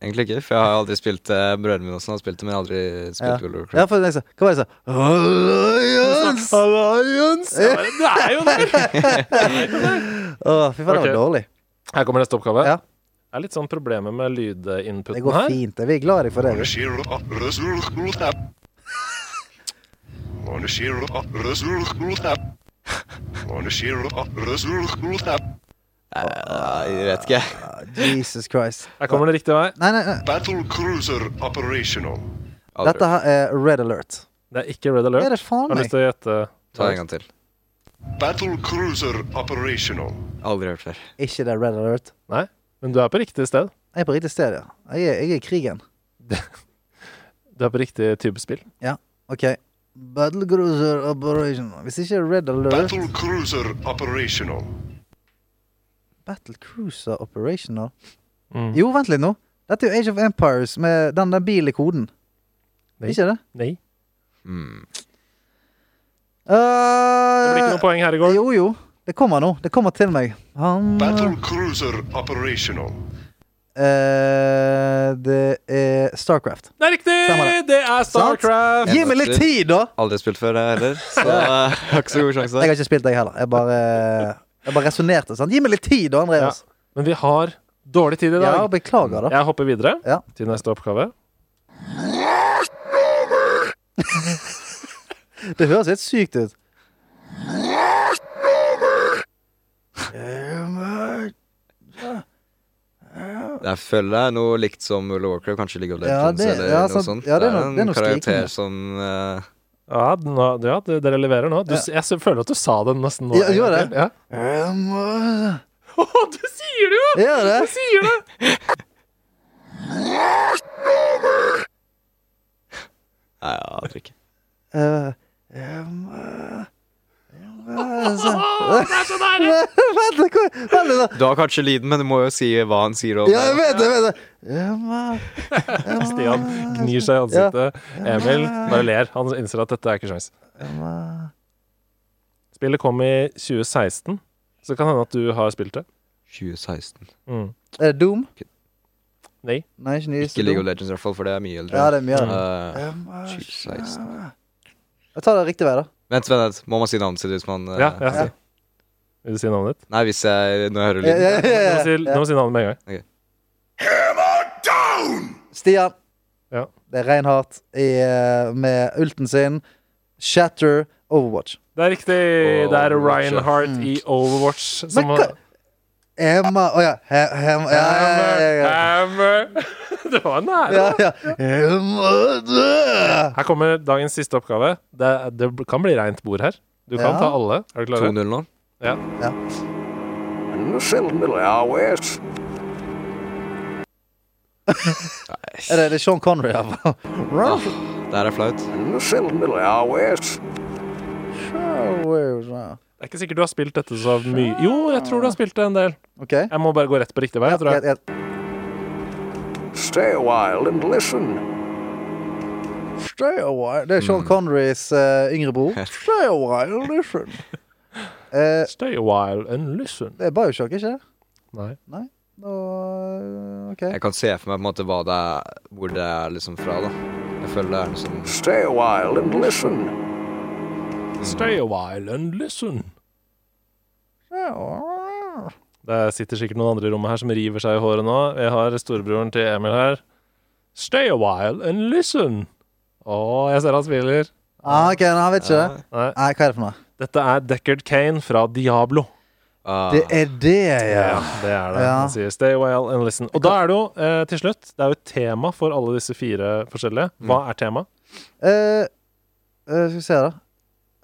[SPEAKER 3] egentlig ikke. For jeg har aldri spilt det. Brødrene mine også har spilt det, men jeg har aldri
[SPEAKER 4] Ja.
[SPEAKER 3] spilt World of
[SPEAKER 4] Ja,
[SPEAKER 3] Warcraft.
[SPEAKER 4] for det er så- Hva var det jeg sa? Alliance!
[SPEAKER 2] Alliance! Ja, men Det er jo det!
[SPEAKER 4] Å, fy faen, det
[SPEAKER 2] Ok.
[SPEAKER 4] var dårlig.
[SPEAKER 2] Her kommer neste oppgave.
[SPEAKER 4] Ja.
[SPEAKER 2] Det er litt sånn problemer med
[SPEAKER 4] Det
[SPEAKER 2] lydinputen
[SPEAKER 4] går
[SPEAKER 2] her.
[SPEAKER 4] fint. Vi er glad i deg for det. vi.
[SPEAKER 3] Nei, jeg vet ikke.
[SPEAKER 4] Ah, Jesus Christ.
[SPEAKER 2] Her kommer det riktig vei.
[SPEAKER 4] Nei, nei, nei.
[SPEAKER 6] Battle cruiser operational.
[SPEAKER 3] Aldri.
[SPEAKER 4] Dette her er Red Alert.
[SPEAKER 2] Det er ikke Red
[SPEAKER 4] Det er
[SPEAKER 2] Alert.
[SPEAKER 4] det faen
[SPEAKER 2] Har du
[SPEAKER 4] meg.
[SPEAKER 2] lyst til å gjette?
[SPEAKER 3] Ta en gang til.
[SPEAKER 6] Battle cruiser operational.
[SPEAKER 3] Aldri hørt før.
[SPEAKER 4] Ikke det Red Alert.
[SPEAKER 2] Nei? Men du er på riktig sted.
[SPEAKER 4] Jeg er på riktig sted, ja. Jeg er, jeg er i krigen.
[SPEAKER 2] Du er på riktig type spill.
[SPEAKER 4] OK. Battle Cruiser Operation Hvis ikke det er Red Alert
[SPEAKER 6] Battle cruiser operational.
[SPEAKER 4] Battle Cruiser Operational
[SPEAKER 2] Mm.
[SPEAKER 4] Jo, vent litt nå. Dette er jo Age of Empires med den der bilen i koden.
[SPEAKER 2] Nei.
[SPEAKER 4] Ikke det?
[SPEAKER 2] Nei.
[SPEAKER 3] Mm.
[SPEAKER 2] Det blir ikke noe poeng her i går.
[SPEAKER 4] Eh, Jo, jo. Det kommer nå. Det kommer til meg. Han
[SPEAKER 6] Battle cruiser operational.
[SPEAKER 4] eh, Det er Starcraft.
[SPEAKER 2] Det er riktig!
[SPEAKER 4] Stemmer det.
[SPEAKER 2] Det er Starcraft!
[SPEAKER 4] Gi meg litt tid, da!
[SPEAKER 3] Aldri spilt før, jeg heller. Så eh, jeg har ikke så god sjanse.
[SPEAKER 4] Jeg har ikke spilt deg heller. Jeg bare, jeg bare resonnerte. sant? Gi meg litt tid, da, Andreas.
[SPEAKER 2] Men vi har dårlig tid i
[SPEAKER 4] Ja,
[SPEAKER 2] dag.
[SPEAKER 4] beklager, da.
[SPEAKER 2] Jeg hopper videre
[SPEAKER 4] Ja.
[SPEAKER 2] til neste oppgave.
[SPEAKER 4] Det høres helt sykt ut. Gamer.
[SPEAKER 3] Jeg føler det er noe likt som World of Warcraft, kanskje League of
[SPEAKER 4] Ja,
[SPEAKER 3] Legends
[SPEAKER 4] det-
[SPEAKER 3] eller
[SPEAKER 4] ja,
[SPEAKER 3] noe
[SPEAKER 4] sant.
[SPEAKER 3] sånt.
[SPEAKER 4] Ja, det er noe- det er noe
[SPEAKER 3] en karakter
[SPEAKER 4] skriking, ja.
[SPEAKER 3] som eh,
[SPEAKER 2] Ja, den har- ja, det- dere leverer nå. Du,
[SPEAKER 4] Ja.
[SPEAKER 2] s- Jeg s- føler at du sa den nesten nå.
[SPEAKER 4] Ja, gjorde jeg det?
[SPEAKER 2] Ja. Um, uh.
[SPEAKER 4] Gamer.
[SPEAKER 2] Å, du sier det jo!
[SPEAKER 4] Gjør det?
[SPEAKER 2] Du sier det!
[SPEAKER 3] Nei, jeg aner ikke.
[SPEAKER 4] Eh, gamer. Gamer. Så-
[SPEAKER 2] Å, det er så nære!
[SPEAKER 4] Vent litt, hvor- vent litt, da.
[SPEAKER 3] Du har kanskje lyden, men du må jo si hva han sier. om eh,
[SPEAKER 4] Ja, jeg
[SPEAKER 3] det.
[SPEAKER 4] vet det! jeg vet det. Gamer.
[SPEAKER 2] Stian gnir seg i ansiktet. Emil bare ler. Han innser at dette er ikke sjans.
[SPEAKER 4] Gamer.
[SPEAKER 2] Spillet kom i 2016, så det kan hende at du har spilt det.
[SPEAKER 3] 2016.
[SPEAKER 2] Mm.
[SPEAKER 4] Er det Doom?
[SPEAKER 2] Nei.
[SPEAKER 4] Nei, ikke nyeste
[SPEAKER 3] Ikke League
[SPEAKER 4] Doom.
[SPEAKER 3] of Legends, i hvert fall, for det er mye eldre.
[SPEAKER 4] Ja, det er mye av det.
[SPEAKER 3] Eh,
[SPEAKER 4] Gamer.
[SPEAKER 3] 2016.
[SPEAKER 4] Jeg tar det riktig vei, da.
[SPEAKER 3] Vent, vent, vent. Må man si navnet sitt hvis man eh,
[SPEAKER 2] Ja, ja.
[SPEAKER 4] Ja.
[SPEAKER 2] Vil du si navnet ditt?
[SPEAKER 3] Nei, hvis jeg Når jeg hører
[SPEAKER 4] Ja,
[SPEAKER 3] lyden.
[SPEAKER 4] ja, ja,
[SPEAKER 2] Du
[SPEAKER 4] ja,
[SPEAKER 2] må si,
[SPEAKER 4] ja.
[SPEAKER 2] du må si navnet med en gang.
[SPEAKER 4] Stian.
[SPEAKER 2] Ja.
[SPEAKER 4] Det er Reinhardt i, eh, med ulten sin. Shatter Overwatch.
[SPEAKER 2] Det er riktig. Det er
[SPEAKER 3] Overwatch, ja.
[SPEAKER 2] Reinhardt i Overwatch som
[SPEAKER 4] Hmm. Men hva
[SPEAKER 2] har
[SPEAKER 4] Emma Å ja. He, hem, ja, ja, ja, ja, ja.
[SPEAKER 2] Hammer! Det var nære.
[SPEAKER 4] Ja, ja. Emma død!
[SPEAKER 2] Her kommer dagens siste oppgave. Det, det kan bli reint bord her. Du kan
[SPEAKER 4] Ja.
[SPEAKER 2] ta alle. Er du klar?
[SPEAKER 3] 2-0 nå.
[SPEAKER 2] Ja.
[SPEAKER 4] Er det, det er Sean Connery, iallfall.
[SPEAKER 3] Ah, det her er flaut.
[SPEAKER 2] Det er ikke sikkert du har spilt dette så mye. Jo, jeg tror du har spilt det en del.
[SPEAKER 4] OK. Ja,
[SPEAKER 2] Jeg må bare gå rett på riktig vei. Jeg tror jeg.
[SPEAKER 4] ja, Stay a while. Det er Sean Connerys eh, yngre bror. Stay a while, listen. Eh,
[SPEAKER 2] Stay a while and listen.
[SPEAKER 4] det er Bioshock, ikke det?
[SPEAKER 2] Nei.
[SPEAKER 4] Nå, eh, OK.
[SPEAKER 3] Jeg kan se for meg på en måte hva det er, hvor det er liksom fra, da. Jeg føler det er noe sånn
[SPEAKER 2] Stay a while and listen. Det sitter sikkert noen andre i rommet her som river seg i håret nå. Jeg har storebroren til Emil her. Stay a while and listen. Å, jeg ser han smiler.
[SPEAKER 4] Ah, ok, nei, han vet ikke det.
[SPEAKER 2] Nei.
[SPEAKER 4] Nei, hva er det for noe?
[SPEAKER 2] Dette er Deckard Kane fra Diablo.
[SPEAKER 3] ah,
[SPEAKER 4] Det er det, ja.
[SPEAKER 2] Ja, det er det.
[SPEAKER 4] Ja.
[SPEAKER 2] Han sier stay well and listen. Og da er det jo, eh, til slutt, det er jo et tema for alle disse fire forskjellige.
[SPEAKER 4] Mm.
[SPEAKER 2] Hva er tema?
[SPEAKER 4] Eh, eh, skal vi se, da.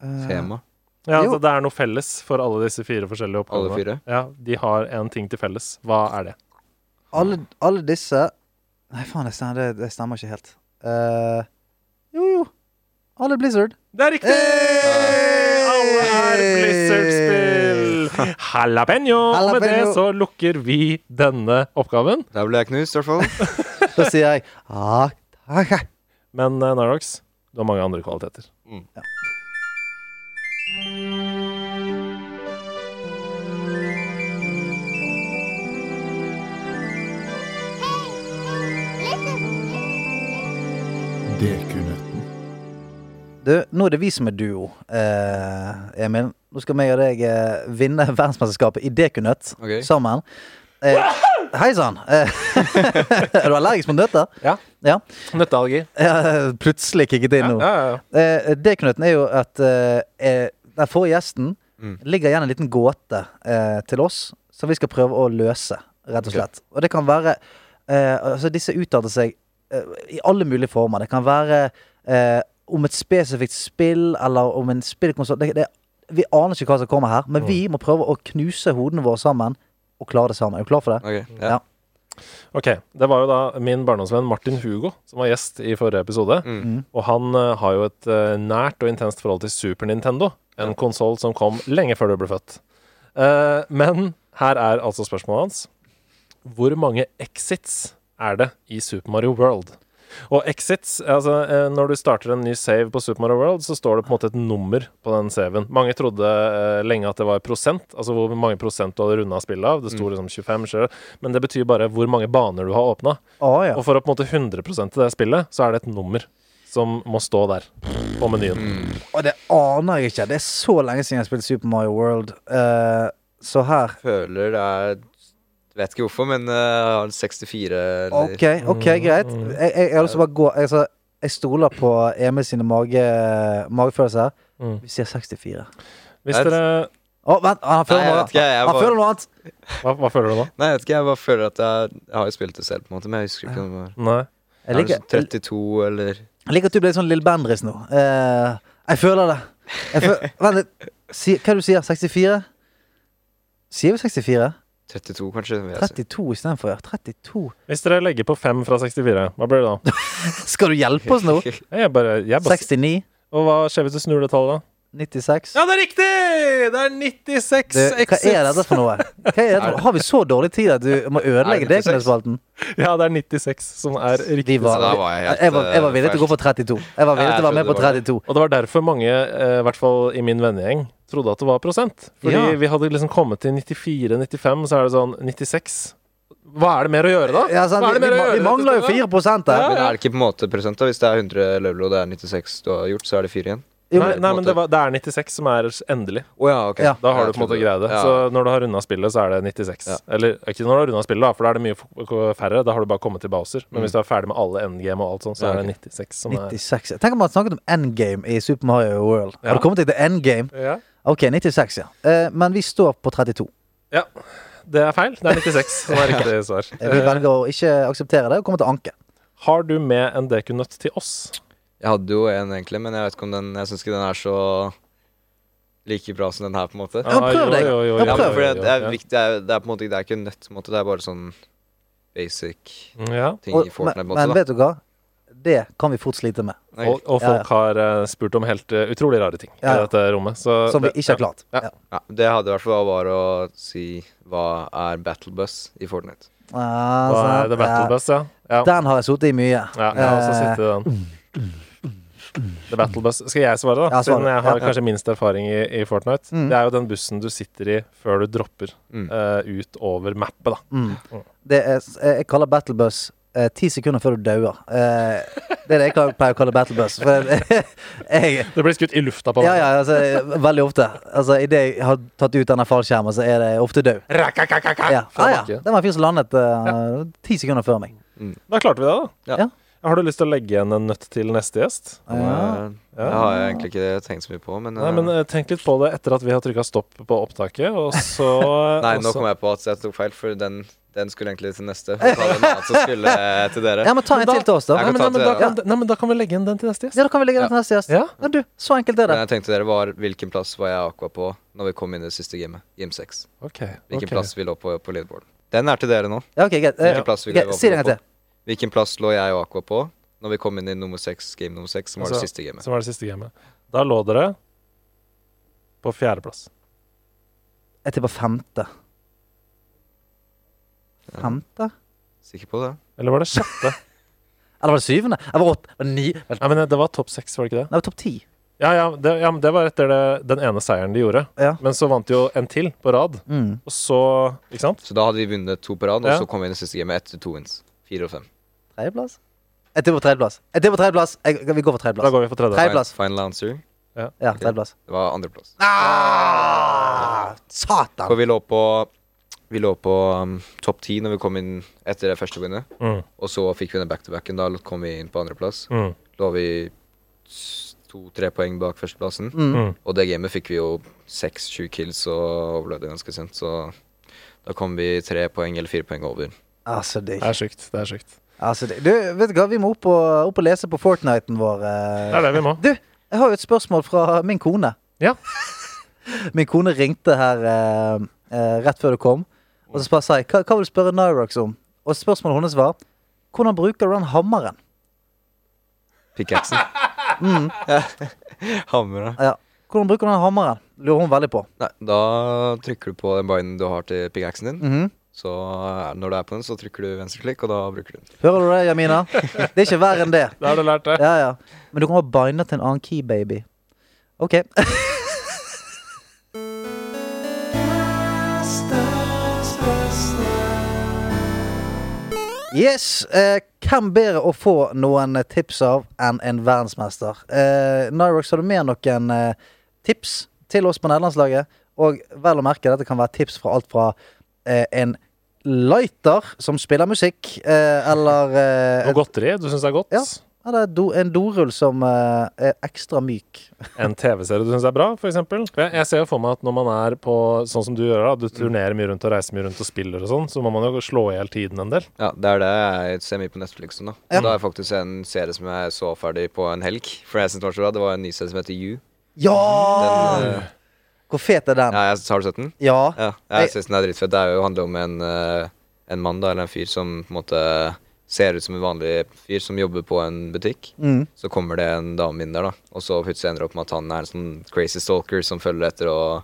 [SPEAKER 4] Eh,
[SPEAKER 3] Tema.
[SPEAKER 2] Ja,
[SPEAKER 4] Jo.
[SPEAKER 2] altså, det er noe felles for alle disse fire forskjellige oppgavene.
[SPEAKER 3] Alle fire?
[SPEAKER 2] Ja, De har en ting til felles. Hva er det?
[SPEAKER 4] Alle, alle disse Nei, faen, det stemmer, det, det stemmer ikke helt. Eh, jo, jo. Alle Blizzard.
[SPEAKER 2] Det er riktig! Alle er Blizzard-spill! Jalapeño! Og Med det
[SPEAKER 4] Jalapeño.
[SPEAKER 2] så lukker vi denne oppgaven.
[SPEAKER 3] Der ble jeg knust, i hvert fall.
[SPEAKER 4] Da sier jeg ah, takk.
[SPEAKER 2] Men eh, Nardox, du har mange andre kvaliteter.
[SPEAKER 4] Du, nå er det vi som er duo, eh, Emil. Nå skal meg og deg eh, vinne verdensmesterskapet i dekunøtt
[SPEAKER 3] Ok.
[SPEAKER 4] sammen. Eh, Hei sann! Eh, er du allergisk mot nøtter?
[SPEAKER 2] Ja.
[SPEAKER 4] Ja.
[SPEAKER 2] Nøtteallergi.
[SPEAKER 4] Eh, Plutselig kikket inn
[SPEAKER 2] Ja,
[SPEAKER 4] nå.
[SPEAKER 2] ja, ja.
[SPEAKER 4] Eh, Dekunøtten er jo at eh, eh, den forrige gjesten ligger igjen en liten gåte eh, til oss som vi skal prøve å løse, rett og slett. Og det kan være eh, Altså, disse uttaler seg eh, i alle mulige former. Det kan være eh, om et spesifikt spill eller om en spillkonsoll. Det, det, vi aner ikke hva som kommer her, men vi må prøve å knuse hodene våre sammen og klare det sammen. Er du klar for det?
[SPEAKER 3] Ok,
[SPEAKER 4] Ja.
[SPEAKER 3] Mm, ja.
[SPEAKER 2] Ok, Det var jo da min barndomsvenn Martin Hugo som var gjest i forrige episode. Og han eh, har jo et eh, nært og intenst forhold til Super Nintendo. En konsoll som kom lenge før du ble født. Eh, men her er altså spørsmålet hans. Hvor mange exits er det i Super Mario World? Og exits altså, eh, Når du starter en ny save på Super Mario World, så står det på en måte et nummer på den saven. Mange trodde eh, lenge at det var prosent, altså hvor mange prosent du hadde runda spillet av. Det sto liksom 25, sjø, men det betyr bare hvor mange baner du har åpna.
[SPEAKER 4] Å ja.
[SPEAKER 2] Og for å på en måte 100 til det spillet, så er det et nummer som må stå der på menyen.
[SPEAKER 4] Og det aner jeg ikke. Det er så lenge siden jeg har spilt Super Mario World. Eh, så her
[SPEAKER 3] Føler det er Vet ikke hvorfor, men eh, jeg har 64 eller Mm.
[SPEAKER 4] Ok, ok, greit. Jeg, jeg, jeg, har lyst til å bare gå, jeg, altså, jeg stoler på Emil sine mage, magefølelser.
[SPEAKER 2] Mm.
[SPEAKER 4] Vi sier 64.
[SPEAKER 2] Hvis dere
[SPEAKER 4] Å, vent! Han føler
[SPEAKER 3] Nei, jeg
[SPEAKER 4] noe
[SPEAKER 3] vet ikke, jeg
[SPEAKER 4] annet. Han
[SPEAKER 3] bare-
[SPEAKER 4] føler noe annet.
[SPEAKER 2] Hva, hva føler du nå?
[SPEAKER 3] Nei, jeg vet ikke, jeg bare føler at jeg, jeg har jo spilt det selv, på en måte, men jeg husker ikke om det var
[SPEAKER 2] Nei.
[SPEAKER 4] Jeg
[SPEAKER 3] Er det
[SPEAKER 4] liker,
[SPEAKER 3] sånn 32 eller
[SPEAKER 4] jeg liker at du ble litt sånn Lille Bendriss nå. Eh, jeg føler det. Jeg føler, vent litt. Si, hva er det du sier? 64? Sier vi 64?
[SPEAKER 3] 32, kanskje? vil jeg si.
[SPEAKER 4] 32 istedenfor, ja. 32.
[SPEAKER 2] Hvis dere legger på 5 fra 64, hva blir det da?
[SPEAKER 4] Skal du hjelpe oss nå?
[SPEAKER 2] Jeg bare, jeg bare
[SPEAKER 4] 69?
[SPEAKER 2] Og hva skjer hvis du snur det tallet, da?
[SPEAKER 4] 96?
[SPEAKER 2] Ja, det er riktig! Det er 96
[SPEAKER 4] Du, hva er dette for noe? Hva er dette for noe? Har vi så dårlig tid at du må ødelegge
[SPEAKER 3] Er det 96?
[SPEAKER 4] dekunøttspalten?
[SPEAKER 2] Ja, det er 96 som er
[SPEAKER 4] De
[SPEAKER 2] riktig.
[SPEAKER 4] var,
[SPEAKER 3] Så da var jeg helt,
[SPEAKER 4] jeg, var, jeg var
[SPEAKER 3] eh,
[SPEAKER 4] villig til å gå for 32. Jeg var villig
[SPEAKER 3] Ja,
[SPEAKER 4] til å være
[SPEAKER 3] jeg
[SPEAKER 4] med på
[SPEAKER 3] trodde det
[SPEAKER 4] 32.
[SPEAKER 2] Og det var derfor mange, eh, i hvert fall i min vennegjeng, trodde at det var prosent. Fordi
[SPEAKER 4] Ja.
[SPEAKER 2] vi hadde liksom kommet til 94-95, så er det sånn 96. Hva er det mer å gjøre, da?
[SPEAKER 4] Ja, sant?
[SPEAKER 2] Hva er
[SPEAKER 4] Vi,
[SPEAKER 2] det
[SPEAKER 4] vi,
[SPEAKER 2] mer å
[SPEAKER 4] ma-
[SPEAKER 2] gjøre,
[SPEAKER 4] vi mangler jo
[SPEAKER 2] rett og slett,
[SPEAKER 4] 4 der.
[SPEAKER 3] Men er det ikke på en måte prosent, da? Hvis det er 100 level og det er 96 du har gjort, så er det 4 igjen?
[SPEAKER 4] Jo,
[SPEAKER 2] Nei,
[SPEAKER 3] på en
[SPEAKER 2] nei men
[SPEAKER 3] måte.
[SPEAKER 2] det, var, det er 96 som er endelig.
[SPEAKER 3] Å ja, ok.
[SPEAKER 4] Ja.
[SPEAKER 2] Da har du
[SPEAKER 3] Jeg
[SPEAKER 2] på en måte
[SPEAKER 3] trodde-
[SPEAKER 2] greid det.
[SPEAKER 3] ja.
[SPEAKER 2] Så når du har runda spillet, så er det 96.
[SPEAKER 3] Ja.
[SPEAKER 2] Eller ikke når du har runda spillet, da, for da er det mye f- k- færre. Da har du bare kommet til Bowser. Men hvis du er ferdig med alle endgame og alt sånt, så
[SPEAKER 3] Ja,
[SPEAKER 2] er det 96 som er
[SPEAKER 4] 96. Tenk om man hadde snakket om endgame i Super Mario World. Har
[SPEAKER 2] Ja.
[SPEAKER 4] du kommet deg til endgame?
[SPEAKER 2] ja.
[SPEAKER 4] OK, 96, ja. Eh, men vi står på 32.
[SPEAKER 2] ja. Det er feil. Det er 96 som er riktig svar. Eh,
[SPEAKER 4] Eh, Vi velger å ikke akseptere det og komme til anke.
[SPEAKER 2] Har du med en dekunøtt til oss?
[SPEAKER 3] Jeg hadde jo en, egentlig, men jeg vet ikke om den Jeg syns ikke den er så like bra som den her, på en måte.
[SPEAKER 4] Ja, men prøv deg.
[SPEAKER 2] jo, jo, jo,
[SPEAKER 4] Ja,
[SPEAKER 3] Ja,
[SPEAKER 2] jo,
[SPEAKER 3] men
[SPEAKER 4] prøv.
[SPEAKER 3] fordi
[SPEAKER 2] jo,
[SPEAKER 3] at det er
[SPEAKER 2] jo,
[SPEAKER 3] viktig det er, det er på en måte ikke- Det er ikke en nøtt, på en måte. Det er bare sånn basic
[SPEAKER 2] jo. Mm, Ja.
[SPEAKER 3] ting
[SPEAKER 4] Og,
[SPEAKER 3] i
[SPEAKER 4] men,
[SPEAKER 3] Fortnite, på en
[SPEAKER 4] men
[SPEAKER 3] måte.
[SPEAKER 4] vet du hva? Det kan vi fort slite med.
[SPEAKER 3] Da.
[SPEAKER 2] Og,
[SPEAKER 4] Ja,
[SPEAKER 2] og
[SPEAKER 4] ja.
[SPEAKER 2] folk har eh, spurt om helt eh, utrolig rare ting
[SPEAKER 4] Ja,
[SPEAKER 2] i
[SPEAKER 4] ja.
[SPEAKER 2] dette rommet. Så
[SPEAKER 4] Som vi
[SPEAKER 2] det-
[SPEAKER 4] ikke har klart.
[SPEAKER 2] Ja.
[SPEAKER 4] Ja.
[SPEAKER 3] Ja, det jeg hadde i hvert fall var å si hva er battle bus i Fortnite.
[SPEAKER 4] Ah,
[SPEAKER 2] Hva
[SPEAKER 4] sant.
[SPEAKER 2] er det Battle
[SPEAKER 4] Ja.
[SPEAKER 2] Bus, ja? Ja, ja
[SPEAKER 4] Den har jeg sittet i mye. Eh,
[SPEAKER 2] jeg har også sittet i den. The Battle Bus. Skal jeg svare, da?
[SPEAKER 4] Ja, svar.
[SPEAKER 2] Siden jeg har
[SPEAKER 4] Ja, ja.
[SPEAKER 2] kanskje minst erfaring i, i Fortnite.
[SPEAKER 4] Mm.
[SPEAKER 2] Det er jo den bussen du sitter i før du dropper
[SPEAKER 3] Mm.
[SPEAKER 2] eh, ut over mappet, da.
[SPEAKER 4] Mm. Det er, jeg kaller battlebus eh, ti sekunder før du dauer. Eh, det er det jeg kan- pleier å kalle battlebus. For jeg,
[SPEAKER 2] Du blir skutt i lufta på
[SPEAKER 4] ja, ja, altså, veldig ofte. Altså, Idet jeg har tatt ut denne fallskjermen, så er det ofte død. Ja. Ah, ja. Det var en fyr som landet eh, ti sekunder før meg.
[SPEAKER 2] Da klarte vi det, da.
[SPEAKER 3] Ja.
[SPEAKER 4] Ja.
[SPEAKER 2] Har du lyst til å legge igjen en nøtt til neste gjest?
[SPEAKER 3] Den er-
[SPEAKER 2] Ja.
[SPEAKER 3] Det har jeg egentlig ikke tenkt så mye på, men,
[SPEAKER 2] Nei, men
[SPEAKER 3] eh,
[SPEAKER 2] eh, tenk litt på det etter at vi har trykka stopp på opptaket, og så
[SPEAKER 3] Nei,
[SPEAKER 2] og
[SPEAKER 3] nå
[SPEAKER 2] så-
[SPEAKER 3] kom jeg på at jeg tok feil, for den, den skulle egentlig til neste. For det var en annen som skulle eh, til dere.
[SPEAKER 4] Ja, men ta en
[SPEAKER 2] da-
[SPEAKER 4] til til oss, da.
[SPEAKER 3] Jeg
[SPEAKER 2] Nei,
[SPEAKER 3] kan
[SPEAKER 2] men,
[SPEAKER 3] ta
[SPEAKER 2] nei, men, da,
[SPEAKER 3] til-
[SPEAKER 2] kan, nei, men da kan vi legge igjen den til neste gjest.
[SPEAKER 4] Ja, da kan vi legge den til neste gjest.
[SPEAKER 2] Ja.
[SPEAKER 4] Men du, så enkelt er
[SPEAKER 3] Men
[SPEAKER 4] det.
[SPEAKER 3] jeg tenkte dere var hvilken plass var jeg og Aqua på når vi kom inn i det siste gamet? Game 6.
[SPEAKER 2] Ok,
[SPEAKER 3] Hvilken
[SPEAKER 2] ok.
[SPEAKER 3] plass vi lå på på leaderboarden? Den er til dere nå.
[SPEAKER 4] Ja, ok, greit. Eh,
[SPEAKER 3] Hvilken plass vi
[SPEAKER 4] ok,
[SPEAKER 3] lå
[SPEAKER 4] Si det en gang til.
[SPEAKER 3] Hvilken plass lå jeg og Aqua på når vi kom inn i nummer 6, game nummer 6, som var
[SPEAKER 2] Altså,
[SPEAKER 3] det siste gamet?
[SPEAKER 2] Som var det siste gamet. Da lå dere på fjerdeplass.
[SPEAKER 4] Jeg tipper femte. Femte?
[SPEAKER 3] Sikker på det?
[SPEAKER 2] Eller var det sjette?
[SPEAKER 4] Eller var det syvende? Eller var det åtte? Var det ni? Nei,
[SPEAKER 2] Nei, men det var topp seks, var det ikke det?
[SPEAKER 4] det var topp ti.
[SPEAKER 2] Ja, ja, det, ja, men det var etter det, den ene seieren de gjorde.
[SPEAKER 4] Ja.
[SPEAKER 2] Men så vant de jo en til på rad,
[SPEAKER 4] Mm.
[SPEAKER 2] og så Ikke sant?
[SPEAKER 3] Så da hadde vi vunnet to på rad, og
[SPEAKER 2] Ja.
[SPEAKER 3] så kom vi inn i det siste gamet etter to wins. Fire og fem.
[SPEAKER 4] Tredjeplass? Jeg tipper tredjeplass. Jeg tipper tredjeplass. Jeg- Vi går for
[SPEAKER 2] Da
[SPEAKER 4] tredjeplass.
[SPEAKER 2] går vi for tredje.
[SPEAKER 4] Hei. Tredjeplass.
[SPEAKER 3] Fin- Final answer.
[SPEAKER 4] Ja, tredjeplass.
[SPEAKER 3] Det var andreplass.
[SPEAKER 4] Ah,
[SPEAKER 3] For
[SPEAKER 4] satan!
[SPEAKER 3] vi lå på vi lå på um, topp ti når vi kom inn etter det første winnet.
[SPEAKER 2] Mm.
[SPEAKER 3] Og så fikk vi den back-to-backen. Da kom vi inn på andreplass.
[SPEAKER 2] Mm.
[SPEAKER 3] Lå vi to-tre poeng bak førsteplassen.
[SPEAKER 2] Mm.
[SPEAKER 3] Og det gamet fikk vi jo seks-sju kills og overlevde ganske sent, så da kom vi tre poeng eller fire poeng over.
[SPEAKER 4] Altså, digg.
[SPEAKER 2] Det er sjukt. Det er sjukt.
[SPEAKER 4] Altså, digg. Du, vet du hva, vi må opp og, opp og lese på Fortniten vår. eh.
[SPEAKER 2] Det er det vi må.
[SPEAKER 4] Du, jeg har jo et spørsmål fra min kone.
[SPEAKER 2] Ja.
[SPEAKER 4] min kone ringte her eh, eh, rett før du kom, og så spør- sa jeg hva, hva vil du spørre Nyrox om? Og spørsmålet hennes var hvordan bruker du den hammeren?
[SPEAKER 3] Pickaxen. Hammer, da.
[SPEAKER 4] Ja. Hvordan bruker du den hammeren? Lurer hun veldig på.
[SPEAKER 3] Nei, da trykker du på den binen du har til pickaxen din.
[SPEAKER 4] Mhm.
[SPEAKER 3] Så er- når du er på den, så trykker du venstreklikk, og da bruker du den.
[SPEAKER 4] Hører du det, Jamina? Det er ikke verre enn det.
[SPEAKER 2] Da har du lært det.
[SPEAKER 4] Ja, ja. Men du kan bare binde til en annen key, baby. OK. Yes. Eh, hvem bedre å få noen tips av enn en verdensmester? Eh, Nyrox, har du med noen eh, tips til oss på nederlandslaget? Og vel å merke, dette kan være tips fra alt fra eh, en lighter som spiller musikk, eh, eller eh,
[SPEAKER 2] Noe godteri du syns er godt.
[SPEAKER 4] Ja. eller do, en dorull som eh, er ekstra myk.
[SPEAKER 2] En TV-serie du syns er bra, f.eks. Jeg, jeg ser jo for meg at når man er på sånn som du gjør, da, du
[SPEAKER 4] Mm.
[SPEAKER 2] turnerer mye rundt og reiser mye rundt og spiller og sånn, så må man jo slå i hjel tiden en del.
[SPEAKER 3] Ja, det er det jeg ser mye på Netflix nå.
[SPEAKER 4] Ja.
[SPEAKER 3] Da er faktisk en serie som jeg så ferdig på en helg. For jeg synes det var så bra. Det var en ny serie som heter You.
[SPEAKER 4] Ja!
[SPEAKER 3] Den, eh,
[SPEAKER 4] Hvor fet er den?
[SPEAKER 3] ja, jeg, har du sett den?
[SPEAKER 4] Ja.
[SPEAKER 3] Ja,
[SPEAKER 4] Jeg-
[SPEAKER 3] jeg synes den er dritfett. Det er jo handler om en, eh, en mann da, eller en fyr som på en måte ser ut som en vanlig fyr som jobber på en butikk.
[SPEAKER 4] Mm.
[SPEAKER 3] Så kommer det en dame inn der, da, og så plutselig ender det opp med at han er en sånn crazy stalker som følger etter og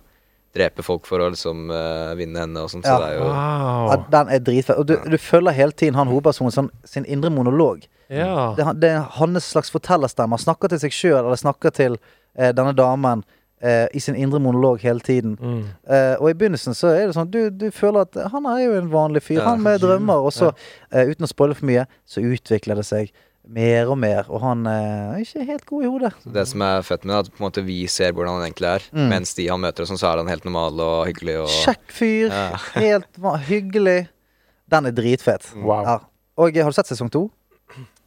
[SPEAKER 3] dreper folk for å liksom eh, vinne henne og sånn.
[SPEAKER 4] Ja.
[SPEAKER 3] Så det er jo
[SPEAKER 4] ja.
[SPEAKER 2] Wow.
[SPEAKER 4] Den er dritfet. Og du, du følger hele tiden han hovedpersonen sånn, sin indre monolog.
[SPEAKER 2] Ja.
[SPEAKER 4] Det, er han- det er hans slags fortellerstemme. Han snakker til seg sjøl, eller snakker til eh, denne damen eh, i sin indre monolog hele tiden.
[SPEAKER 2] Mm.
[SPEAKER 4] Eh, og i begynnelsen så er det sånn du, du føler at han er jo en vanlig fyr,
[SPEAKER 3] Ja.
[SPEAKER 4] han med drømmer. Og så, eh, uten å spoile for mye, så utvikler det seg mer og mer. Og han eh, er ikke helt god i hodet.
[SPEAKER 3] Det som er fett med det, er at på en måte vi ser hvordan han egentlig er.
[SPEAKER 4] Mm.
[SPEAKER 3] Mens de han møter, og sånn, så er han helt normal og hyggelig. Og
[SPEAKER 4] Kjekk fyr.
[SPEAKER 3] Ja.
[SPEAKER 4] Helt va- hyggelig. Den er dritfet.
[SPEAKER 2] Wow.
[SPEAKER 4] Ja. Og har du sett sesong to?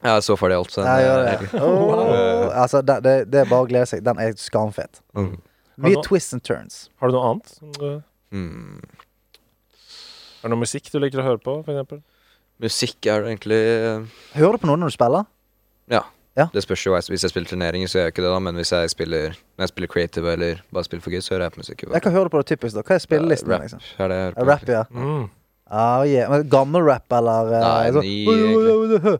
[SPEAKER 3] Ja, så ferdig alt. Så
[SPEAKER 4] Ja, jeg gjør det. Åh, altså, det, det, det er bare å glede seg. Den er skamfet.
[SPEAKER 3] Mm.
[SPEAKER 4] Mye
[SPEAKER 2] Har du-
[SPEAKER 4] twists and turns.
[SPEAKER 2] Har du noe annet? som du- Er Hmm.
[SPEAKER 3] Mm.
[SPEAKER 2] det noe musikk du liker å høre på, for eksempel?
[SPEAKER 3] Musikk er det egentlig eh,
[SPEAKER 4] Hører du på noe når du spiller?
[SPEAKER 3] Ja.
[SPEAKER 4] Ja.
[SPEAKER 3] Det spørs jo hva jeg- Hvis jeg spiller turneringer, så gjør jeg ikke det, da. Men hvis jeg spiller når jeg spiller creative eller bare spiller for gøy, så hører jeg på musikk. jo.
[SPEAKER 4] Jeg kan høre på det typisk da Hva er spillelisten?
[SPEAKER 3] Rap
[SPEAKER 4] din, liksom?
[SPEAKER 3] er det jeg
[SPEAKER 4] Ja,
[SPEAKER 3] hører på.
[SPEAKER 4] Rap, ja.
[SPEAKER 2] Mm.
[SPEAKER 4] Ah, yeah. Men gammel rap, eller eh,
[SPEAKER 3] Nei,
[SPEAKER 4] sånn-
[SPEAKER 3] ny, egentlig.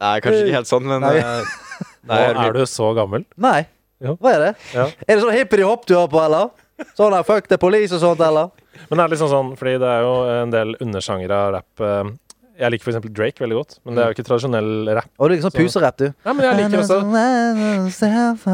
[SPEAKER 3] Nei, kanskje ikke helt sånn, men
[SPEAKER 4] Nei.
[SPEAKER 3] eh,
[SPEAKER 2] Nå
[SPEAKER 3] nei, jeg hører
[SPEAKER 2] er du så gammel.
[SPEAKER 4] Nei.
[SPEAKER 2] Ja.
[SPEAKER 4] Hva er det?
[SPEAKER 2] Ja.
[SPEAKER 4] Er det sånn hippity-hopp du har på, eller? Sånn der, fuck the police og sånt, eller?
[SPEAKER 2] Men det er liksom sånn, fordi det er jo en del undersjangere av rapp. eh, Jeg liker f.eks. Drake veldig godt, men det er jo ikke tradisjonell rapp.
[SPEAKER 4] Og du er ikke sånn
[SPEAKER 2] Så-
[SPEAKER 4] puserapp, du.
[SPEAKER 2] Nei, Mm. men jeg liker også
[SPEAKER 4] sånn. også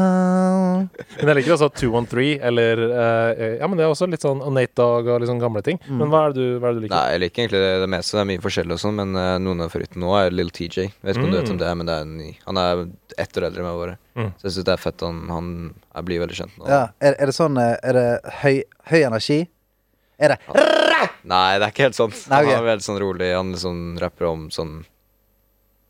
[SPEAKER 2] Men jeg liker også 213, eller eh, Ja, men det er også litt sånn Nate Dog og litt sånn gamle ting. Men hva er det du, hva er det du liker?
[SPEAKER 3] Nei, jeg liker egentlig det, det meste. Det er mye forskjellig og sånn, men eh, noen av favorittene nå er Lill TJ. Jeg vet ikke om du vet om det er, men det er en ny. Han er ett år eldre enn meg, bare.
[SPEAKER 2] Mm.
[SPEAKER 3] Så jeg syns det er fett. Han, han jeg blir veldig kjent nå.
[SPEAKER 4] Ja, er, er det sånn eh, Er det høy, høy energi? Er det
[SPEAKER 3] Nei, det er ikke helt sånn.
[SPEAKER 4] Nei, ok.
[SPEAKER 3] Han er veldig sånn rolig. Han liksom rapper om sånn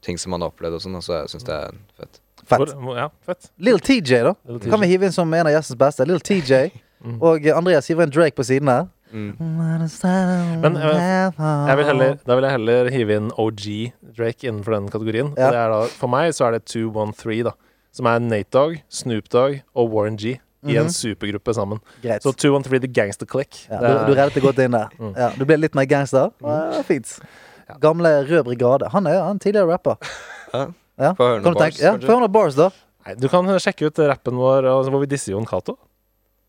[SPEAKER 3] ting som han har opplevd og sånn, og så jeg syns det er fett.
[SPEAKER 4] fett?
[SPEAKER 2] Hvor- Ja, fett.
[SPEAKER 4] Lill TJ, da.
[SPEAKER 2] Little TJ.
[SPEAKER 4] Kan vi hive inn som en av gjestens beste? Lill TJ.
[SPEAKER 3] Mm.
[SPEAKER 4] Og eh, Andreas hiver en Drake på siden her. Men
[SPEAKER 2] eh, Jeg vil
[SPEAKER 4] Ah.
[SPEAKER 2] heller, da vil jeg heller hive inn OG Drake innenfor den kategorien.
[SPEAKER 4] Ja.
[SPEAKER 2] Og det er da, for meg så er det 213, da. Som er Nate Dogg, Snoop Dogg og Warren G. I en supergruppe sammen.
[SPEAKER 4] Greit.
[SPEAKER 2] Så Mm. 213 The Gangster Click.
[SPEAKER 4] Mhm. Ja,
[SPEAKER 2] det er-
[SPEAKER 4] du, du reddet det godt inn der. Ja, du ble litt mer gangster. Ja,
[SPEAKER 3] Mm.
[SPEAKER 4] fint. Gamle Rød Brigade. Han er han er tidligere rapper.
[SPEAKER 3] Ja.
[SPEAKER 4] Ja.
[SPEAKER 3] Får jeg høre noen
[SPEAKER 4] Kan du
[SPEAKER 3] bars,
[SPEAKER 4] tenke- ja,
[SPEAKER 3] kanskje?
[SPEAKER 4] Få høre noen bars, da.
[SPEAKER 2] Nei, du kan sjekke ut rappen vår altså, hvor vi disser Jon Cato.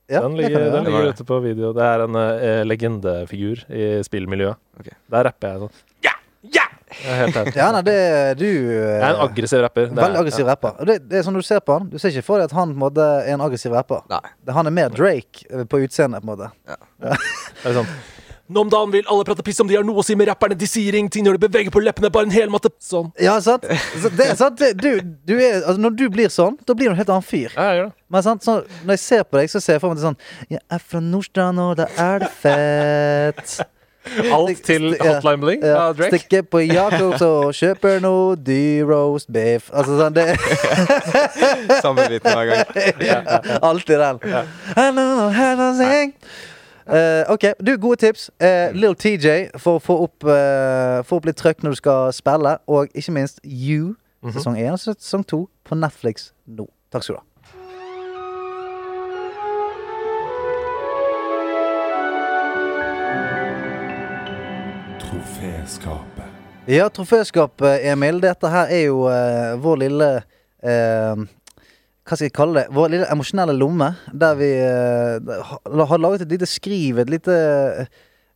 [SPEAKER 4] Ja,
[SPEAKER 2] den
[SPEAKER 4] det kan
[SPEAKER 2] ligger,
[SPEAKER 4] jeg gjøre.
[SPEAKER 2] den
[SPEAKER 3] Det var
[SPEAKER 2] ligger
[SPEAKER 3] det.
[SPEAKER 2] ute på video. Det er en eh, legendefigur i spillmiljøet.
[SPEAKER 3] Ok.
[SPEAKER 2] Der rapper jeg sånn. Ja! Ja! Jeg er helt ærlig.
[SPEAKER 4] Ja, nei, det du eh,
[SPEAKER 2] Jeg er en aggressiv rapper. Det er-
[SPEAKER 4] Veldig aggressiv rapper. Og det, det er sånn du ser på han Du ser ikke for deg at han på en måte er en aggressiv rapper.
[SPEAKER 3] Nei.
[SPEAKER 4] Det- Han er mer Drake eh, på utseendet, på en måte.
[SPEAKER 2] Det er sånn Nå om dagen vil alle prate piss om de har noe å si med rapperne. De sier ingenting når de beveger på leppene. Bare en hel matte sånn.
[SPEAKER 4] Ja, sant? Så Det er sant? Det- Du, du er, altså, når du blir sånn, da blir du en helt annen fyr.
[SPEAKER 2] Ja, jeg gjør det.
[SPEAKER 4] Men sant? Så, når jeg ser på deg, så ser jeg for meg det sånn Jeg er fra Nordstrand, og da er det fett.
[SPEAKER 2] Alt til
[SPEAKER 4] Sti- ja.
[SPEAKER 2] Hotline Bling
[SPEAKER 4] Ja,
[SPEAKER 2] av Drake.
[SPEAKER 4] Stikker på Jacobs og kjøper noe dyr roast beef. Altså sånn, det
[SPEAKER 3] Samme liten hver gang.
[SPEAKER 4] Alltid den. I don't know how to sing. Eh, ok, du, gode tips. Uh, Lill TJ for å få opp, eh, få opp litt trøkk når du skal spille. Og ikke minst You, sesong 1 og sesong 2 på Netflix nå. Takk skal du ha.
[SPEAKER 5] Troféskapet.
[SPEAKER 4] Ja, troféskap, eh, Emil. Dette her er jo eh, vår lille eh, Hva skal jeg kalle det? Vår lille emosjonelle lomme. Der vi eh, ha- har laget et lite skriv, et lite eh,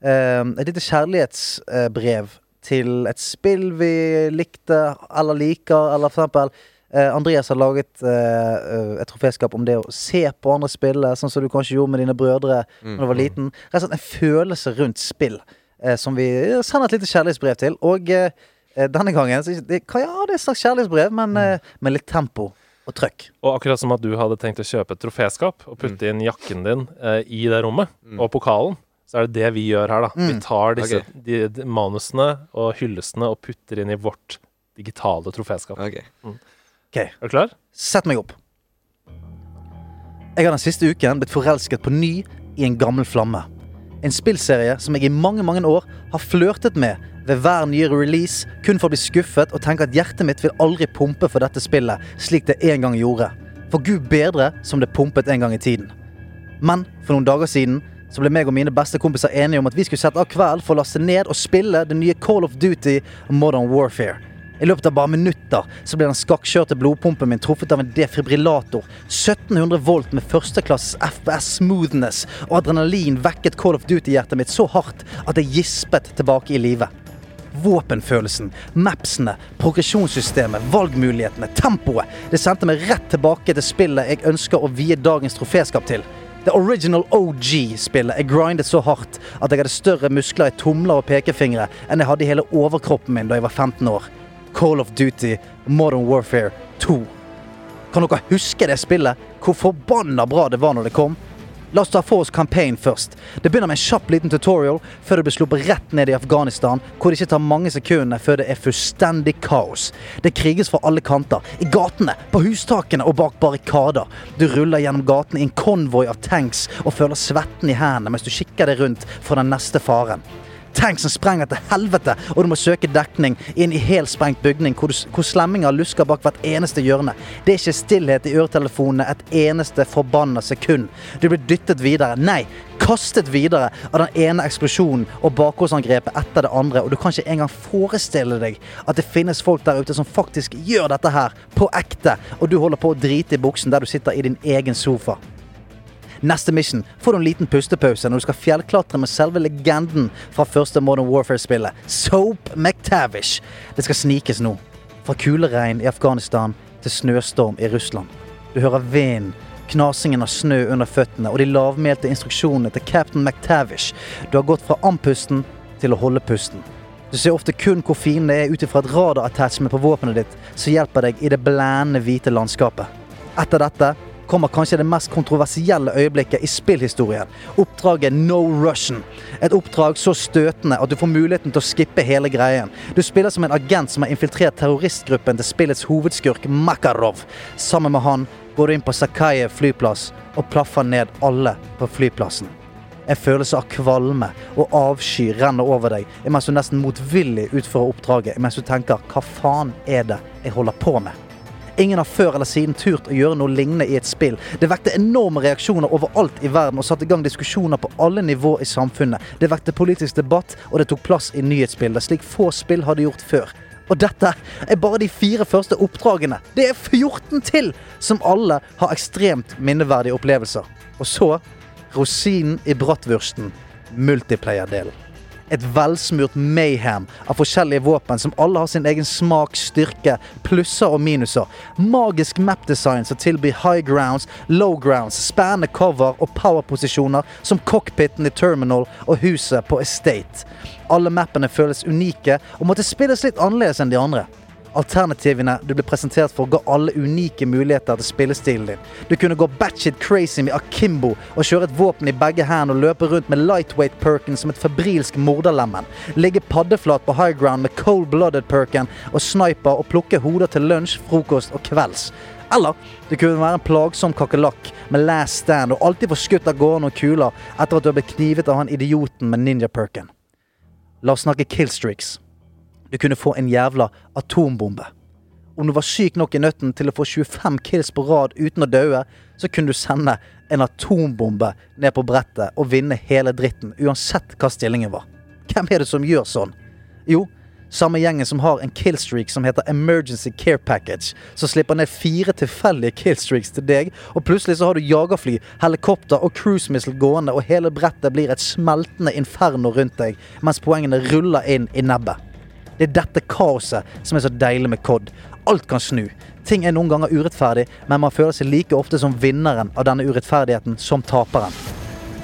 [SPEAKER 4] Et lite kjærlighetsbrev til et spill vi likte eller liker, eller for eksempel eh, Andreas har laget eh, et troféskap om det å se på andre spille, sånn som du kanskje gjorde med dine brødre da du var liten. Rett og slett en følelse rundt spill eh, som vi sender et lite kjærlighetsbrev til. Og eh, eh, denne gangen så, det, hva- Ja, det er et slags kjærlighetsbrev, men eh, med litt tempo og trøkk.
[SPEAKER 2] Og akkurat som at du hadde tenkt å kjøpe et troféskap og putte inn jakken din eh, i det rommet, og pokalen, så er det det vi gjør her, da. Vi tar disse
[SPEAKER 3] Ok.
[SPEAKER 2] de, de manusene og hyllestene og putter inn i vårt digitale troféskap.
[SPEAKER 3] Ok.
[SPEAKER 4] Ok,
[SPEAKER 2] Er du klar?
[SPEAKER 4] Sett meg opp. Jeg har den siste uken blitt forelsket på ny i en gammel flamme. En spillserie som jeg i mange mange år har flørtet med ved hver nye release, kun for å bli skuffet og tenke at hjertet mitt vil aldri pumpe for dette spillet, slik det en gang gjorde. For gud bedre som det pumpet en gang i tiden. Men for noen dager siden så ble meg og mine beste kompiser enige om at vi skulle sette av kveld for å laste ned og spille det nye Call of Duty Modern Warfare. I løpet av bare minutter så ble den skakkjørte blodpumpen min truffet av en defibrillator. 1700 volt med førsteklasses FPS smoothness, og adrenalin vekket Call of Duty-hjertet mitt så hardt at jeg gispet tilbake i live. Våpenfølelsen, mapsene, progresjonssystemet, valgmulighetene, tempoet. Det sendte meg rett tilbake til spillet jeg ønsker å vie dagens troféskap til. The original OG-spillet jeg grindet så hardt at jeg hadde større muskler i tomler og pekefingre enn jeg hadde i hele overkroppen min da jeg var 15 år. Call of Duty Modern Warfare 2. Kan dere huske det spillet? Hvor forbanna bra det var når det kom? La oss ta for oss campaign først. Det begynner med en kjapp liten tutorial før det blir sluppet rett ned i Afghanistan, hvor det ikke tar mange sekundene før det er fullstendig kaos. Det kriges fra alle kanter. I gatene, på hustakene og bak barrikader. Du ruller gjennom gatene i en konvoi av tanks og føler svetten i hendene mens du kikker deg rundt for den neste faren. Tanksen sprenger til helvete, og du må søke dekning inn i helsprengt bygning hvor, du, hvor slemminger lusker bak hvert eneste hjørne. Det er ikke stillhet i øretelefonene et eneste forbanna sekund. Du blir dyttet videre, nei, kastet videre av den ene eksplosjonen og bakholdsangrepet etter det andre, og du kan ikke engang forestille deg at det finnes folk der ute som faktisk gjør dette her, på ekte, og du holder på å drite i buksen der du sitter i din egen sofa. Neste mission får du en liten pustepause når du skal fjellklatre med selve legenden fra første Modern Warfare-spillet, Soap McTavish. Det skal snikes nå. Fra kuleregn i Afghanistan til snøstorm i Russland. Du hører vinden, knasingen av snø under føttene og de lavmælte instruksjonene til cap'n McTavish. Du har gått fra andpusten til å holde pusten. Du ser ofte kun hvor fienden er ut ifra et radarattachment på våpenet ditt, som hjelper deg i det blendende hvite landskapet. Etter dette kommer kanskje det mest kontroversielle øyeblikket i spillhistorien. Oppdraget No Russian. Et oppdrag så støtende at du får muligheten til å skippe hele greien. Du spiller som en agent som har infiltrert terroristgruppen til spillets hovedskurk Makarov. Sammen med han går du inn på Sakaye flyplass og plaffer ned alle på flyplassen. En følelse av kvalme og avsky renner over deg mens du nesten motvillig utfører oppdraget, mens du tenker 'hva faen er det jeg holder på med'? Ingen har før eller siden turt å gjøre noe lignende i et spill. Det vekte enorme reaksjoner overalt i verden og satte i gang diskusjoner på alle nivå i samfunnet. Det vekte politisk debatt, og det tok plass i nyhetsbildet, slik få spill hadde gjort før. Og dette er bare de fire første oppdragene. Det er 14 til, som alle har ekstremt minneverdige opplevelser. Og så rosinen i brattvursten, multiplayer-delen et velsmurt mayhem av forskjellige våpen som alle har sin egen smak, styrke, plusser og minuser. Magisk mapdesign som tilbyr high grounds, low grounds, spennende cover og powerposisjoner som cockpiten i Terminal og huset på Estate. Alle mappene føles unike og måtte spilles litt annerledes enn de andre. Alternativene du ble presentert for, ga alle unike muligheter til spillestilen din. Du kunne gå batshit crazy med akimbo og kjøre et våpen i begge hendene og løpe rundt med lightweight perken som et febrilsk morderlemen. Ligge paddeflat på high ground med cold-blooded perken og sniper og plukke hoder til lunsj, frokost og kvelds. Eller du kunne være en plagsom kakerlakk med last stand og alltid få skutt av gårde noen kuler etter at du har blitt knivet av han idioten med ninja-perken. La oss snakke killstreaks. Du kunne få en jævla atombombe. Om du var syk nok i nøtten til å få 25 kills på rad uten å daue, så kunne du sende en atombombe ned på brettet og vinne hele dritten, uansett hva stillingen var. Hvem er det som gjør sånn? Jo, samme gjengen som har en killstreak som heter Emergency Care Package, som slipper ned fire tilfeldige killstreaks til deg, og plutselig så har du jagerfly, helikopter og cruise missile gående, og hele brettet blir et smeltende inferno rundt deg, mens poengene ruller inn i nebbet. Det er dette kaoset som er så deilig med Cod. Alt kan snu. Ting er noen ganger urettferdig, men man føler seg like ofte som vinneren av denne urettferdigheten som taperen.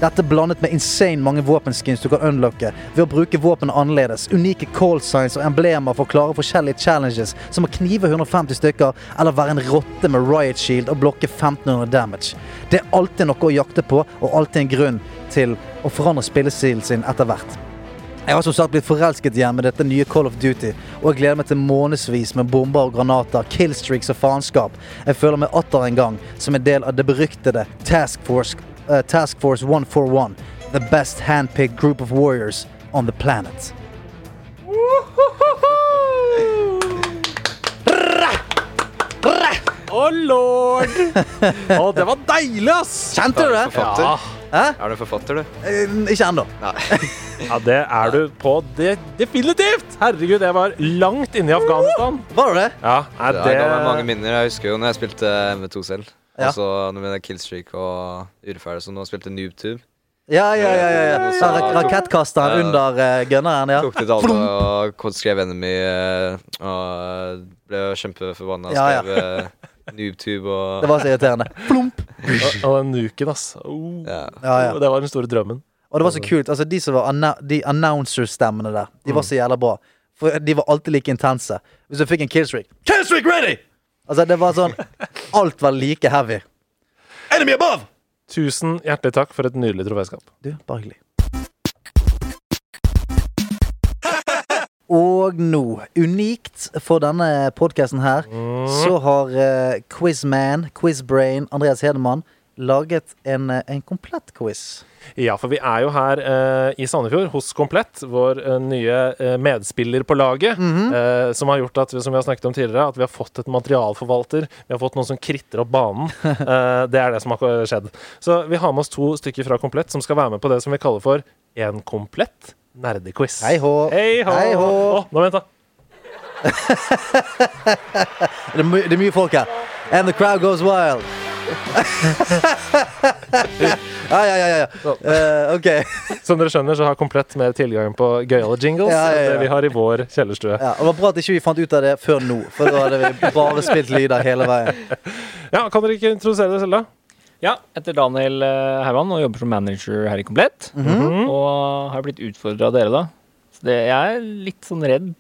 [SPEAKER 4] Dette blandet med insane mange våpenskins du kan unlocke ved å bruke våpen annerledes, unike call signs og emblemer for å klare forskjellige challenges, som å knive 150 stykker eller være en rotte med riot shield og blokke 1500 damage. Det er alltid noe å jakte på, og alltid en grunn til å forandre spillestilen sin etter hvert. Jeg har som sagt blitt forelsket igjen med dette nye Call of Duty, og jeg gleder meg til månedsvis med bomber og granater, killstreaks og faenskap. Jeg føler meg atter en gang som en del av det beryktede Task Force, eh, Task Force 141, the best handpicked group of warriors on the planet.
[SPEAKER 2] Å, lord! Å, det var deilig, ass!
[SPEAKER 4] Kjente du det?
[SPEAKER 3] Forfatter?
[SPEAKER 4] Hæ?
[SPEAKER 3] Er du forfatter, du?
[SPEAKER 4] Eh, Ikke ennå.
[SPEAKER 3] Nei.
[SPEAKER 2] Ja, det er du på det definitivt! Herregud, jeg var langt inne i Afghanistan.
[SPEAKER 4] Var det det?
[SPEAKER 2] Ja, er
[SPEAKER 3] Det
[SPEAKER 2] det
[SPEAKER 3] ga meg mange minner. Jeg husker jo når jeg spilte MV2 selv.
[SPEAKER 4] Ja.
[SPEAKER 3] Og så når vi Killstreak og Ureferdig som nå spilte Noobtube.
[SPEAKER 4] Ja, ja, ja. ja, ja. Så ra- Rakettkasteren
[SPEAKER 3] Ja.
[SPEAKER 4] under eh, gunneren, ja.
[SPEAKER 3] Tok til Dalva og kod- skrev Enemy eh, og eh, ble kjempeforbanna.
[SPEAKER 4] Ja, ja.
[SPEAKER 3] Skrev eh, Noobtube og
[SPEAKER 4] Det var så irriterende. Plump!
[SPEAKER 2] Og, og den nuken, ass. Oh,
[SPEAKER 3] ja.
[SPEAKER 4] Ja, ja.
[SPEAKER 2] oh, Det var den store drømmen.
[SPEAKER 4] Og det var så kult. altså De som var anna de announcer-stemmene der, de var så jævla bra. For de var alltid like intense. Hvis du fikk en killstreak Killstreak ready! Altså, det var sånn Alt var like heavy. Enemy above!
[SPEAKER 2] Tusen hjertelig takk for et nydelig troféskap.
[SPEAKER 4] Du, bare hyggelig. Og nå, unikt for denne podkasten her, så har eh, Quizman, Quizbrain, Andreas Hedemann laget en, eh, en komplett quiz.
[SPEAKER 2] Ja, for vi er jo her eh, i Sandefjord hos Komplett, vår eh, nye eh, medspiller på laget,
[SPEAKER 4] Mhm.
[SPEAKER 2] eh, som har gjort at, vi- som vi har snakket om tidligere, at vi har fått et materialforvalter, vi har fått noen som kritter opp banen. Eh, det er det som har ko- skjedd. Så vi har med oss to stykker fra Komplett som skal være med på det som vi kaller for en komplett nerdequiz.
[SPEAKER 4] Hei hå.
[SPEAKER 2] Hei hå!
[SPEAKER 4] Hei hå.
[SPEAKER 2] Å, nå vent da.
[SPEAKER 4] Det er, my det er mye folk her. And the crowd goes wild. ja, ja, ja. ja. Eh, ok.
[SPEAKER 2] Som dere skjønner, så har Komplett mer tilgang på gøyale jingles
[SPEAKER 4] Ja, ja, ja.
[SPEAKER 2] enn det vi har i vår kjellerstue.
[SPEAKER 4] Ja, og det var bra at ikke vi fant ut av det før nå, for da hadde vi bare spilt lyder hele veien.
[SPEAKER 2] Ja, kan dere ikke introdusere dere selv, da?
[SPEAKER 7] Ja, etter Daniel eh, Haugan og jobber som manager her i Komplett.
[SPEAKER 4] Mhm.
[SPEAKER 7] Og har blitt utfordra av dere, da. Så det, jeg er litt sånn redd.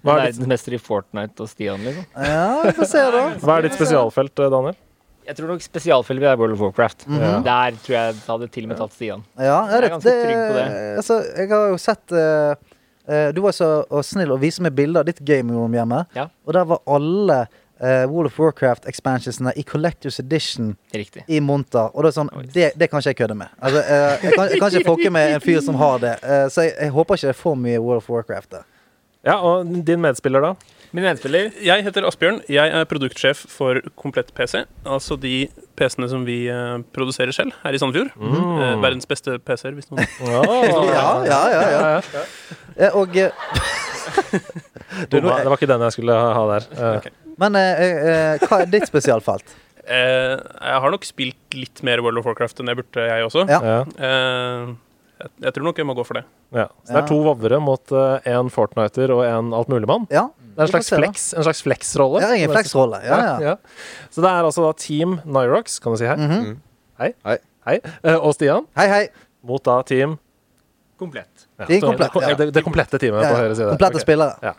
[SPEAKER 2] Hva er ditt,
[SPEAKER 7] Verdensmester i Fortnite og Stian, liksom.
[SPEAKER 4] Ja, vi får se, da.
[SPEAKER 2] hva er ditt spesialfelt, eh, Daniel?
[SPEAKER 7] Jeg tror nok spesialfeltet er World of Warcraft.
[SPEAKER 4] Mm.
[SPEAKER 7] Der tror jeg jeg hadde til og med tatt Stian.
[SPEAKER 4] Mhm. Ja,
[SPEAKER 7] Jeg er ganske trygg på det.
[SPEAKER 4] Altså, jeg har jo sett eh, eh, Du var så og snill å vise meg bilder av ditt gameroom hjemme.
[SPEAKER 7] Ja.
[SPEAKER 4] Og der var alle eh, World of Warcraft-expansionsene i Collectors Edition
[SPEAKER 7] Riktig.
[SPEAKER 4] i monter. Og det er sånn, det, det kan ikke jeg kødde med. Altså, eh, jeg, kan, jeg kan ikke fucke med en fyr som har det. Eh, så jeg, jeg håper ikke det er for mye World of Warcraft der.
[SPEAKER 2] Ja, og din medspiller, da?
[SPEAKER 7] Min medspiller
[SPEAKER 8] Jeg heter Asbjørn. Jeg er produktsjef for Komplett PC. Altså de PC-ene som vi eh, produserer selv her i Sandefjord. Eh, verdens beste PC-er, hvis noen
[SPEAKER 4] Ja, ja, ja, ja. Eh, og eh,
[SPEAKER 2] Du, nå- det var ikke den jeg skulle ha ha der. Eh,
[SPEAKER 4] Men eh, eh, eh, hva er ditt spesialfelt?
[SPEAKER 8] eh, Jeg har nok spilt litt mer World of Warcraft enn jeg burde, jeg også.
[SPEAKER 4] Ja.
[SPEAKER 2] ja,
[SPEAKER 8] Eh, jeg, jeg tror nok jeg må gå for det.
[SPEAKER 2] ja. Så det er to vovvere mot én Fortniter og en altmuligmann.
[SPEAKER 4] Ja,
[SPEAKER 2] Det er
[SPEAKER 4] vi
[SPEAKER 2] en
[SPEAKER 4] får
[SPEAKER 2] slags
[SPEAKER 4] se, da.
[SPEAKER 2] flex, en slags flex-rolle.
[SPEAKER 4] Ja, ingen flex-rolle. Ja, ja.
[SPEAKER 2] Ja, ja. Så det er altså da Team Nyrox, kan du si hei.
[SPEAKER 4] Mhm.
[SPEAKER 2] Hei.
[SPEAKER 3] Hei.
[SPEAKER 2] Eh, Og Stian
[SPEAKER 4] Hei, hei.
[SPEAKER 2] mot da Team
[SPEAKER 7] komplett.
[SPEAKER 2] ja,
[SPEAKER 4] Team
[SPEAKER 2] så-
[SPEAKER 4] Komplett,
[SPEAKER 2] det,
[SPEAKER 4] ja.
[SPEAKER 2] det, det komplette teamet
[SPEAKER 4] Ja,
[SPEAKER 2] på
[SPEAKER 4] ja.
[SPEAKER 2] høyre side.
[SPEAKER 4] Komplette
[SPEAKER 2] Ok.
[SPEAKER 4] spillere.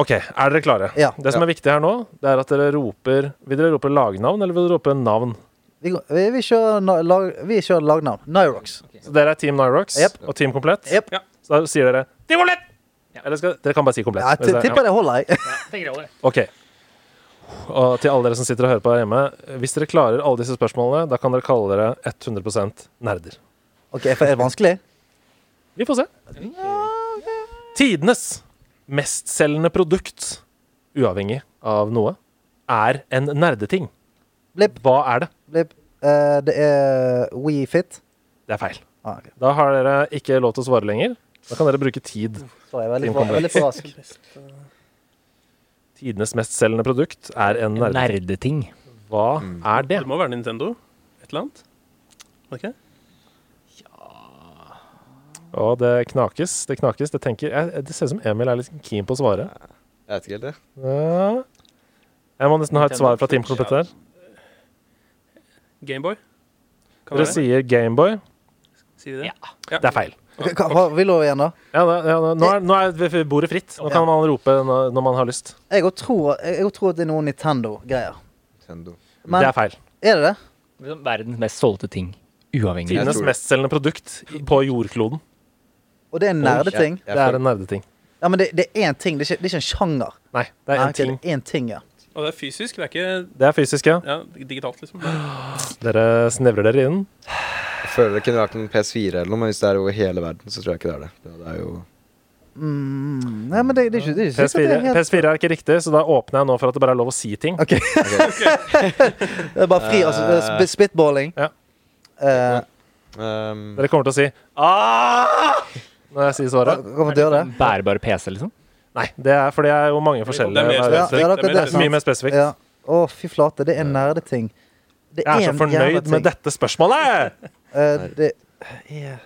[SPEAKER 2] OK, er dere klare?
[SPEAKER 4] Ja.
[SPEAKER 2] Det som er viktig her nå, det er at dere roper Vil dere rope lagnavn, eller vil dere rope navn?
[SPEAKER 4] Vi, går- vi, vi, kjører, na- lag, vi kjører lagnavn. Nyrox.
[SPEAKER 2] Så dere er Team Nyrox
[SPEAKER 4] Jep.
[SPEAKER 2] og Team Komplett.
[SPEAKER 4] Jep.
[SPEAKER 2] Ja. Så da sier dere Team Komplett!
[SPEAKER 7] Ja.
[SPEAKER 2] Eller skal, dere kan bare si Komplett.
[SPEAKER 4] Ja, jeg t- tipper det holder, jeg.
[SPEAKER 2] Ok. Og til alle dere som sitter og hører på her hjemme, hvis dere klarer alle disse spørsmålene, da kan dere kalle dere 100 nerder.
[SPEAKER 4] Ok, for Er det vanskelig?
[SPEAKER 2] Vi får se. Tidenes mestselgende produkt, uavhengig av noe, er en nerdeting.
[SPEAKER 4] Blipp.
[SPEAKER 2] Hva er det?
[SPEAKER 4] Blipp. Eh, det er WeFit.
[SPEAKER 2] Det er feil.
[SPEAKER 4] Ah, okay.
[SPEAKER 2] Da har dere ikke lov til å svare lenger. Da kan dere bruke tid.
[SPEAKER 4] Så jeg er veldig
[SPEAKER 2] Team
[SPEAKER 4] for,
[SPEAKER 2] Combat.
[SPEAKER 4] veldig for rask.
[SPEAKER 2] Tidenes mestselgende produkt er en nerdeting.
[SPEAKER 7] Nerdeting.
[SPEAKER 2] Hva
[SPEAKER 3] Mm.
[SPEAKER 2] er det?
[SPEAKER 8] Det må være Nintendo. Et eller annet. Ok?
[SPEAKER 2] Og det knakes, det knakes, det tenker jeg, Det ser ut som Emil er litt keen på å svare.
[SPEAKER 3] Jeg vet ikke helt, det.
[SPEAKER 2] Ja. Jeg må nesten ha et svar fra Team Komplett her.
[SPEAKER 8] Gameboy? Kan
[SPEAKER 2] Dere
[SPEAKER 8] det være?
[SPEAKER 2] sier Gameboy.
[SPEAKER 8] Sier vi det?
[SPEAKER 7] Ja.
[SPEAKER 2] Det er feil.
[SPEAKER 4] Ok, hva- hva- Vil du igjen, da?
[SPEAKER 2] Ja, da- ja, da- nå, er, nå er vi- bordet fritt. Nå kan man rope når når man har lyst.
[SPEAKER 4] Jeg òg tror, jeg også tror at det er noen Nintendo-greier.
[SPEAKER 3] Nintendo.
[SPEAKER 4] Men
[SPEAKER 2] Det
[SPEAKER 4] er,
[SPEAKER 2] er feil.
[SPEAKER 4] det det?
[SPEAKER 7] Liksom Verdens mest solgte ting. Uavhengig.
[SPEAKER 3] Jeg
[SPEAKER 2] Tidenes
[SPEAKER 3] tror det.
[SPEAKER 2] mestselgende produkt i- på jordkloden.
[SPEAKER 4] Og det er nerdeting?
[SPEAKER 3] Jeg,
[SPEAKER 2] Det er
[SPEAKER 3] jeg,
[SPEAKER 2] en nerdeting.
[SPEAKER 4] Ja, men det, det er én ting. Det er, ikke, det er ikke en sjanger.
[SPEAKER 2] Nei, det er
[SPEAKER 4] Nei,
[SPEAKER 2] én
[SPEAKER 4] Ah, ok,
[SPEAKER 2] ting.
[SPEAKER 4] det er én ting, ja.
[SPEAKER 8] Og det er fysisk, det er ikke
[SPEAKER 2] Det er fysisk, ja.
[SPEAKER 8] ja, digitalt, liksom.
[SPEAKER 2] Dere snevrer dere inn.
[SPEAKER 3] jeg føler det kunne vært en PS4 eller noe, men hvis det er over hele verden, så tror jeg ikke det er det. Det, det er jo
[SPEAKER 4] Mm, nei, men det, det er ikke, det er ikke sikkert det er
[SPEAKER 2] PS4,
[SPEAKER 4] helt
[SPEAKER 2] PS4 er ikke riktig, så da åpner jeg nå for at det bare er lov å si ting.
[SPEAKER 4] Ok. det er bare fri altså, det er sp- spitballing.
[SPEAKER 2] Eh, Ja.
[SPEAKER 4] Eh,
[SPEAKER 3] Ehm,
[SPEAKER 2] Dere kommer til å si «Ah!» når jeg sier
[SPEAKER 4] hva-
[SPEAKER 2] svaret.
[SPEAKER 4] hva gjør det?
[SPEAKER 7] Bærbare PC, liksom.
[SPEAKER 2] Nei, det er fordi det er jo mange forskjellige
[SPEAKER 8] Det er mer
[SPEAKER 4] Ja,
[SPEAKER 2] varianter.
[SPEAKER 4] ja, det,
[SPEAKER 8] Det er
[SPEAKER 4] er
[SPEAKER 8] mer-
[SPEAKER 4] sant.
[SPEAKER 2] Mye mer spesifikt.
[SPEAKER 4] Ja. Å, fy flate. Det er nerdeting. Det
[SPEAKER 2] Jeg er så
[SPEAKER 4] en jævla
[SPEAKER 2] fornøyd
[SPEAKER 4] ting.
[SPEAKER 2] med dette spørsmålet!
[SPEAKER 4] Eh, det er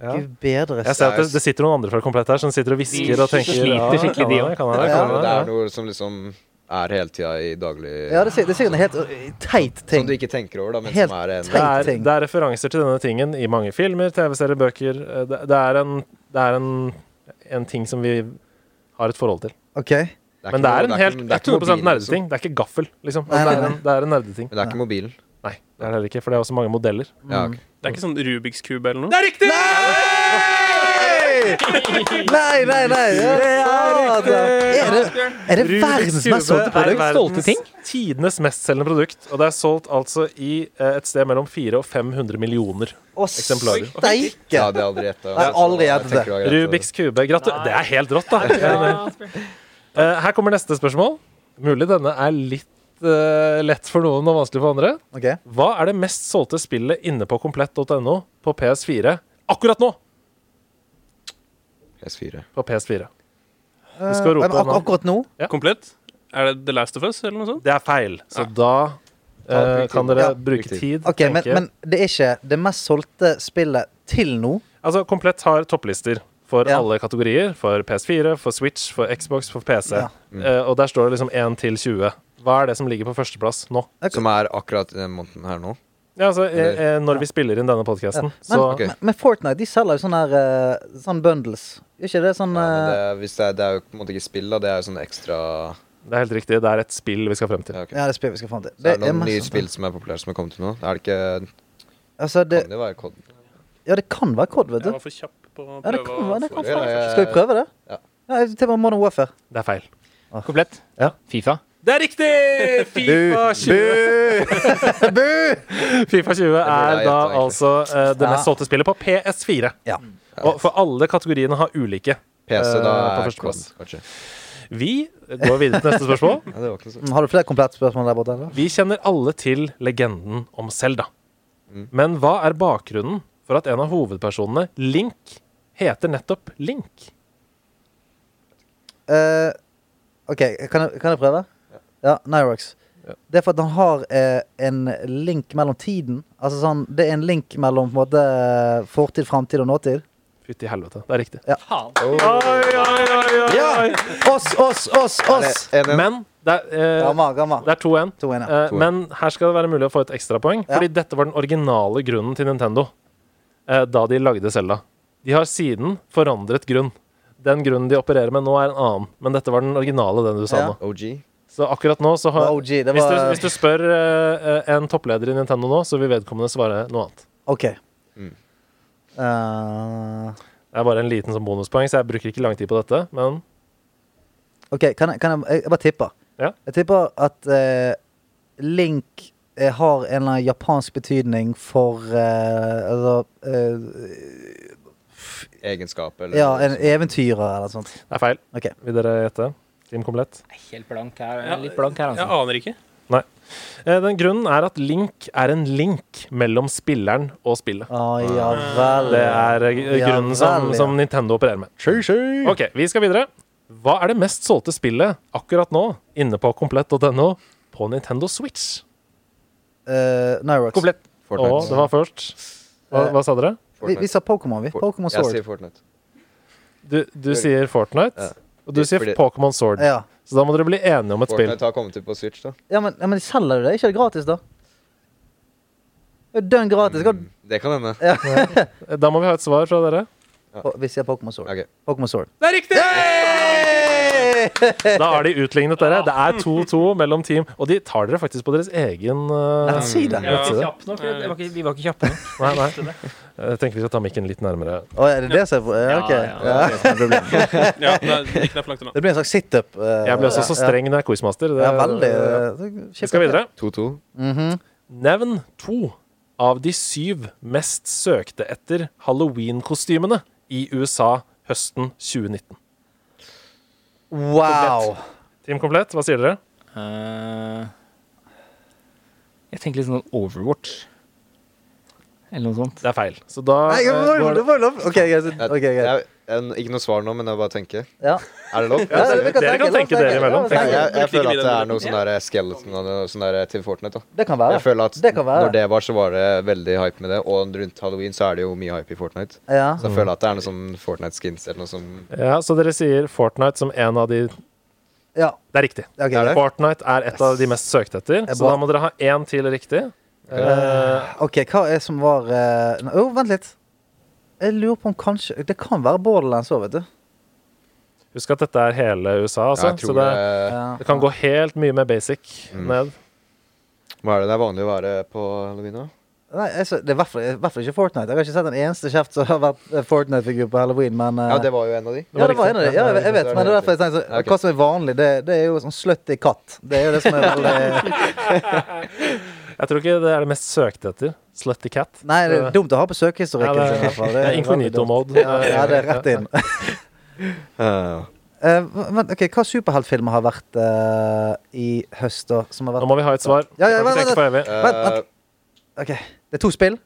[SPEAKER 2] Ja.
[SPEAKER 4] Gud bedre
[SPEAKER 2] Jeg ser at det, det sitter noen andre fra Komplett her som sitter og hvisker
[SPEAKER 7] De
[SPEAKER 2] og tenker
[SPEAKER 7] sliter
[SPEAKER 2] ja,
[SPEAKER 7] skikkelig,
[SPEAKER 2] kan han det,
[SPEAKER 7] de også.
[SPEAKER 2] kan han det,
[SPEAKER 4] Ja,
[SPEAKER 2] kan han
[SPEAKER 3] Det er
[SPEAKER 2] det,
[SPEAKER 3] noe som liksom er hele tida i daglig
[SPEAKER 4] Ja, det er, sik- det er sikkert en helt eh, teit ting.
[SPEAKER 3] Som Sånn du ikke tenker over, da, men
[SPEAKER 4] Helt
[SPEAKER 3] som er en
[SPEAKER 2] ja.
[SPEAKER 4] teit.
[SPEAKER 2] det, er, det er referanser til denne tingen i mange filmer, TV-serier, bøker. Eh, Det, det er en, det er en, en ting som vi har et forhold til.
[SPEAKER 4] OK.
[SPEAKER 3] ikke
[SPEAKER 2] Men det
[SPEAKER 3] noe-
[SPEAKER 2] er en helt
[SPEAKER 3] ikke- det er
[SPEAKER 2] 100
[SPEAKER 3] ikke mobilen, liksom.
[SPEAKER 2] nerdeting. Det er ikke gaffel, liksom. Altså,
[SPEAKER 4] Nei, nei,
[SPEAKER 2] det, er en, det er en nerdeting.
[SPEAKER 3] Men det er ikke mobilen.
[SPEAKER 2] Nei, det er det heller ikke, for det er også mange modeller.
[SPEAKER 3] Ja, ok.
[SPEAKER 8] Det er ikke sånn Rubiks kube eller noe?
[SPEAKER 2] Det er riktig!
[SPEAKER 4] Nei, nei, nei! Det er, er, det, er det verdens mest solgte produkt?
[SPEAKER 7] solgte ting?
[SPEAKER 2] Tidenes mestselgende produkt. Og det er solgt altså i eh, et sted mellom 400 og 500 millioner.
[SPEAKER 4] Å,
[SPEAKER 2] Eksemplarer.
[SPEAKER 3] Det
[SPEAKER 4] steike!
[SPEAKER 3] hadde jeg aldri gjetta.
[SPEAKER 4] Jeg har aldri gjettet det.
[SPEAKER 2] Rubiks kube. Gratulerer. Det er helt rått, da. Eh, Her kommer neste spørsmål. Mulig denne er litt eh, lett for noen og vanskelig for andre.
[SPEAKER 4] Ok.
[SPEAKER 2] Hva er det mest solgte spillet inne på komplett.no på PS4 akkurat nå?
[SPEAKER 3] S4.
[SPEAKER 2] På PS4. Du skal rope
[SPEAKER 4] Eh, Men ak
[SPEAKER 2] om han.
[SPEAKER 4] akkurat nå?
[SPEAKER 8] Komplett? Er det The Last of Us eller noe sånt?
[SPEAKER 2] Det er feil, så da eh,
[SPEAKER 3] Ja, bruk
[SPEAKER 2] kan
[SPEAKER 3] tid.
[SPEAKER 2] dere
[SPEAKER 3] Ja, bruk
[SPEAKER 2] bruke
[SPEAKER 3] tid.
[SPEAKER 2] tid.
[SPEAKER 4] Ok, men,
[SPEAKER 2] tenke.
[SPEAKER 4] men det er ikke det mest solgte spillet til nå?
[SPEAKER 2] Altså, Komplett har topplister for
[SPEAKER 4] Ja.
[SPEAKER 2] alle kategorier. For PS4, for Switch, for Xbox, for PC.
[SPEAKER 4] Ja.
[SPEAKER 3] Mm.
[SPEAKER 2] Eh, og der står det liksom 1 til 20. Hva er det som ligger på førsteplass nå?
[SPEAKER 3] Som er akkurat i den måneden her nå.
[SPEAKER 2] Ja, altså, eh, eh, når vi spiller inn denne podkasten.
[SPEAKER 4] Men,
[SPEAKER 2] Så
[SPEAKER 3] Ok.
[SPEAKER 4] men, men Fortnite de selger jo sånne, her, eh, sånne bundles. Er ikke det sånn
[SPEAKER 3] Ja, men det,
[SPEAKER 4] eh,
[SPEAKER 3] er- hvis det, er, det er jo på en måte ikke spill, da. Det er jo sånn ekstra
[SPEAKER 2] det er helt riktig. Det er et spill vi skal frem til.
[SPEAKER 3] ja, ok.
[SPEAKER 4] Ja, det er spill vi skal fram til.
[SPEAKER 3] Så er det noen
[SPEAKER 4] mest
[SPEAKER 3] nye
[SPEAKER 4] solgte.
[SPEAKER 3] spill som er populære som har kommet til nå? Er det ikke
[SPEAKER 4] Altså, det,
[SPEAKER 3] Kan det være Cod?
[SPEAKER 4] ja, det kan være COD, vet
[SPEAKER 8] Jeg
[SPEAKER 4] du.
[SPEAKER 8] var for kjapp på å
[SPEAKER 4] Ja, det
[SPEAKER 8] prøve
[SPEAKER 4] kan være,
[SPEAKER 8] å
[SPEAKER 4] det kan
[SPEAKER 3] Ja,
[SPEAKER 4] være.
[SPEAKER 3] jeg-
[SPEAKER 4] Skal vi prøve det?
[SPEAKER 3] Ja.
[SPEAKER 4] Ja, til og med Modern Warfare.
[SPEAKER 2] Det er feil.
[SPEAKER 7] Komplett?
[SPEAKER 4] Ja.
[SPEAKER 7] Fifa?
[SPEAKER 2] Det er riktig! Fifa 20. Fifa 20 er
[SPEAKER 3] jeg gjette,
[SPEAKER 2] da
[SPEAKER 3] egentlig.
[SPEAKER 2] altså eh, det
[SPEAKER 4] Ja.
[SPEAKER 2] mest solgte spillet på PS4.
[SPEAKER 4] Ja.
[SPEAKER 2] Og for alle kategoriene har ulike. Eh, på
[SPEAKER 3] PC, da er Cod,
[SPEAKER 2] førsteplass.
[SPEAKER 3] kanskje.
[SPEAKER 2] Vi går videre til neste spørsmål.
[SPEAKER 3] Ja, det var ikke så
[SPEAKER 4] Mm, Har du flere komplette spørsmål der borte? eller?
[SPEAKER 2] Vi kjenner alle til legenden om Selda. Men hva er bakgrunnen for at en av hovedpersonene, Link, heter nettopp Link?
[SPEAKER 4] Eh, OK, kan jeg, kan jeg prøve? Ja. Nyrox. Det er for at han har eh, en link mellom tiden. Altså sånn, Det er en link mellom på en måte, eh, fortid, framtid og nåtid.
[SPEAKER 2] Fytti helvete, det er riktig.
[SPEAKER 4] Ja! Oss, oss, oss, oss!
[SPEAKER 3] Eh, Er det en-
[SPEAKER 2] Men det er, eh,
[SPEAKER 4] Gamma, gamma.
[SPEAKER 2] det er 2-1.
[SPEAKER 4] To igjen, ja.
[SPEAKER 2] Eh, men her skal det være mulig å få et ekstrapoeng,
[SPEAKER 4] Ja.
[SPEAKER 2] fordi dette var den originale grunnen til Nintendo eh, da de lagde Selda. De har siden forandret grunn. Den grunnen de opererer med nå, er en annen. Men dette var den originale, den du sa
[SPEAKER 4] Ja.
[SPEAKER 2] nå.
[SPEAKER 3] OG?
[SPEAKER 2] Så akkurat nå så har
[SPEAKER 4] Det var OG, det
[SPEAKER 2] hvis, du,
[SPEAKER 4] var-
[SPEAKER 2] hvis du spør eh, en toppleder i Nintendo nå, så vil vedkommende svare noe annet.
[SPEAKER 4] OK.
[SPEAKER 3] Mm.
[SPEAKER 4] Eh,
[SPEAKER 2] Det er bare en liten sånn bonuspoeng, så jeg bruker ikke lang tid på dette. Men
[SPEAKER 4] OK, kan jeg, kan jeg, jeg bare tipper.
[SPEAKER 2] Ja.
[SPEAKER 4] Jeg tipper at eh, link eh, har en eller annen japansk betydning for eh, altså, eh,
[SPEAKER 3] Egenskap, eller
[SPEAKER 4] Ja, en eventyrer eller noe sånt.
[SPEAKER 2] det er feil.
[SPEAKER 4] Ok.
[SPEAKER 2] Vil dere gjette? Team komplett.
[SPEAKER 7] Helt blank her.
[SPEAKER 8] Ja,
[SPEAKER 7] Litt blank her,
[SPEAKER 8] Jeg
[SPEAKER 7] altså.
[SPEAKER 8] aner ikke.
[SPEAKER 2] Eh, den grunnen er at link er en link mellom spilleren og spillet.
[SPEAKER 4] Å, ja vel.
[SPEAKER 2] Det er eh,
[SPEAKER 4] Ja,
[SPEAKER 2] grunnen som,
[SPEAKER 4] vel, ja.
[SPEAKER 2] som Nintendo opererer med. OK, vi skal videre. Hva er det mest solgte spillet akkurat nå inne på komplett.no på Nintendo Switch?
[SPEAKER 4] Eh, Nyrox.
[SPEAKER 2] Komplett.
[SPEAKER 3] Fortnite.
[SPEAKER 2] Å, det var først. Hva, hva sa dere?
[SPEAKER 4] Vi,
[SPEAKER 3] Fortnite.
[SPEAKER 4] vi sa Pokémon, vi.
[SPEAKER 3] For-
[SPEAKER 4] Pokémon
[SPEAKER 3] Jeg
[SPEAKER 4] Sword.
[SPEAKER 3] sier Fortnite.
[SPEAKER 2] Du, du sier Fortnite,
[SPEAKER 3] Ja.
[SPEAKER 2] og du sier
[SPEAKER 3] Fordi-
[SPEAKER 2] Pokémon Sword.
[SPEAKER 4] Ja.
[SPEAKER 2] Så da må dere bli enige om et spill.
[SPEAKER 3] Fortnite har kommet ut på Switch, da.
[SPEAKER 4] Ja, men, ja, men de selger jo det. Er ikke det gratis, da? Det er jo Dønn gratis. Skal...
[SPEAKER 3] Mm, Det kan hende.
[SPEAKER 2] Eh, Da må vi ha et svar fra dere.
[SPEAKER 4] Å, Vi sier Pokémon Sword.
[SPEAKER 3] Ok.
[SPEAKER 4] Pokémon Sword.
[SPEAKER 8] Det er riktig!
[SPEAKER 2] Da har de utlignet dere. Det er 2-2 mellom team. Og de tar dere faktisk på deres egen eh,
[SPEAKER 4] Nei, si det.
[SPEAKER 8] Ja.
[SPEAKER 2] nettside.
[SPEAKER 7] Vi var ikke kjappe nok.
[SPEAKER 2] Nei, nei. Jeg tenker vi skal ta mikken litt nærmere.
[SPEAKER 4] Å, er det det som er ja, ok. Ja.
[SPEAKER 7] det er det som er problemet.
[SPEAKER 8] Ja, det er ikke det er for langt unna.
[SPEAKER 4] Det blir en slags situp. eh,
[SPEAKER 2] Jeg ble også
[SPEAKER 4] ja,
[SPEAKER 2] så streng når jeg er quizmaster. Det-
[SPEAKER 4] Ja, ja veldig.
[SPEAKER 2] Ja.
[SPEAKER 4] eh,
[SPEAKER 2] Vi skal videre.
[SPEAKER 3] 2-2.
[SPEAKER 2] Nevn to av de syv mest søkte etter halloween-kostymene i USA høsten 2019.
[SPEAKER 4] Wow.
[SPEAKER 2] Team komplett, hva sier dere?
[SPEAKER 7] Eh, jeg tenker litt sånn Overwatch. Eller noe sånt.
[SPEAKER 2] Det er feil. Så da
[SPEAKER 4] Nei,
[SPEAKER 2] eh,
[SPEAKER 4] det
[SPEAKER 2] går
[SPEAKER 4] var-
[SPEAKER 2] det
[SPEAKER 4] det var lov. OK, greit.
[SPEAKER 3] Jeg-
[SPEAKER 4] Ok, greit.
[SPEAKER 3] jeg- jeg- Ikke noe svar nå, men jeg bare tenker.
[SPEAKER 4] Ja.
[SPEAKER 3] Er det lov?
[SPEAKER 4] Ja,
[SPEAKER 3] jeg,
[SPEAKER 4] vi
[SPEAKER 2] dere kan
[SPEAKER 4] la oss
[SPEAKER 2] tenke dere imellom.
[SPEAKER 4] la oss tenke.
[SPEAKER 3] jeg, jeg
[SPEAKER 8] Brukte ikke
[SPEAKER 3] føler at det
[SPEAKER 8] vi den
[SPEAKER 3] er
[SPEAKER 8] muligheten?
[SPEAKER 3] noe sånn der skeleton og noe sånn der til Fortnite. da
[SPEAKER 4] Det kan være.
[SPEAKER 3] Jeg føler at
[SPEAKER 4] Det kan være.
[SPEAKER 3] Når det var, så var det veldig hype med det. Og rundt halloween så er det jo mye hype i Fortnite.
[SPEAKER 4] Ja.
[SPEAKER 3] Så jeg føler at det er noe sånn Fortnite-skins eller noe som
[SPEAKER 2] Ja, Så dere sier Fortnite som en av de
[SPEAKER 4] ja.
[SPEAKER 2] Det er riktig.
[SPEAKER 4] ok.
[SPEAKER 3] Er det?
[SPEAKER 2] Fortnite er et av de mest søkte etter,
[SPEAKER 4] Det er
[SPEAKER 2] så
[SPEAKER 4] bra.
[SPEAKER 2] da må dere ha én til riktig. Eh,
[SPEAKER 4] OK, hva er som var eh, Å, vent litt. Jeg lurer på om kanskje Det kan være Borderlands òg, vet du.
[SPEAKER 2] Husk at dette er hele USA, altså.
[SPEAKER 3] jeg tror eh,
[SPEAKER 2] så det,
[SPEAKER 3] det,
[SPEAKER 4] Ja.
[SPEAKER 2] det kan gå helt mye mer basic
[SPEAKER 4] Mm.
[SPEAKER 2] ned.
[SPEAKER 3] Hva er det det er vanlig å være på halloween? da?
[SPEAKER 4] Nei, altså, det er i hvert fall- i hvert fall ikke Fortnite. Jeg har ikke sett en eneste kjeft som har vært eh, Fortnite-figur på halloween, men eh,
[SPEAKER 3] Ja, det var jo en av de.
[SPEAKER 4] Ja, det var en av de. Ja, jeg, jeg vet,
[SPEAKER 3] Det var
[SPEAKER 4] men det er derfor jeg
[SPEAKER 3] riktig.
[SPEAKER 4] tenkte så,
[SPEAKER 3] Ja, ok.
[SPEAKER 4] Hva som er vanlig, det, det er jo sånn slutty katt. Det er jo det som er veldig
[SPEAKER 2] Jeg tror ikke det er det mest søkte etter. Slutty cat.
[SPEAKER 4] Nei, det er dumt å ha på
[SPEAKER 2] Ja,
[SPEAKER 4] søkehistorikken
[SPEAKER 2] det er-
[SPEAKER 4] sin, i hvert fall.
[SPEAKER 2] det er
[SPEAKER 4] veldig
[SPEAKER 2] incognito
[SPEAKER 4] dumt.
[SPEAKER 2] mode.
[SPEAKER 4] Ja, ja, det er rett inn.
[SPEAKER 3] Ja.
[SPEAKER 4] Eh, men ok, Hva superheltfilmer har vært eh, i høst, da? Som har
[SPEAKER 2] Nå
[SPEAKER 4] vært
[SPEAKER 2] må vi ha et svar.
[SPEAKER 4] Ja, ja,
[SPEAKER 2] Vi kan
[SPEAKER 4] vent,
[SPEAKER 2] ikke tenke på evig.
[SPEAKER 3] Eh,
[SPEAKER 4] Vent, vent. Ok, Det er to spill?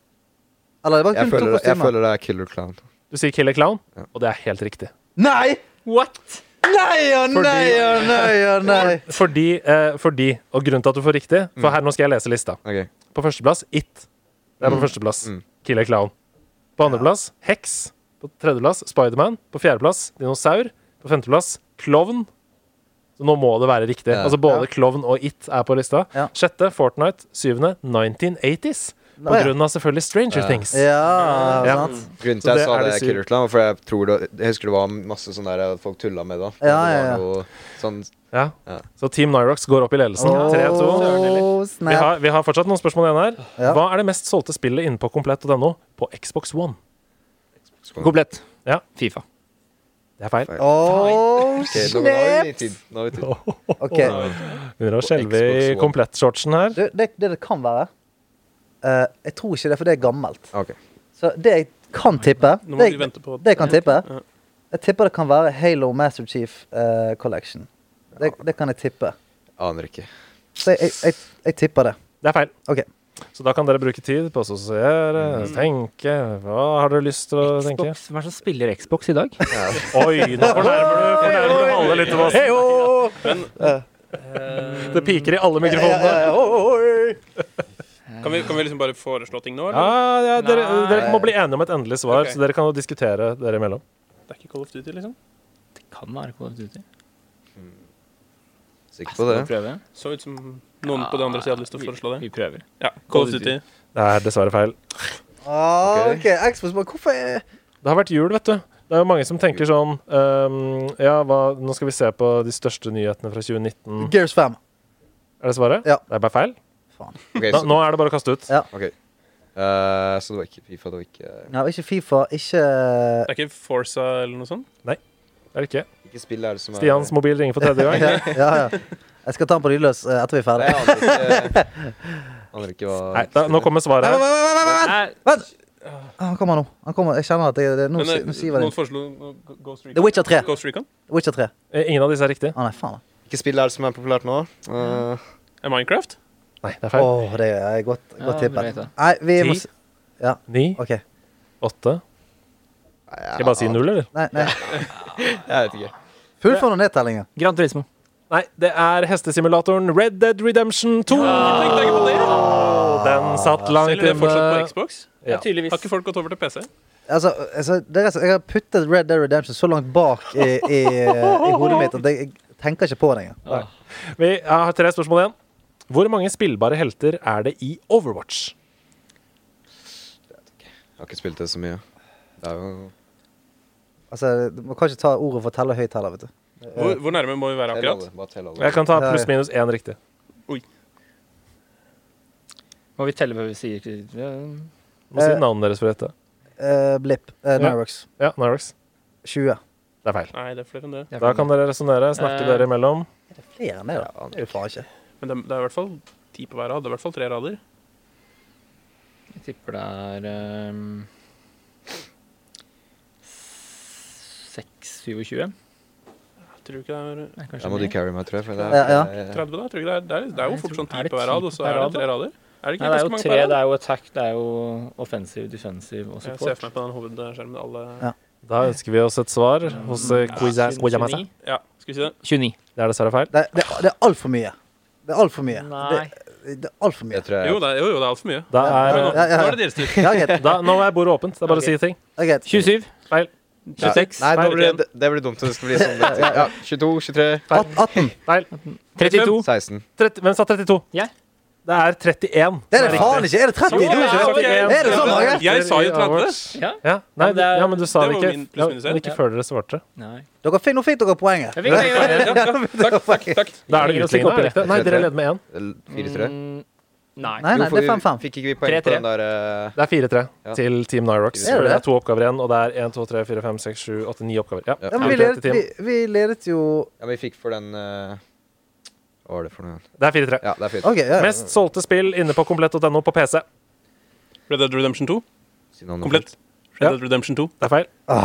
[SPEAKER 4] Eller det var
[SPEAKER 3] jeg,
[SPEAKER 4] kun to
[SPEAKER 3] føler, jeg
[SPEAKER 4] kostymer?
[SPEAKER 3] føler det er Killer Clown.
[SPEAKER 2] Du sier Killer Clown, og det er helt riktig.
[SPEAKER 4] Nei!
[SPEAKER 7] What?
[SPEAKER 4] Nei og nei og nei og nei!
[SPEAKER 2] Fordi, eh, fordi og grunnen til at du får riktig For
[SPEAKER 4] Mm.
[SPEAKER 2] her nå skal jeg lese lista.
[SPEAKER 3] Ok.
[SPEAKER 2] På førsteplass It. Det er på førsteplass. Killer Clown. På andreplass Heks. På tredjeplass Spiderman. På fjerdeplass Dinosaur. På femteplass Klovn. Så nå må det være riktig.
[SPEAKER 3] Ja.
[SPEAKER 2] Altså Både Klovn og It er på lista.
[SPEAKER 4] Ja.
[SPEAKER 2] Sjette Fortnite. Syvende 1980s. På
[SPEAKER 4] Å, ja.
[SPEAKER 2] grunn av selvfølgelig Stranger Things.
[SPEAKER 4] Ja,
[SPEAKER 2] Ja.
[SPEAKER 4] sant?
[SPEAKER 3] Grunnen
[SPEAKER 2] Så
[SPEAKER 3] til jeg
[SPEAKER 2] det
[SPEAKER 3] sa
[SPEAKER 2] er
[SPEAKER 3] det
[SPEAKER 2] det
[SPEAKER 3] er
[SPEAKER 2] syv.
[SPEAKER 3] Killer Clown, for jeg tror det, jeg husker det var masse sånn der at folk tulla med det. da.
[SPEAKER 4] Ja,
[SPEAKER 3] det
[SPEAKER 4] ja, ja.
[SPEAKER 3] var noe sånn
[SPEAKER 2] Ja.
[SPEAKER 3] Ja.
[SPEAKER 2] Så Team Nyrox går opp i ledelsen. 3-2.
[SPEAKER 4] Åh,
[SPEAKER 2] Vi
[SPEAKER 4] snap.
[SPEAKER 2] har, vi har fortsatt noen spørsmål igjen her.
[SPEAKER 4] Ja.
[SPEAKER 2] Hva er det mest solgte spillet inne på komplett.no på Xbox One?
[SPEAKER 3] Mm.
[SPEAKER 7] Komplett.
[SPEAKER 2] Ja.
[SPEAKER 7] Fifa.
[SPEAKER 2] Det er feil.
[SPEAKER 4] Åh,
[SPEAKER 3] Ok, nå, nå har vi
[SPEAKER 4] snap!
[SPEAKER 3] litt tid. Nå har vi tid.
[SPEAKER 4] Ok,
[SPEAKER 2] Begynner å
[SPEAKER 3] På
[SPEAKER 2] skjelve i
[SPEAKER 3] Xbox One.
[SPEAKER 2] komplett-shortsen her.
[SPEAKER 4] Du, det, det det kan være eh, Jeg tror ikke det, for det er gammelt.
[SPEAKER 3] Ok.
[SPEAKER 4] Så det jeg kan tippe
[SPEAKER 8] Nå
[SPEAKER 4] det,
[SPEAKER 8] må vi
[SPEAKER 4] jeg,
[SPEAKER 8] vente på
[SPEAKER 4] det jeg kan tippe
[SPEAKER 8] Ja.
[SPEAKER 4] Jeg tipper det kan være Halo Master Chief eh, Collection. Det, det kan jeg tippe.
[SPEAKER 3] Aner ikke.
[SPEAKER 4] Så jeg, jeg, jeg, jeg tipper det.
[SPEAKER 2] Det er feil.
[SPEAKER 4] Ok.
[SPEAKER 2] Så da kan dere bruke tid på å sosiere, tenke Hva har dere lyst til å tenke?
[SPEAKER 7] Xbox. Hvem er det som spiller Xbox i dag?
[SPEAKER 2] Oi, nå fornærmer du, fornærmer du alle litt av oss. Det piker i alle mikrofonene.
[SPEAKER 8] Kan vi, kan vi liksom bare foreslå ting nå,
[SPEAKER 2] Ja,
[SPEAKER 8] eller?
[SPEAKER 2] ja, dere,
[SPEAKER 7] Nei.
[SPEAKER 2] dere må bli enige om et endelig svar,
[SPEAKER 8] Ok.
[SPEAKER 2] så dere kan jo diskutere dere imellom.
[SPEAKER 8] Det er ikke Call of Duty, liksom?
[SPEAKER 7] Det kan være Call of Duty.
[SPEAKER 3] Sikker på
[SPEAKER 7] Skal
[SPEAKER 3] det.
[SPEAKER 7] vi prøve?
[SPEAKER 8] Så ut som noen på den andre siden hadde lyst til å
[SPEAKER 7] Vi-
[SPEAKER 8] foreslå det.
[SPEAKER 7] Vi prøver.
[SPEAKER 8] Ja, Call of Duty.
[SPEAKER 2] Det er dessverre feil.
[SPEAKER 4] Ah, ok, Xbox, men hvorfor er
[SPEAKER 2] Det har vært jul, vet du. Det er jo mange som tenker sånn ehm, Ja, hva, nå skal vi se på de største nyhetene fra 2019.
[SPEAKER 4] Gears 5?
[SPEAKER 2] Er det svaret?
[SPEAKER 4] Ja.
[SPEAKER 2] Det er bare feil.
[SPEAKER 3] Ok,
[SPEAKER 2] Da,
[SPEAKER 3] så,
[SPEAKER 2] nå er det bare å kaste ut.
[SPEAKER 4] Ja.
[SPEAKER 3] ok. Eh, så det var ikke Fifa, det var ikke
[SPEAKER 4] Ja, ikke Fifa, ikke eh,
[SPEAKER 8] Det er ikke Forza eller noe sånt?
[SPEAKER 2] Er det ikke?
[SPEAKER 3] Ikke spill er det som er
[SPEAKER 2] Stians mobil ringer for tredje gang.
[SPEAKER 4] ja, ja, ja. Jeg skal ta den på lydløs eh, etter vi er
[SPEAKER 3] Nei,
[SPEAKER 4] ferdige.
[SPEAKER 3] Jeg aner ikke, aner ikke hva
[SPEAKER 2] Nei, da, nå kommer svaret
[SPEAKER 4] Vent,
[SPEAKER 2] her.
[SPEAKER 4] vent, vent, vent,
[SPEAKER 7] Nei,
[SPEAKER 4] vent! Ah, Han kommer nå. Han kommer. Jeg kjenner at jeg, det, nå,
[SPEAKER 8] Men,
[SPEAKER 4] si-
[SPEAKER 8] eh,
[SPEAKER 4] nå siver
[SPEAKER 8] noen
[SPEAKER 4] det.
[SPEAKER 8] foreslo uh, Ghost Recon.
[SPEAKER 4] The Witcher 3.
[SPEAKER 8] Ghost Recon?
[SPEAKER 4] Witcher 3. Å
[SPEAKER 2] Eh, Ingen av disse er riktig.
[SPEAKER 4] nei, faen.
[SPEAKER 3] Ikke spill er det som er populært nå. Eh,
[SPEAKER 8] Er Minecraft?
[SPEAKER 2] Nei, det er
[SPEAKER 4] Åh,
[SPEAKER 2] feil.
[SPEAKER 4] det er godt, godt
[SPEAKER 7] Ja,
[SPEAKER 4] tippet.
[SPEAKER 7] det vet jeg.
[SPEAKER 4] Nei, vi må
[SPEAKER 2] Ti?
[SPEAKER 4] s-
[SPEAKER 2] Ni,
[SPEAKER 4] OK.
[SPEAKER 2] åtte Skal jeg bare si null, eller?
[SPEAKER 4] Nei, nei.
[SPEAKER 3] jeg vet ikke.
[SPEAKER 4] Fullfør nå nedtellingen.
[SPEAKER 7] Gran Turismo.
[SPEAKER 2] Nei, det er hestesimulatoren Red Dead Redemption 2. Den satt langt
[SPEAKER 8] Selger det fortsatt på
[SPEAKER 2] inne.
[SPEAKER 8] Xbox?
[SPEAKER 2] Ja.
[SPEAKER 7] Tydeligvis.
[SPEAKER 8] Har ikke folk gått over til PC?
[SPEAKER 4] Altså, altså det er, rett og slett- Jeg har puttet Red Dead Redemption så langt bak i, i, eh, i hodet mitt at jeg jeg tenker ikke på det engang.
[SPEAKER 2] Vi har tre spørsmål igjen. Hvor mange spillbare helter er det i Overwatch?
[SPEAKER 3] Jeg har ikke spilt det så mye. Det er jo
[SPEAKER 4] Altså, du må kanskje ta ordet for telle høyt heller, vet du.
[SPEAKER 8] Hvor, hvor nærme må vi være
[SPEAKER 3] Tell alle.
[SPEAKER 8] akkurat?
[SPEAKER 3] Bare tell alle.
[SPEAKER 2] Jeg kan ta pluss-minus én riktig.
[SPEAKER 7] Må vi telle hva vi sier? Ja.
[SPEAKER 2] Må si navnet deres for dette.
[SPEAKER 4] Eh, blip. Uh, Nyrox.
[SPEAKER 2] Ja, Nyrox.
[SPEAKER 4] 20.
[SPEAKER 2] Det er feil.
[SPEAKER 8] Nei, det er flere enn det.
[SPEAKER 2] Da kan dere resonnere,
[SPEAKER 7] Eh,
[SPEAKER 2] snakke dere imellom.
[SPEAKER 4] Er det flere enn det, da? Det er jo faen ikke.
[SPEAKER 8] Men det, det er i hvert fall ti på hver rad. Det er i hvert fall tre rader.
[SPEAKER 7] Jeg tipper det er
[SPEAKER 8] ehm,
[SPEAKER 7] um, 6-27.
[SPEAKER 8] Jeg tror ikke det er
[SPEAKER 7] Nei, kanskje
[SPEAKER 3] Da må du
[SPEAKER 7] mer.
[SPEAKER 3] carry meg, tror jeg. For det
[SPEAKER 4] Ja, ja.
[SPEAKER 3] eh,
[SPEAKER 8] 30, da. Jeg tror ikke det, er, det, er, det er jo fort sånn
[SPEAKER 7] Er
[SPEAKER 8] ti
[SPEAKER 7] det
[SPEAKER 8] på hver
[SPEAKER 7] ti
[SPEAKER 8] rad, og så
[SPEAKER 7] per
[SPEAKER 8] er det
[SPEAKER 7] rad, da?
[SPEAKER 8] tre rader. Er det
[SPEAKER 7] Nei, det
[SPEAKER 8] ikke
[SPEAKER 7] er
[SPEAKER 8] ganske
[SPEAKER 7] jo
[SPEAKER 8] mange
[SPEAKER 7] tre.
[SPEAKER 8] per
[SPEAKER 7] Det
[SPEAKER 8] rad?
[SPEAKER 7] er jo attack, det er jo offensive, defensive og
[SPEAKER 8] Jeg ser
[SPEAKER 7] support.
[SPEAKER 8] for meg på den hovedskjermen alle
[SPEAKER 4] Ja.
[SPEAKER 2] Da ønsker vi oss et svar hos eh, Quiz-Ass Guajamasa.
[SPEAKER 7] 29.
[SPEAKER 8] Ja, skal vi si det?
[SPEAKER 7] 29.
[SPEAKER 2] Det er dessverre feil.
[SPEAKER 4] Det, det, det er altfor mye. Det er altfor mye.
[SPEAKER 7] Nei.
[SPEAKER 4] Det, det er altfor mye.
[SPEAKER 3] Jeg tror jeg
[SPEAKER 8] Jo, det er, jo, jo, det er altfor mye.
[SPEAKER 2] Da
[SPEAKER 8] Men
[SPEAKER 2] er, eh,
[SPEAKER 8] nå,
[SPEAKER 4] ja, ja.
[SPEAKER 8] nå er det deres tid.
[SPEAKER 4] Ja, greit.
[SPEAKER 2] da, nå er bordet åpent. Det er bare å
[SPEAKER 7] Ok.
[SPEAKER 2] si ting.
[SPEAKER 4] Ja, greit.
[SPEAKER 7] 27.
[SPEAKER 2] Feil.
[SPEAKER 7] 26.
[SPEAKER 3] Nei, nå
[SPEAKER 2] Nei,
[SPEAKER 3] blir
[SPEAKER 2] ok.
[SPEAKER 3] det, det blir dumt om det skal bli sånn. Ja, 22, 23,
[SPEAKER 4] At- 18.
[SPEAKER 2] Feil.
[SPEAKER 7] 32.
[SPEAKER 3] 16.
[SPEAKER 2] 30, hvem sa 32?
[SPEAKER 7] Jeg.
[SPEAKER 2] Det er 31.
[SPEAKER 4] Det er det faen ikke! Er det 30?
[SPEAKER 2] Jo,
[SPEAKER 4] Du er ikke
[SPEAKER 2] ok.
[SPEAKER 4] Er det sånn, Marge?
[SPEAKER 8] Jeg sa jo 30.
[SPEAKER 2] Ja, nei,
[SPEAKER 7] det er-
[SPEAKER 2] ja, men du sa
[SPEAKER 8] det
[SPEAKER 2] det
[SPEAKER 8] var
[SPEAKER 2] ikke,
[SPEAKER 8] min
[SPEAKER 2] ja,
[SPEAKER 8] pluss-minus her.
[SPEAKER 2] men ikke før dere svarte.
[SPEAKER 7] Nei.
[SPEAKER 4] Dere fikk, nå fikk dere poenget.
[SPEAKER 7] Jeg fikk det, jeg fikk det.
[SPEAKER 8] Takk, takk, takk.
[SPEAKER 2] Da er det
[SPEAKER 7] Jeg gir oss ikke
[SPEAKER 2] utligna.
[SPEAKER 7] opp i
[SPEAKER 2] er det ikke? Nei, dere leder med én.
[SPEAKER 3] Eller 4-3?
[SPEAKER 7] Mm, Nei.
[SPEAKER 4] Nei, nei,
[SPEAKER 3] Jo,
[SPEAKER 4] det
[SPEAKER 3] for
[SPEAKER 4] er
[SPEAKER 3] vi-
[SPEAKER 4] 5-5.
[SPEAKER 3] Fikk ikke vi poeng på
[SPEAKER 7] 3-3.
[SPEAKER 3] den der eh,
[SPEAKER 2] Det er 4-3
[SPEAKER 3] Ja.
[SPEAKER 2] til Team
[SPEAKER 4] Er
[SPEAKER 2] Nyrox.
[SPEAKER 4] det
[SPEAKER 2] Det, det
[SPEAKER 4] det?
[SPEAKER 2] er to oppgaver igjen, og det er 1, 2, 3, 4, 5, 6, 7, 8, 9 oppgaver. Ja.
[SPEAKER 4] Ja, men vi,
[SPEAKER 2] Ja,
[SPEAKER 4] ledet, vi, vi ledet jo
[SPEAKER 3] Ja, vi fikk for den eh, Hva var det for noe?
[SPEAKER 2] Det er 4-3.
[SPEAKER 3] Ja, det er fint.
[SPEAKER 4] OK. Ja.
[SPEAKER 2] Mest solgte spill inne på komplett.no på PC.
[SPEAKER 8] Red Dead Redemption 2.
[SPEAKER 3] Siden han-
[SPEAKER 8] Komplett.
[SPEAKER 2] Ja.
[SPEAKER 8] Red Dead Redemption 2.
[SPEAKER 2] Det er feil.
[SPEAKER 3] Da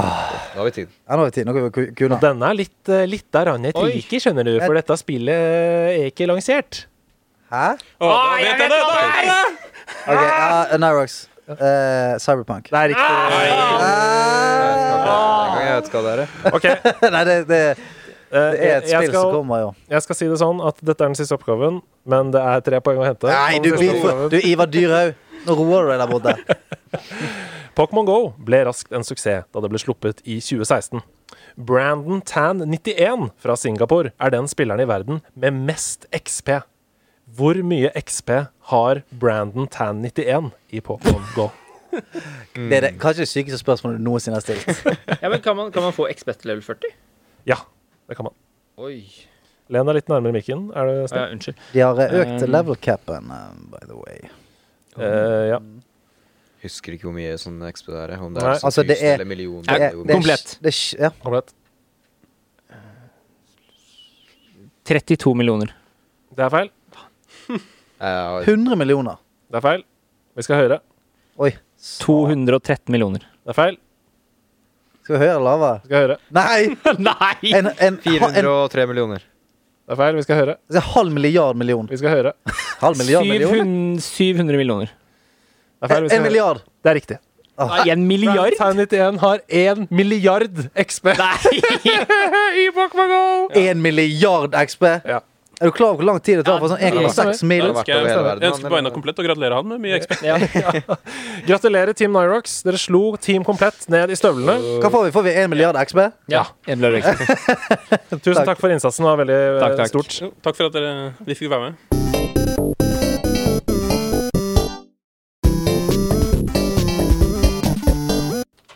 [SPEAKER 3] har vi tid.
[SPEAKER 4] Ja, nå har vi tid. Nå kan vi kunne.
[SPEAKER 2] Denne er litt, eh, litt av randet
[SPEAKER 7] Oi.
[SPEAKER 2] rike, skjønner du, for dette spillet er ikke lansert.
[SPEAKER 4] Hæ?
[SPEAKER 8] Å, da vet jeg det! Da vet jeg det!
[SPEAKER 4] OK, ja, Nyrox. Eh, Cyberpunk.
[SPEAKER 2] Det er riktig.
[SPEAKER 3] Den gangen jeg vet hva det er. eh.
[SPEAKER 2] Ok, eh,
[SPEAKER 4] Nei, det, det, det er
[SPEAKER 2] jeg,
[SPEAKER 4] et spill som
[SPEAKER 2] skal,
[SPEAKER 4] kommer, jo.
[SPEAKER 2] jeg skal si det sånn at dette er den siste oppgaven, men det er tre poeng å hente.
[SPEAKER 4] Nei,
[SPEAKER 2] på
[SPEAKER 4] du,
[SPEAKER 2] den siste
[SPEAKER 4] blir for,
[SPEAKER 2] oppgaven.
[SPEAKER 4] du Ivar Dyrhaug. Nå roer du deg der borte.
[SPEAKER 2] Pokémon Go ble raskt en suksess da det ble sluppet i 2016. Brandon Tan91 fra Singapore er den spilleren i verden med mest XP. Hvor mye XP har Brandon Tan91 i Pokémon Go?
[SPEAKER 4] Det er det, kanskje det sykeste spørsmålet du noensinne har stilt.
[SPEAKER 7] Ja, men kan man, kan man få XBET level 40?
[SPEAKER 2] Ja, det kan man.
[SPEAKER 7] Oi.
[SPEAKER 2] Len deg litt nærmere mikken. Er det
[SPEAKER 7] Ja,
[SPEAKER 2] snill?
[SPEAKER 7] unnskyld.
[SPEAKER 4] De har eh, økt
[SPEAKER 7] Um.
[SPEAKER 4] level capen, eh, by the way.
[SPEAKER 2] Eh, ja.
[SPEAKER 3] Husker ikke hvor mye sånn XP det er. Om det er
[SPEAKER 2] Nei.
[SPEAKER 3] tusen
[SPEAKER 4] Altså, det er-
[SPEAKER 3] eller millioner.
[SPEAKER 4] Det er-
[SPEAKER 3] eller
[SPEAKER 4] det er-
[SPEAKER 3] hvor mye.
[SPEAKER 7] komplett.
[SPEAKER 4] Det er, ja.
[SPEAKER 2] Komplett.
[SPEAKER 7] 32 millioner.
[SPEAKER 2] Det er feil.
[SPEAKER 3] Eh,
[SPEAKER 4] 100 millioner.
[SPEAKER 2] Det er feil. Vi skal høre.
[SPEAKER 4] Oi.
[SPEAKER 7] 213 millioner.
[SPEAKER 2] Det er feil.
[SPEAKER 4] Skal vi høyere eller lavere?
[SPEAKER 2] Vi skal høre.
[SPEAKER 4] Nei!
[SPEAKER 7] Nei!
[SPEAKER 4] En, en, ha- en,
[SPEAKER 3] 403 millioner.
[SPEAKER 2] Det er feil. Vi skal høre.
[SPEAKER 4] en halv milliard million.
[SPEAKER 2] Vi skal høre.
[SPEAKER 4] Halv milliard million?
[SPEAKER 7] 700, 700 millioner.
[SPEAKER 2] Det er feil. Vi skal
[SPEAKER 4] En
[SPEAKER 2] høre.
[SPEAKER 4] milliard.
[SPEAKER 2] Det er riktig.
[SPEAKER 7] Nei, en milliard?
[SPEAKER 2] Tan91 har én milliard XP
[SPEAKER 7] Nei!
[SPEAKER 2] i Pokémon Go!
[SPEAKER 4] En milliard XP?
[SPEAKER 2] Ja.
[SPEAKER 4] Er du klar over hvor lang tid det tar for sånn
[SPEAKER 7] Ja, det-
[SPEAKER 4] 1,6
[SPEAKER 3] Det
[SPEAKER 4] mil?
[SPEAKER 3] er verdt
[SPEAKER 8] Jeg
[SPEAKER 3] over hele verden.
[SPEAKER 8] jeg ønsker på vegne av
[SPEAKER 3] eller?
[SPEAKER 8] Komplett å gratulere han med mye XP.
[SPEAKER 2] Gratulerer, Team Nyrox. Dere slo Team Komplett ned i støvlene.
[SPEAKER 4] Hva får vi? Får vi 1 milliard XP?
[SPEAKER 7] Ja, en milliard XBET.
[SPEAKER 2] Tusen takk for innsatsen. Det var veldig eh,
[SPEAKER 7] Takk, takk.
[SPEAKER 2] stort.
[SPEAKER 8] Jo, Takk for at dere, vi fikk være med.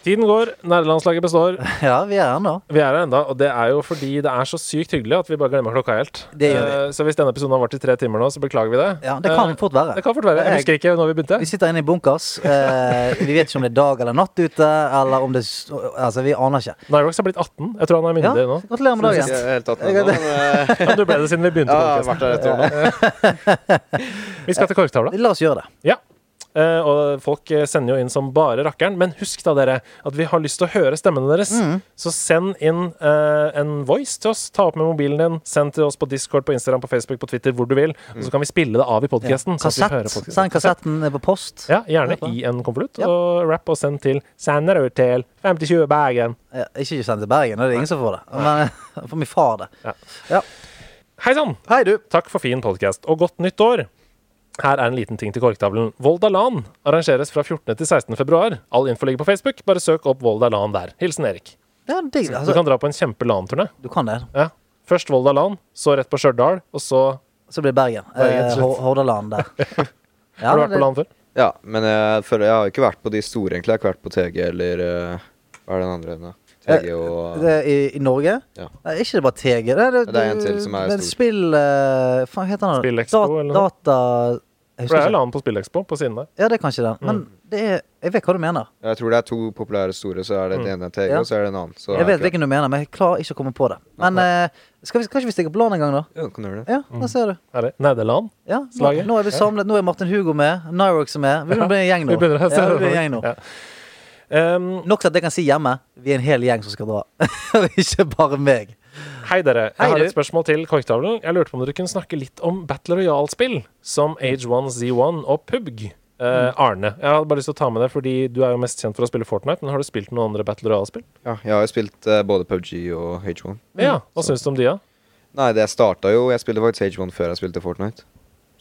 [SPEAKER 2] Tiden går. Nerdelandslaget består.
[SPEAKER 4] Ja, vi er her nå.
[SPEAKER 2] Vi er her enda, og det er jo fordi det er så sykt hyggelig at vi bare glemmer klokka helt.
[SPEAKER 4] Det gjør vi.
[SPEAKER 2] Eh, Så hvis denne episoden har vært i tre timer nå, så beklager vi det.
[SPEAKER 4] Ja, Det kan
[SPEAKER 2] Eh,
[SPEAKER 4] fort være.
[SPEAKER 2] det kan fort være. Jeg husker ikke når vi
[SPEAKER 4] Vi
[SPEAKER 2] begynte.
[SPEAKER 4] sitter inne i bunkers. Eh, vi vet ikke om det er dag eller natt ute. Eller om det s- Altså, vi aner ikke.
[SPEAKER 2] Nyrox har blitt 18. Jeg tror han er
[SPEAKER 4] Ja,
[SPEAKER 2] myndig nå.
[SPEAKER 4] Gratulerer med
[SPEAKER 3] Ikke
[SPEAKER 4] dagen.
[SPEAKER 3] helt tatt med nå, men eh,
[SPEAKER 2] Ja, du ble det siden vi
[SPEAKER 3] ja,
[SPEAKER 2] begynte.
[SPEAKER 3] jeg har
[SPEAKER 2] podcasten.
[SPEAKER 3] vært der et år nå.
[SPEAKER 2] vi skal til korktavla.
[SPEAKER 4] La oss gjøre det.
[SPEAKER 2] Eh, og folk eh, sender jo inn som bare rakkeren. Men husk da, dere, at vi har lyst til å høre stemmene deres.
[SPEAKER 4] Mm.
[SPEAKER 2] Så send inn eh, en voice til oss. Ta opp med mobilen din. Send til oss på Discord, på Instagram, på Facebook, på Twitter, hvor du vil. Og så kan vi spille det av i podkasten.
[SPEAKER 4] Mm. Kassett. Send kassetten på post.
[SPEAKER 2] Ja,
[SPEAKER 4] Hør
[SPEAKER 2] gjerne
[SPEAKER 4] på.
[SPEAKER 2] i en konvolutt.
[SPEAKER 4] Ja.
[SPEAKER 2] Og rap og send til Sanderud til 5020 Bergen.
[SPEAKER 4] Ja, ikke send til Bergen, det er ingen som får det. Men eh, for min far det.
[SPEAKER 2] Hei sann!
[SPEAKER 4] Hei, du.
[SPEAKER 2] Takk for fin podkast, og godt nytt år! Her er en liten ting til korktavlen. Volda LAN arrangeres fra 14. til 16. februar. All info ligger på Facebook. Bare søk opp Volda LAN der. Hilsen Erik.
[SPEAKER 4] Det er digg.
[SPEAKER 2] Du
[SPEAKER 4] Altså,
[SPEAKER 2] kan dra på en kjempe LAN-turné.
[SPEAKER 4] du kan det.
[SPEAKER 2] Ja. Først Volda LAN, så rett på Stjørdal, og så
[SPEAKER 4] Så blir det Bergen.
[SPEAKER 2] Bergen,
[SPEAKER 4] Eh,
[SPEAKER 2] slutt.
[SPEAKER 4] Hor- Hordaland der. Ja,
[SPEAKER 2] Har du
[SPEAKER 4] men
[SPEAKER 2] vært på
[SPEAKER 4] det-
[SPEAKER 2] LAN før?
[SPEAKER 3] Ja, men jeg føler Jeg har jo ikke vært på de store, egentlig. Jeg har ikke vært på TG eller eh, Hva er den andre enden, da? TG og
[SPEAKER 4] Eh, Det er i, I Norge?
[SPEAKER 3] Ja.
[SPEAKER 4] Nei, ikke det bare TG. Det er, det,
[SPEAKER 3] Det er en til som er
[SPEAKER 4] det
[SPEAKER 3] stor.
[SPEAKER 4] Spill uh, Faen, heter den?
[SPEAKER 2] Spillexpo,
[SPEAKER 4] Dat-
[SPEAKER 2] eller noe?
[SPEAKER 4] Data... Jeg
[SPEAKER 2] For
[SPEAKER 4] husker
[SPEAKER 2] det er Mm.
[SPEAKER 4] ikke.
[SPEAKER 2] LAN på Spillekspo på siden der.
[SPEAKER 4] Ja, det er kanskje den. Men det er Jeg vet hva du mener.
[SPEAKER 3] Jeg tror det er to populære store, så er det den ene er TG,
[SPEAKER 4] Mm. Ja.
[SPEAKER 3] og så er det en annen. Så
[SPEAKER 4] Jeg vet
[SPEAKER 3] er det
[SPEAKER 4] hvilken du mener, men jeg klarer ikke å komme på det. Men eh, skal vi, kanskje vi stikker på LAN en gang, da?
[SPEAKER 3] ikke- Ja, kan du gjøre det?
[SPEAKER 4] Ja,
[SPEAKER 2] Mm.
[SPEAKER 4] der ser du.
[SPEAKER 2] Er det Nederland?
[SPEAKER 4] Ja, nå,
[SPEAKER 2] Slaget.
[SPEAKER 4] nå er vi samlet. Nå er Martin Hugo med. Nyrox er med. Vi begynner å bli en gjeng nå.
[SPEAKER 2] Vi begynner å se
[SPEAKER 4] ja, vi
[SPEAKER 2] det
[SPEAKER 4] blir en
[SPEAKER 2] for-
[SPEAKER 4] gjeng nå.
[SPEAKER 2] Ja. Um,
[SPEAKER 4] Nok til at jeg kan si hjemme vi er en hel gjeng som skal dra. Og ikke bare meg.
[SPEAKER 2] hei, dere. Jeg
[SPEAKER 4] Hei,
[SPEAKER 2] har
[SPEAKER 4] du.
[SPEAKER 2] et spørsmål til korktavlen. Jeg lurte på om dere kunne snakke litt om Battle Royale-spill som H1Z1 og PUBG. Eh,
[SPEAKER 4] Mm.
[SPEAKER 2] Arne, jeg hadde bare lyst til å ta med deg fordi du er jo mest kjent for å spille Fortnite. Men har du spilt noen andre Battle Royale-spill?
[SPEAKER 3] Ja, jeg har jo spilt eh, både PubG og H1.
[SPEAKER 2] Ja, Hva syns du om de, da?
[SPEAKER 3] Nei, det starta jo Jeg spilte faktisk H1 før jeg spilte Fortnite.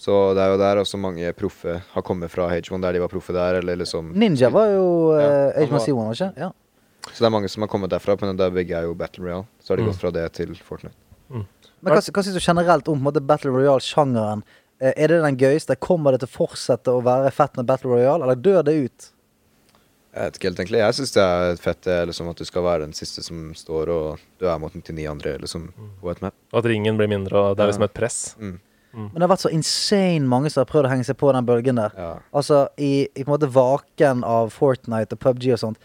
[SPEAKER 3] Så det er jo der også mange proffe har kommet fra H1, der de var proffe der, eller liksom
[SPEAKER 4] Ninja var jo
[SPEAKER 3] Ja,
[SPEAKER 4] eh,
[SPEAKER 3] han var-
[SPEAKER 4] H1C1, var det ikke? Ja.
[SPEAKER 3] Så det er mange som har kommet derfra, men der begge er jo Battle Royale. Så har de gått fra det til Fortnite.
[SPEAKER 4] Men hva, hva syns du generelt om på en måte, Battle Royale-sjangeren? Eh, Er det den gøyeste? Kommer det til å fortsette å være fett med Battle Royale, eller dør det ut?
[SPEAKER 3] Jeg vet ikke helt egentlig. Jeg syns det er fett det, liksom, at du skal være den siste som står, og du er mot 99 andre liksom, på et map.
[SPEAKER 2] Og at ringen blir mindre, og det er liksom et press. Mm.
[SPEAKER 4] Men det har vært så insane mange som har prøvd å henge seg på den bølgen der.
[SPEAKER 3] Ja.
[SPEAKER 4] Altså, i, i på en måte vaken av Fortnite og PubG og sånt.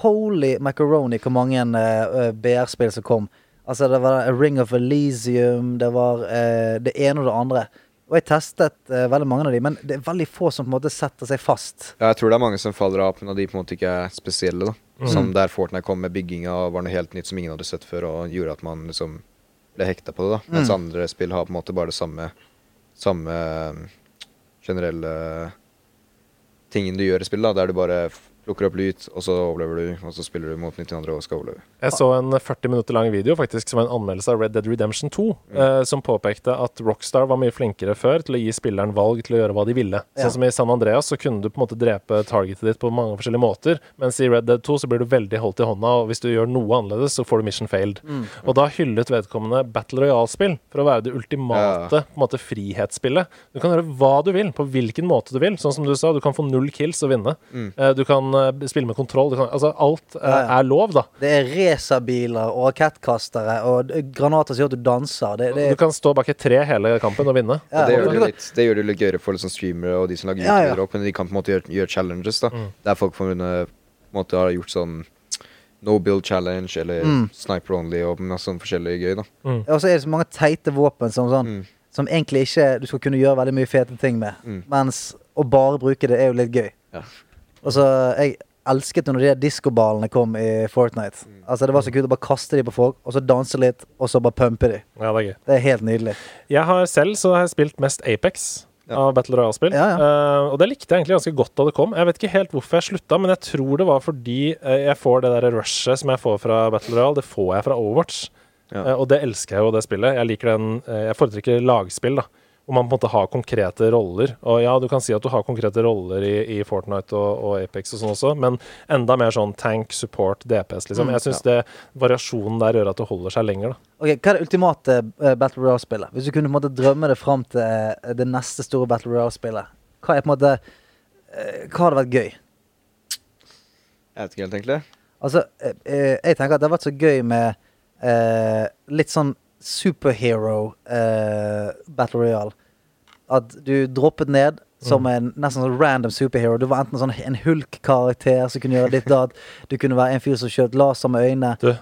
[SPEAKER 4] Holy macaroni hvor mange eh, eh, BR-spill som kom. Altså, det var Ring of Elysium, det var eh, det ene og det andre. Og jeg testet eh, veldig mange av de, men det er veldig få som på en måte setter seg fast.
[SPEAKER 3] Ja, jeg tror det er mange som faller av, men av de på en måte ikke er spesielle. da. Som der Fortnite kom med bygginga og var noe helt nytt som ingen hadde sett før, og gjorde at man liksom ble hekta på det. da. Mens andre spill har på en måte bare det samme, samme eh, generelle tingen du gjør i spill, da, der du bare f- plukker opp lut, og så overlever du, og så spiller du mot 90 andre og skal overleve.
[SPEAKER 2] Jeg så en 40 minutter lang video faktisk som var en anmeldelse av Red Dead Redemption 2, eh, som påpekte at Rockstar var mye flinkere før til å gi spilleren valg til å gjøre hva de ville.
[SPEAKER 4] Ja.
[SPEAKER 2] Sånn som i San Andreas så kunne du på en måte drepe targetet ditt på mange forskjellige måter, mens i Red Dead 2 så blir du veldig holdt i hånda, og hvis du gjør noe annerledes, så får du mission failed.
[SPEAKER 4] Mm.
[SPEAKER 2] Og da hyllet vedkommende Battle Royale-spill for å være det ultimate på en måte frihetsspillet. Du kan gjøre hva du vil, på hvilken måte du vil. Sånn som du sa, du kan få null kills og vinne. Eh, Du kan eh, spille med kontroll. Du kan, altså, alt eh,
[SPEAKER 4] Mm. Ja, ja.
[SPEAKER 2] er lov, da.
[SPEAKER 4] Det er racerbiler og rakettkastere og eh, granater som gjør at du danser. Det, det,
[SPEAKER 2] Du kan stå bak et tre hele kampen og vinne.
[SPEAKER 4] Ja,
[SPEAKER 3] Og det, gjør
[SPEAKER 4] og-
[SPEAKER 3] det, jo litt, det gjør det jo litt gøyere for liksom streamere og de som lager
[SPEAKER 4] Ja, ja.
[SPEAKER 3] YouTuber også, men de kan på en måte gjøre, gjøre challenges. da Der folk på en måte har gjort sånn no build challenge eller
[SPEAKER 4] Mm.
[SPEAKER 3] sniper only og masse sånn forskjellig gøy. da
[SPEAKER 4] Og så er det så mange teite våpen som, sånn, som egentlig ikke du skal kunne gjøre veldig mye fete ting med. Mens å bare bruke det er jo litt gøy.
[SPEAKER 3] Ja.
[SPEAKER 4] Og så Jeg elsket jo når de der diskoballene kom i Fortnite. Altså Det var så kult å bare kaste de på folk, og så danse litt, og så bare pumpe de.
[SPEAKER 2] Ja, det er gøy.
[SPEAKER 4] Det er helt nydelig.
[SPEAKER 2] Jeg har selv så har jeg spilt mest Apex av Battle Royale-spill.
[SPEAKER 4] Ja,
[SPEAKER 2] Eh, og det likte jeg egentlig ganske godt da det kom. Jeg vet ikke helt hvorfor jeg slutta, men jeg tror det var fordi eh, jeg får det der rushet som jeg får fra Battle Royale, det får jeg fra Overwatch.
[SPEAKER 3] Ja.
[SPEAKER 2] Eh, og det elsker jeg jo, det spillet. Jeg liker den eh, Jeg foretrekker lagspill, da. Hvor man på en måte har konkrete roller. Og ja, du kan si at du har konkrete roller i, i Fortnite og, og Apex og sånn også, men enda mer sånn tank, support, DPS,
[SPEAKER 4] Mm,
[SPEAKER 2] liksom. Jeg syns det variasjonen der gjør at det holder seg lenger, da.
[SPEAKER 4] Ok, Hva er det ultimate eh, Battle Royale-spillet? Hvis du kunne på en måte drømme det fram til eh, det neste store Battle Royale-spillet, hva er på en måte eh, Hva hadde vært gøy?
[SPEAKER 3] Jeg vet ikke helt, egentlig.
[SPEAKER 4] Altså, eh, eh, jeg tenker at det har vært så gøy med eh, litt sånn superhero eh, battle royale. At du droppet ned som
[SPEAKER 2] Mm.
[SPEAKER 4] en nesten sånn random superhero. Du var enten sånn en hulk-karakter som kunne gjøre ditt da. Du kunne være en fyr som skjøt laser med øynene.
[SPEAKER 2] Du,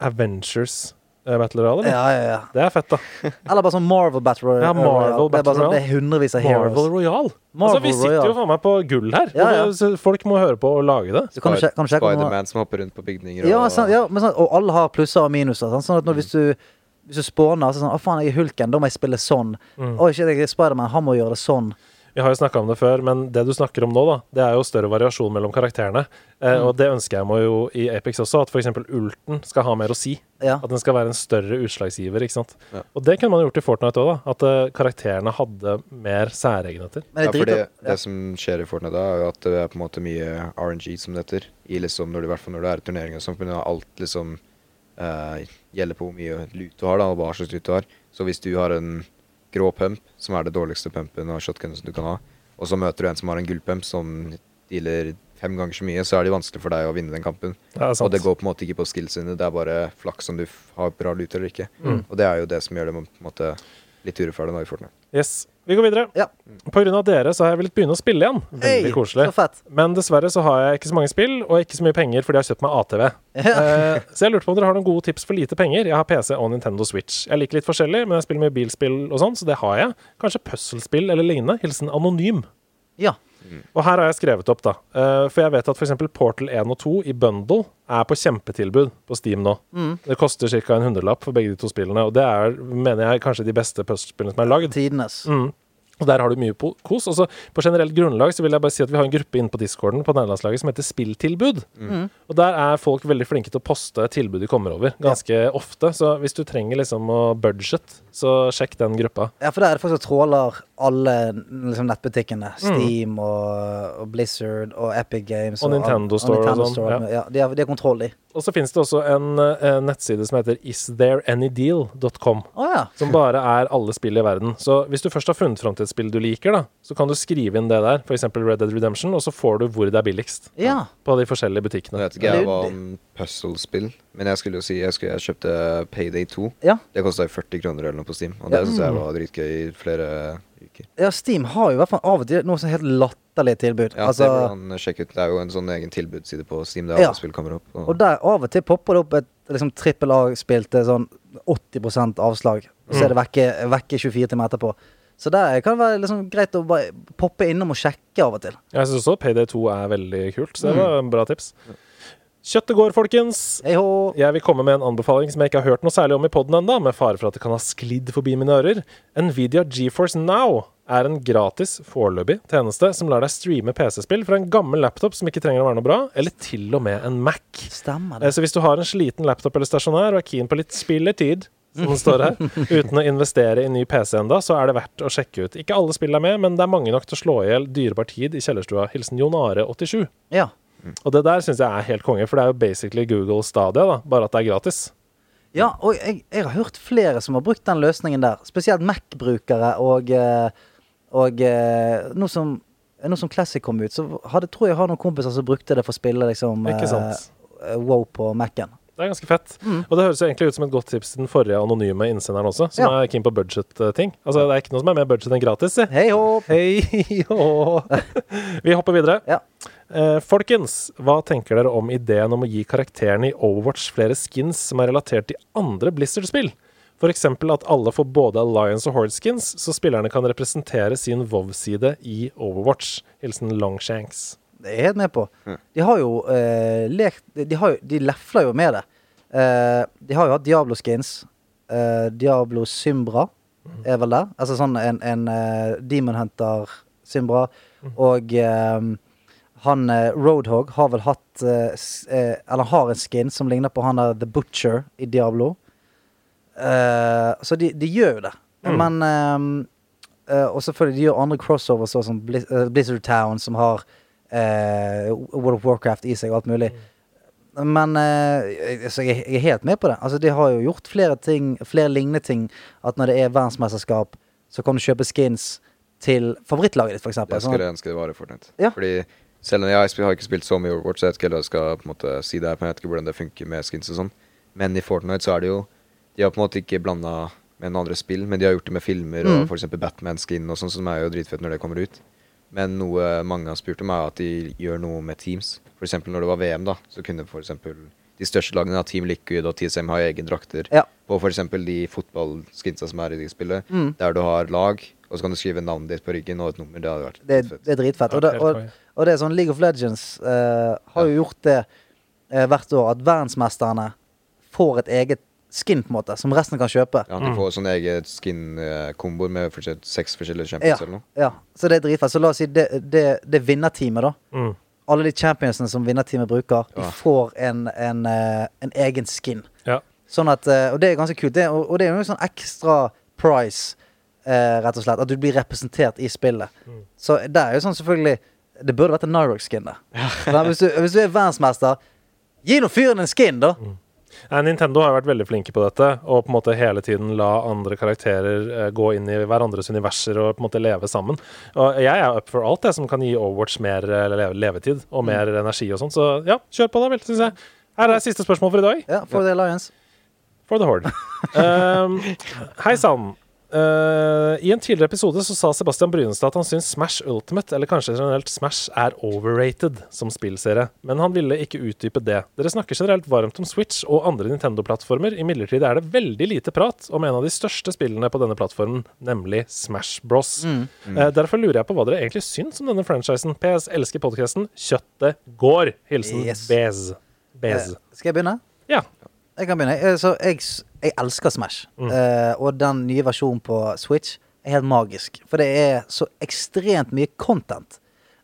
[SPEAKER 2] Avengers eh, Battle Royale, eller?
[SPEAKER 4] Ja, ja, ja.
[SPEAKER 2] Det er fett, da.
[SPEAKER 4] Eller bare sånn Marvel battle royale.
[SPEAKER 2] Ja,
[SPEAKER 4] det
[SPEAKER 2] Marvel
[SPEAKER 4] er bare
[SPEAKER 2] battle
[SPEAKER 4] sånn,
[SPEAKER 2] royale.
[SPEAKER 4] det er hundrevis av
[SPEAKER 2] Marvel
[SPEAKER 4] heroes.
[SPEAKER 2] Royale. altså,
[SPEAKER 4] Marvel
[SPEAKER 2] vi sitter
[SPEAKER 4] Royale.
[SPEAKER 2] jo faen meg på gull her.
[SPEAKER 4] Ja, ja.
[SPEAKER 2] Så Folk må høre på og lage det.
[SPEAKER 4] Så kan du sjekke, kan du sjekke om noen-
[SPEAKER 3] Spiderman som hopper rundt på bygninger
[SPEAKER 4] Ja,
[SPEAKER 3] og
[SPEAKER 4] sant, ja men sant, og alle har plusser og minuser. Sant? Sånn at når, hvis du hvis du spåner så er det sånn, 'Å, faen, jeg er hulken. Da må jeg spille sånn.' Mm. 'Å, shit, jeg er Spiderman. Han må gjøre det sånn.'
[SPEAKER 2] Vi har jo snakka om det før, men det du snakker om nå, da, det er jo større variasjon mellom karakterene. Eh,
[SPEAKER 4] Mm.
[SPEAKER 2] Og det ønsker jeg meg jo i Apex også, at f.eks. ulten skal ha mer å si.
[SPEAKER 4] Ja.
[SPEAKER 2] At den skal være en større utslagsgiver, ikke sant. Og det kunne man gjort i Fortnite òg, da. At eh, karakterene hadde mer særegenheter.
[SPEAKER 4] Men
[SPEAKER 3] ja,
[SPEAKER 4] jeg
[SPEAKER 3] for
[SPEAKER 4] driter
[SPEAKER 3] det, det som skjer i Fortnite, da, er jo at det er på en måte mye RNG, som det heter. I liksom, når du, I hvert fall når det er turneringer og sånn, for når alt liksom eh, gjelder på hvor mye lut du har, da, og hva slags lut du har. Så hvis du har en grå pump, som er det dårligste pumpen av shotgunen som du kan ha, og så møter du en som har en gull pump som dealer fem ganger så mye, så er det vanskelig for deg å vinne den kampen.
[SPEAKER 2] Det er sant.
[SPEAKER 3] og det går på en måte ikke på skillsene, det er bare flaks om du f- har bra lut eller ikke.
[SPEAKER 2] Mm.
[SPEAKER 3] Og det er jo det som gjør det på en måte litt urettferdig nå i Fortnite.
[SPEAKER 2] Yes. Vi går videre.
[SPEAKER 4] Ja.
[SPEAKER 2] På grunn av dere så har jeg villet begynne å spille igjen. Veldig
[SPEAKER 4] Hey,
[SPEAKER 2] koselig.
[SPEAKER 4] så fett.
[SPEAKER 2] Men dessverre så har jeg ikke så mange spill, og ikke så mye penger fordi jeg har kjøpt meg ATV. Eh, så jeg lurte på om dere har noen gode tips for lite penger. Jeg har PC og Nintendo Switch. Jeg liker litt forskjellig, men jeg spiller mye bilspill og sånn, så det har jeg. Kanskje puslespill eller lignende. Hilsen Anonym.
[SPEAKER 4] Ja.
[SPEAKER 2] Og her har jeg skrevet opp, da. Eh, For jeg vet at f.eks. Portal 1 og 2 i bundle er på kjempetilbud på Steam nå. Det koster ca. en hundrelapp for begge de to spillene, og det er, mener jeg, kanskje de beste puslespillene som er lagd.
[SPEAKER 4] Tidenes.
[SPEAKER 2] Og der har du mye po- kos. Og så på generelt grunnlag så vil jeg bare si at vi har en gruppe inne på discorden på nærlandslaget som heter Spilltilbud. Og der er folk veldig flinke til å poste tilbud de kommer over, ganske ofte. Så hvis du trenger liksom å budget, så sjekk den gruppa.
[SPEAKER 4] Ja, for der er det folk som tråler alle liksom, nettbutikkene. Steam og, og Blizzard og Epic Games.
[SPEAKER 2] Og Nintendo Store og sånn,
[SPEAKER 4] Store. Ja. de, har, de har kontroll, de.
[SPEAKER 2] Og så finnes det også en, eh, nettside som heter istthereanydeal.com.
[SPEAKER 4] Å ja.
[SPEAKER 2] Som bare er alle spill i verden. Så hvis du først har funnet fram til et spill du liker, da, så kan du skrive inn det der, f.eks. Red Dead Redemption, og så får du hvor det er billigst.
[SPEAKER 4] ja.
[SPEAKER 2] På de forskjellige
[SPEAKER 3] Nå
[SPEAKER 2] butikkene.
[SPEAKER 3] vet ikke jeg hva om puzzlespill, men jeg skulle jo si jeg, skulle, jeg kjøpte Payday 2.
[SPEAKER 4] Ja.
[SPEAKER 3] Det kosta 40 kroner eller noe på Steam, og det synes jeg var dritgøy i flere uker.
[SPEAKER 4] Ja, Steam har jo i hvert fall av og til noe sånn helt latterlig tilbud.
[SPEAKER 3] Ja,
[SPEAKER 4] altså,
[SPEAKER 3] det burde han sjekke ut. Det er jo en sånn egen tilbudsside på Steam der
[SPEAKER 4] Ja.
[SPEAKER 3] alle spill kommer opp. Og,
[SPEAKER 4] og der av og til popper det opp et liksom, trippel A-spill til sånn 80 avslag, og så er det vekke, vekke 24 timer etterpå. Så der kan det være liksom greit å bare poppe innom og sjekke av og til.
[SPEAKER 2] Jeg syns også Payday 2 er veldig kult, så det var en bra tips. Kjøttet går, folkens.
[SPEAKER 4] Hei hå!
[SPEAKER 2] Jeg vil komme med en anbefaling som jeg ikke har hørt noe særlig om i poden ennå, med fare for at det kan ha sklidd forbi mine ører. Nvidia GeForce Now er en gratis, foreløpig tjeneste som lar deg streame PC-spill fra en gammel laptop som ikke trenger å være noe bra, eller til og med en Mac.
[SPEAKER 4] Stemmer
[SPEAKER 2] Eh,
[SPEAKER 4] det.
[SPEAKER 2] Så hvis du har en sliten laptop eller stasjonær og er keen på litt spillertid, som det står her, uten å investere i ny PC enda, så er det verdt å sjekke ut. Ikke alle spill er med, men det er mange nok til å slå i hjel dyrebar tid i kjellerstua. Hilsen Jon Are 87.
[SPEAKER 4] Ja.
[SPEAKER 2] Og det der syns jeg er helt konge, for det er jo basically Google Stadia, da, bare at det er gratis.
[SPEAKER 4] ja og jeg, jeg har hørt flere som har brukt den løsningen der. Spesielt Mac-brukere og, eh, og eh, nå som nå som Classic kom ut, så hadde, tror jeg jeg har noen kompiser som brukte det for å spille liksom,
[SPEAKER 2] Ikke sant?
[SPEAKER 4] eh, wow på Mac-en.
[SPEAKER 2] Det er ganske fett.
[SPEAKER 4] Mm.
[SPEAKER 2] Og det høres jo egentlig ut som et godt tips til den forrige anonyme innsenderen også, som
[SPEAKER 4] Ja.
[SPEAKER 2] er keen på budget-ting. Altså, det er ikke noe som er mer budget enn gratis, si.
[SPEAKER 4] Hei hå!
[SPEAKER 2] Hei, hå. Vi hopper videre.
[SPEAKER 4] Ja.
[SPEAKER 2] Eh, folkens, hva tenker dere om ideen om å gi karakterene i Overwatch flere skins som er relatert til andre Blizzard-spill? F.eks. at alle får både Alliance og Horde-skins, så spillerne kan representere sin WoW-side i Overwatch. Hilsen Longshanks.
[SPEAKER 4] Det er jeg helt med på. De har jo eh, lekt De, har, jo- de lefler jo med det. Eh, de har jo hatt Diablo skins. Eh, Diablo Symbra er vel det. Altså sånn en, en eh, Demon Hunter Symbra. Og eh, han eh, Roadhog har vel hatt eh, s- eh, Eller har en skin som ligner på han der The Butcher i Diablo. Eh, så de, de gjør jo det. Men ehm, eh, Og selvfølgelig, de gjør andre crossovers, sånn som Blizz eh, Blizzard Town, som har eh, World of Warcraft i seg og alt mulig. Men eh, jeg- Så jeg, jeg er helt med på det. Altså, de har jo gjort flere ting Flere lignende ting. At når det er verdensmesterskap, så kan du kjøpe skins til favorittlaget ditt, for eksempel. sånn
[SPEAKER 3] jeg skulle ønske det var i Fortnite.
[SPEAKER 4] Ja.
[SPEAKER 3] Fordi selv om jeg sp- har ikke spilt så mye Overwatch, så jeg vet ikke helt hva jeg skal på en måte si der, men jeg vet ikke hvordan det funker med skins og sånn. Men i Fortnite så er det jo De har på en måte ikke blanda med noen andre spill, men de har gjort det med filmer
[SPEAKER 4] Mm.
[SPEAKER 3] og for eksempel Batman-skin og sånn, som er jo dritfett når det kommer ut. Men noe mange har spurt om, er at de gjør noe med teams. For eksempel når det var VM, da, så kunne for eksempel de største lagene av Team Liquid og TSM ha egne drakter.
[SPEAKER 4] Ja.
[SPEAKER 3] På for eksempel de fotballskinsa som er i det spillet,
[SPEAKER 4] Mm.
[SPEAKER 3] der du har lag, og så kan du skrive navnet ditt på ryggen og et nummer. Det hadde vært
[SPEAKER 4] det,
[SPEAKER 3] dritfett.
[SPEAKER 4] det er dritfett. Og det,
[SPEAKER 2] helt
[SPEAKER 4] og,
[SPEAKER 2] konge.
[SPEAKER 4] og det er sånn League of Legends eh, har jo gjort det eh, hvert år, at verdensmesterne får et eget skin, på en måte, som resten kan kjøpe.
[SPEAKER 3] Ja, de får sånne eget skin-komboer med forskjell- seks
[SPEAKER 4] Ja,
[SPEAKER 3] forskjellige champions eller noe.
[SPEAKER 4] ja. Så det er dritfett. Så la oss si det, det, det vinnerteamet, da.
[SPEAKER 2] Mm.
[SPEAKER 4] Alle de championsene som vinnerteamet bruker, de
[SPEAKER 3] Ja.
[SPEAKER 4] får en, en, eh, en egen skin.
[SPEAKER 2] Ja.
[SPEAKER 4] Sånn at, eh, og det er ganske kult. Det, er- og, og det er jo en sånn ekstra price, eh, rett og slett. At du blir representert i spillet. Så det er jo sånn selvfølgelig Det burde vært en Nyrock-skin, da. Men hvis, du, hvis du er verdensmester, gi nå fyren en skin, da!
[SPEAKER 2] Nei, Eh, Nintendo har vært veldig flinke på dette, og på en måte hele tiden la andre karakterer eh, gå inn i hverandres universer og på en måte leve sammen. Og jeg er up for alt det som kan gi Overwatch mer eh, leve levetid og mer energi og sånn, så ja, kjør på da vel, syns jeg. Her er siste spørsmål for i dag.
[SPEAKER 4] Ja, For the Alliance.
[SPEAKER 2] For the Horde. Um, Hei sann. Eh, I en tidligere episode så sa Sebastian Brynestad at han syns Smash Ultimate, eller kanskje generelt Smash, er overrated som spillserie. Men han ville ikke utdype det. Dere snakker generelt varmt om Switch og andre Nintendo-plattformer. Imidlertid er det veldig lite prat om en av de største spillene på denne plattformen, nemlig Smash Bros.
[SPEAKER 4] Mm,
[SPEAKER 2] Eh, derfor lurer jeg på hva dere egentlig syns om denne franchisen. PS elsker podkasten. Kjøttet går. Hilsen
[SPEAKER 4] Yes.
[SPEAKER 2] Bez.
[SPEAKER 4] Eh,
[SPEAKER 2] Bez.
[SPEAKER 4] skal jeg begynne?
[SPEAKER 2] Ja.
[SPEAKER 4] Jeg kan begynne. Jeg, så jeg, s- jeg elsker Smash. Eh, og den nye versjonen på Switch er helt magisk. For det er så ekstremt mye content.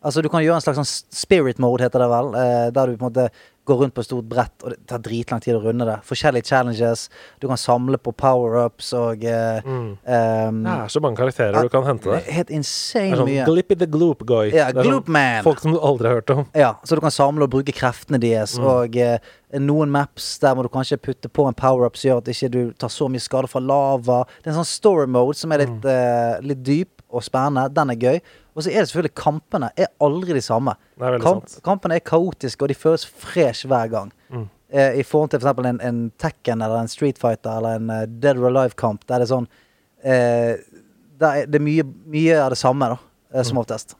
[SPEAKER 4] Altså Du kan gjøre en slags sånn spirit mode, heter det vel. eh, Der du på en måte går rundt på et stort brett, og det tar dritlang tid å runde det. Forskjellige challenges. Du kan samle på power-ups og eh, ehm,
[SPEAKER 2] Det er så mange karakterer du kan hente
[SPEAKER 4] det
[SPEAKER 2] der.
[SPEAKER 4] er Helt
[SPEAKER 2] Det
[SPEAKER 4] insane
[SPEAKER 2] er sånn
[SPEAKER 4] mye.
[SPEAKER 2] Glippy the Gloop Guy.
[SPEAKER 4] Ja,
[SPEAKER 2] Det er sånn
[SPEAKER 4] Gloop Man.
[SPEAKER 2] Folk som du aldri har hørt om.
[SPEAKER 4] Ja, så du kan samle og bruke kreftene deres.
[SPEAKER 2] Mm.
[SPEAKER 4] Og eh, noen maps der må du kanskje putte på en power-up som gjør at ikke du tar så mye skade fra lava. Det er en sånn story mode som er litt,
[SPEAKER 2] Mm.
[SPEAKER 4] eh, litt dyp og spennende. Den er gøy. Og så er det selvfølgelig kampene er aldri de samme.
[SPEAKER 2] Det er veldig sant. Mm.
[SPEAKER 4] Kampene er kaotiske, og de føles fresh hver gang. Eh, I forhold til f.eks. En, en Tekken eller en Street Fighter eller en eh, Dead or Alive-kamp, der det er sånn eh, der er Det er mye, mye av det samme, da, eh, som
[SPEAKER 2] Mm.
[SPEAKER 4] oftest.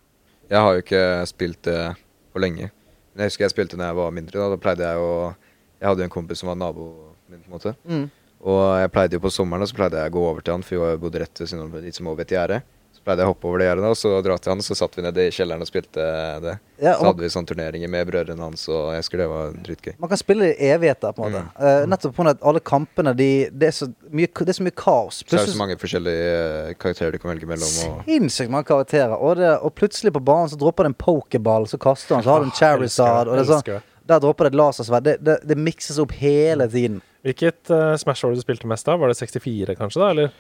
[SPEAKER 3] Jeg har jo ikke spilt det for lenge. Men jeg husker jeg spilte når jeg var mindre. Da, da pleide jeg å Jeg hadde jo en kompis som var naboen min, på en måte.
[SPEAKER 4] Mm.
[SPEAKER 3] Og jeg pleide jo på sommeren da, så pleide jeg å gå over til han, for jeg bodde rett ved siden av litt som over et gjerde. Så pleide jeg å hoppe over det gjerdet, da, og så dra til han, så satt vi nede i kjelleren og spilte det.
[SPEAKER 4] Ja, og-
[SPEAKER 3] Så hadde vi sånne turneringer med brødrene hans, og jeg husker det var dritgøy.
[SPEAKER 4] Man kan spille i evigheter, på en måte.
[SPEAKER 2] Mm.
[SPEAKER 4] Eh, nettopp pga. at alle kampene de, det, er så mye, det er så mye kaos.
[SPEAKER 3] Så er det så mange forskjellige eh, karakterer du kan velge mellom, og
[SPEAKER 4] sinnssykt mange karakterer. Og, det, og plutselig på banen så dropper det en pokerball, så kaster han, så har du en
[SPEAKER 2] Åh, Ah, elsker det,
[SPEAKER 4] Charizard. Og det er
[SPEAKER 2] elsker det.
[SPEAKER 4] sånn, der dropper det et lasersverd. Det, det, det mikses opp hele tiden.
[SPEAKER 2] Hvilket eh, Smash var det du spilte mest av? Var det 64, kanskje? da? Eller,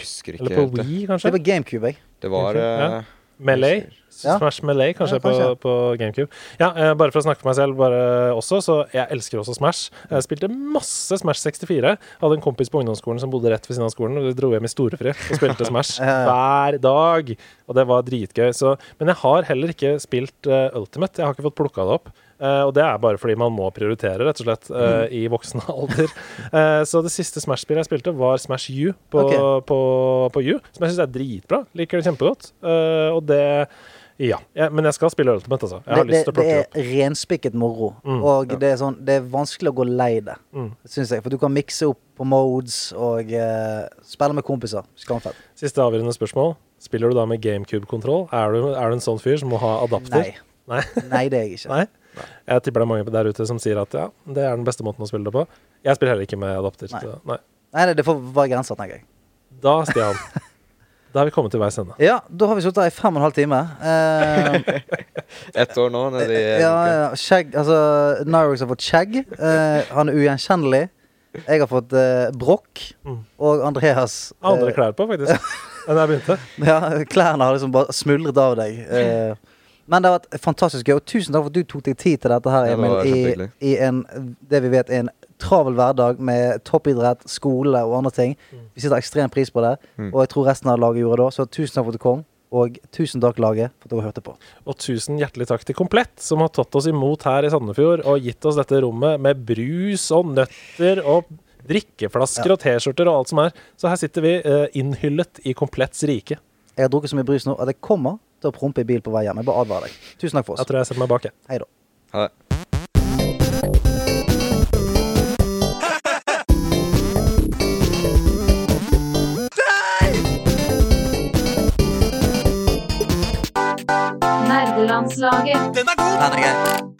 [SPEAKER 3] husker ikke
[SPEAKER 2] eller på
[SPEAKER 3] helt det.
[SPEAKER 2] Wii,
[SPEAKER 4] Det
[SPEAKER 2] kanskje?
[SPEAKER 4] var GameCube, jeg.
[SPEAKER 3] Det var eh,
[SPEAKER 2] Melee?
[SPEAKER 4] Ja.
[SPEAKER 2] Smash Melee,
[SPEAKER 4] Ja,
[SPEAKER 2] kanskje,
[SPEAKER 4] kanskje.
[SPEAKER 2] På, på GameCube. Ja, eh, bare for å snakke for meg selv, bare også, så jeg elsker også Smash. Eh, Jeg spilte masse Smash 64. Hadde en kompis på ungdomsskolen som bodde rett ved siden av skolen, og vi dro hjem i storefri og spilte Smash hver dag. Og det var dritgøy. Så, men jeg har heller ikke spilt eh, Ultimate. Jeg har ikke fått plukka det opp. Eh, og det er bare fordi man må prioritere, rett og slett, eh,
[SPEAKER 4] Mm.
[SPEAKER 2] i voksen alder. Eh, så det siste Smash-spillet jeg spilte, var Smash U på,
[SPEAKER 4] Ok.
[SPEAKER 2] på, på U, som jeg syns er dritbra. Liker det kjempegodt. Eh, og det Ja. Jeg, men jeg skal spille Ultimate, altså. Jeg har
[SPEAKER 4] Det,
[SPEAKER 2] lyst til
[SPEAKER 4] det, det
[SPEAKER 2] å plukke det opp. Mm.
[SPEAKER 4] er renspikket moro. og det, er sånn, det er vanskelig å gå lei det, syns jeg. For du kan mikse opp på modes og eh, spille med kompiser. Skamfett.
[SPEAKER 2] Siste avgjørende spørsmål. Spiller du da med GameCube-kontroll? Er, du- er du en sånn fyr som må ha adapter?
[SPEAKER 4] Nei.
[SPEAKER 2] Nei.
[SPEAKER 4] Nei, det er jeg ikke.
[SPEAKER 2] Nei? Jeg tipper det er mange der ute som sier at ja, det er den beste måten å spille det på. Jeg spiller heller ikke med adapter.
[SPEAKER 4] Nei.
[SPEAKER 2] så Nei.
[SPEAKER 4] Nei, det- det får være grenser, tenker jeg.
[SPEAKER 2] Da, Stian. da er vi kommet til veis ende.
[SPEAKER 4] Ja, da har vi sittet her i fem og en halv time. Eh,
[SPEAKER 3] ett år nå nede i
[SPEAKER 4] ja, ja, skjegg, altså, Nyrox har fått skjegg. Eh, han er ugjenkjennelig. Jeg har fått eh, brokk. Og Andreas eh,
[SPEAKER 2] Mm. Andre klær på, faktisk, enn jeg begynte.
[SPEAKER 4] ja, Klærne har liksom bare smuldret av deg. Eh, men det har vært fantastisk gøy. Og tusen takk for at du tok deg tid til dette her,
[SPEAKER 3] Ja, det
[SPEAKER 4] Emil.
[SPEAKER 3] var
[SPEAKER 4] I,
[SPEAKER 3] kjempehyggelig.
[SPEAKER 4] I en, det vi vet er en travel hverdag med toppidrett, skole og andre ting.
[SPEAKER 2] Mm.
[SPEAKER 4] Vi setter ekstrem pris på det,
[SPEAKER 3] Mm.
[SPEAKER 4] og jeg tror resten av laget gjorde det òg. Så tusen takk for at du kom, og tusen takk, laget, for at dere hørte på.
[SPEAKER 2] Og tusen hjertelig takk til Komplett, som har tatt oss imot her i Sandefjord og gitt oss dette rommet med brus og nøtter og drikkeflasker og T-skjorter og alt som er. Så her sitter vi eh, innhyllet i Kompletts rike.
[SPEAKER 4] Jeg har drukket så mye brus nå at jeg kommer til å prompe i bil på vei hjem. Jeg bare advarer deg. Tusen takk for
[SPEAKER 2] Jeg
[SPEAKER 4] oss.
[SPEAKER 2] tror jeg setter meg bak, jeg.
[SPEAKER 4] Hei da.
[SPEAKER 3] Ha det.
[SPEAKER 9] Nerdelandslaget.
[SPEAKER 4] Den er grei.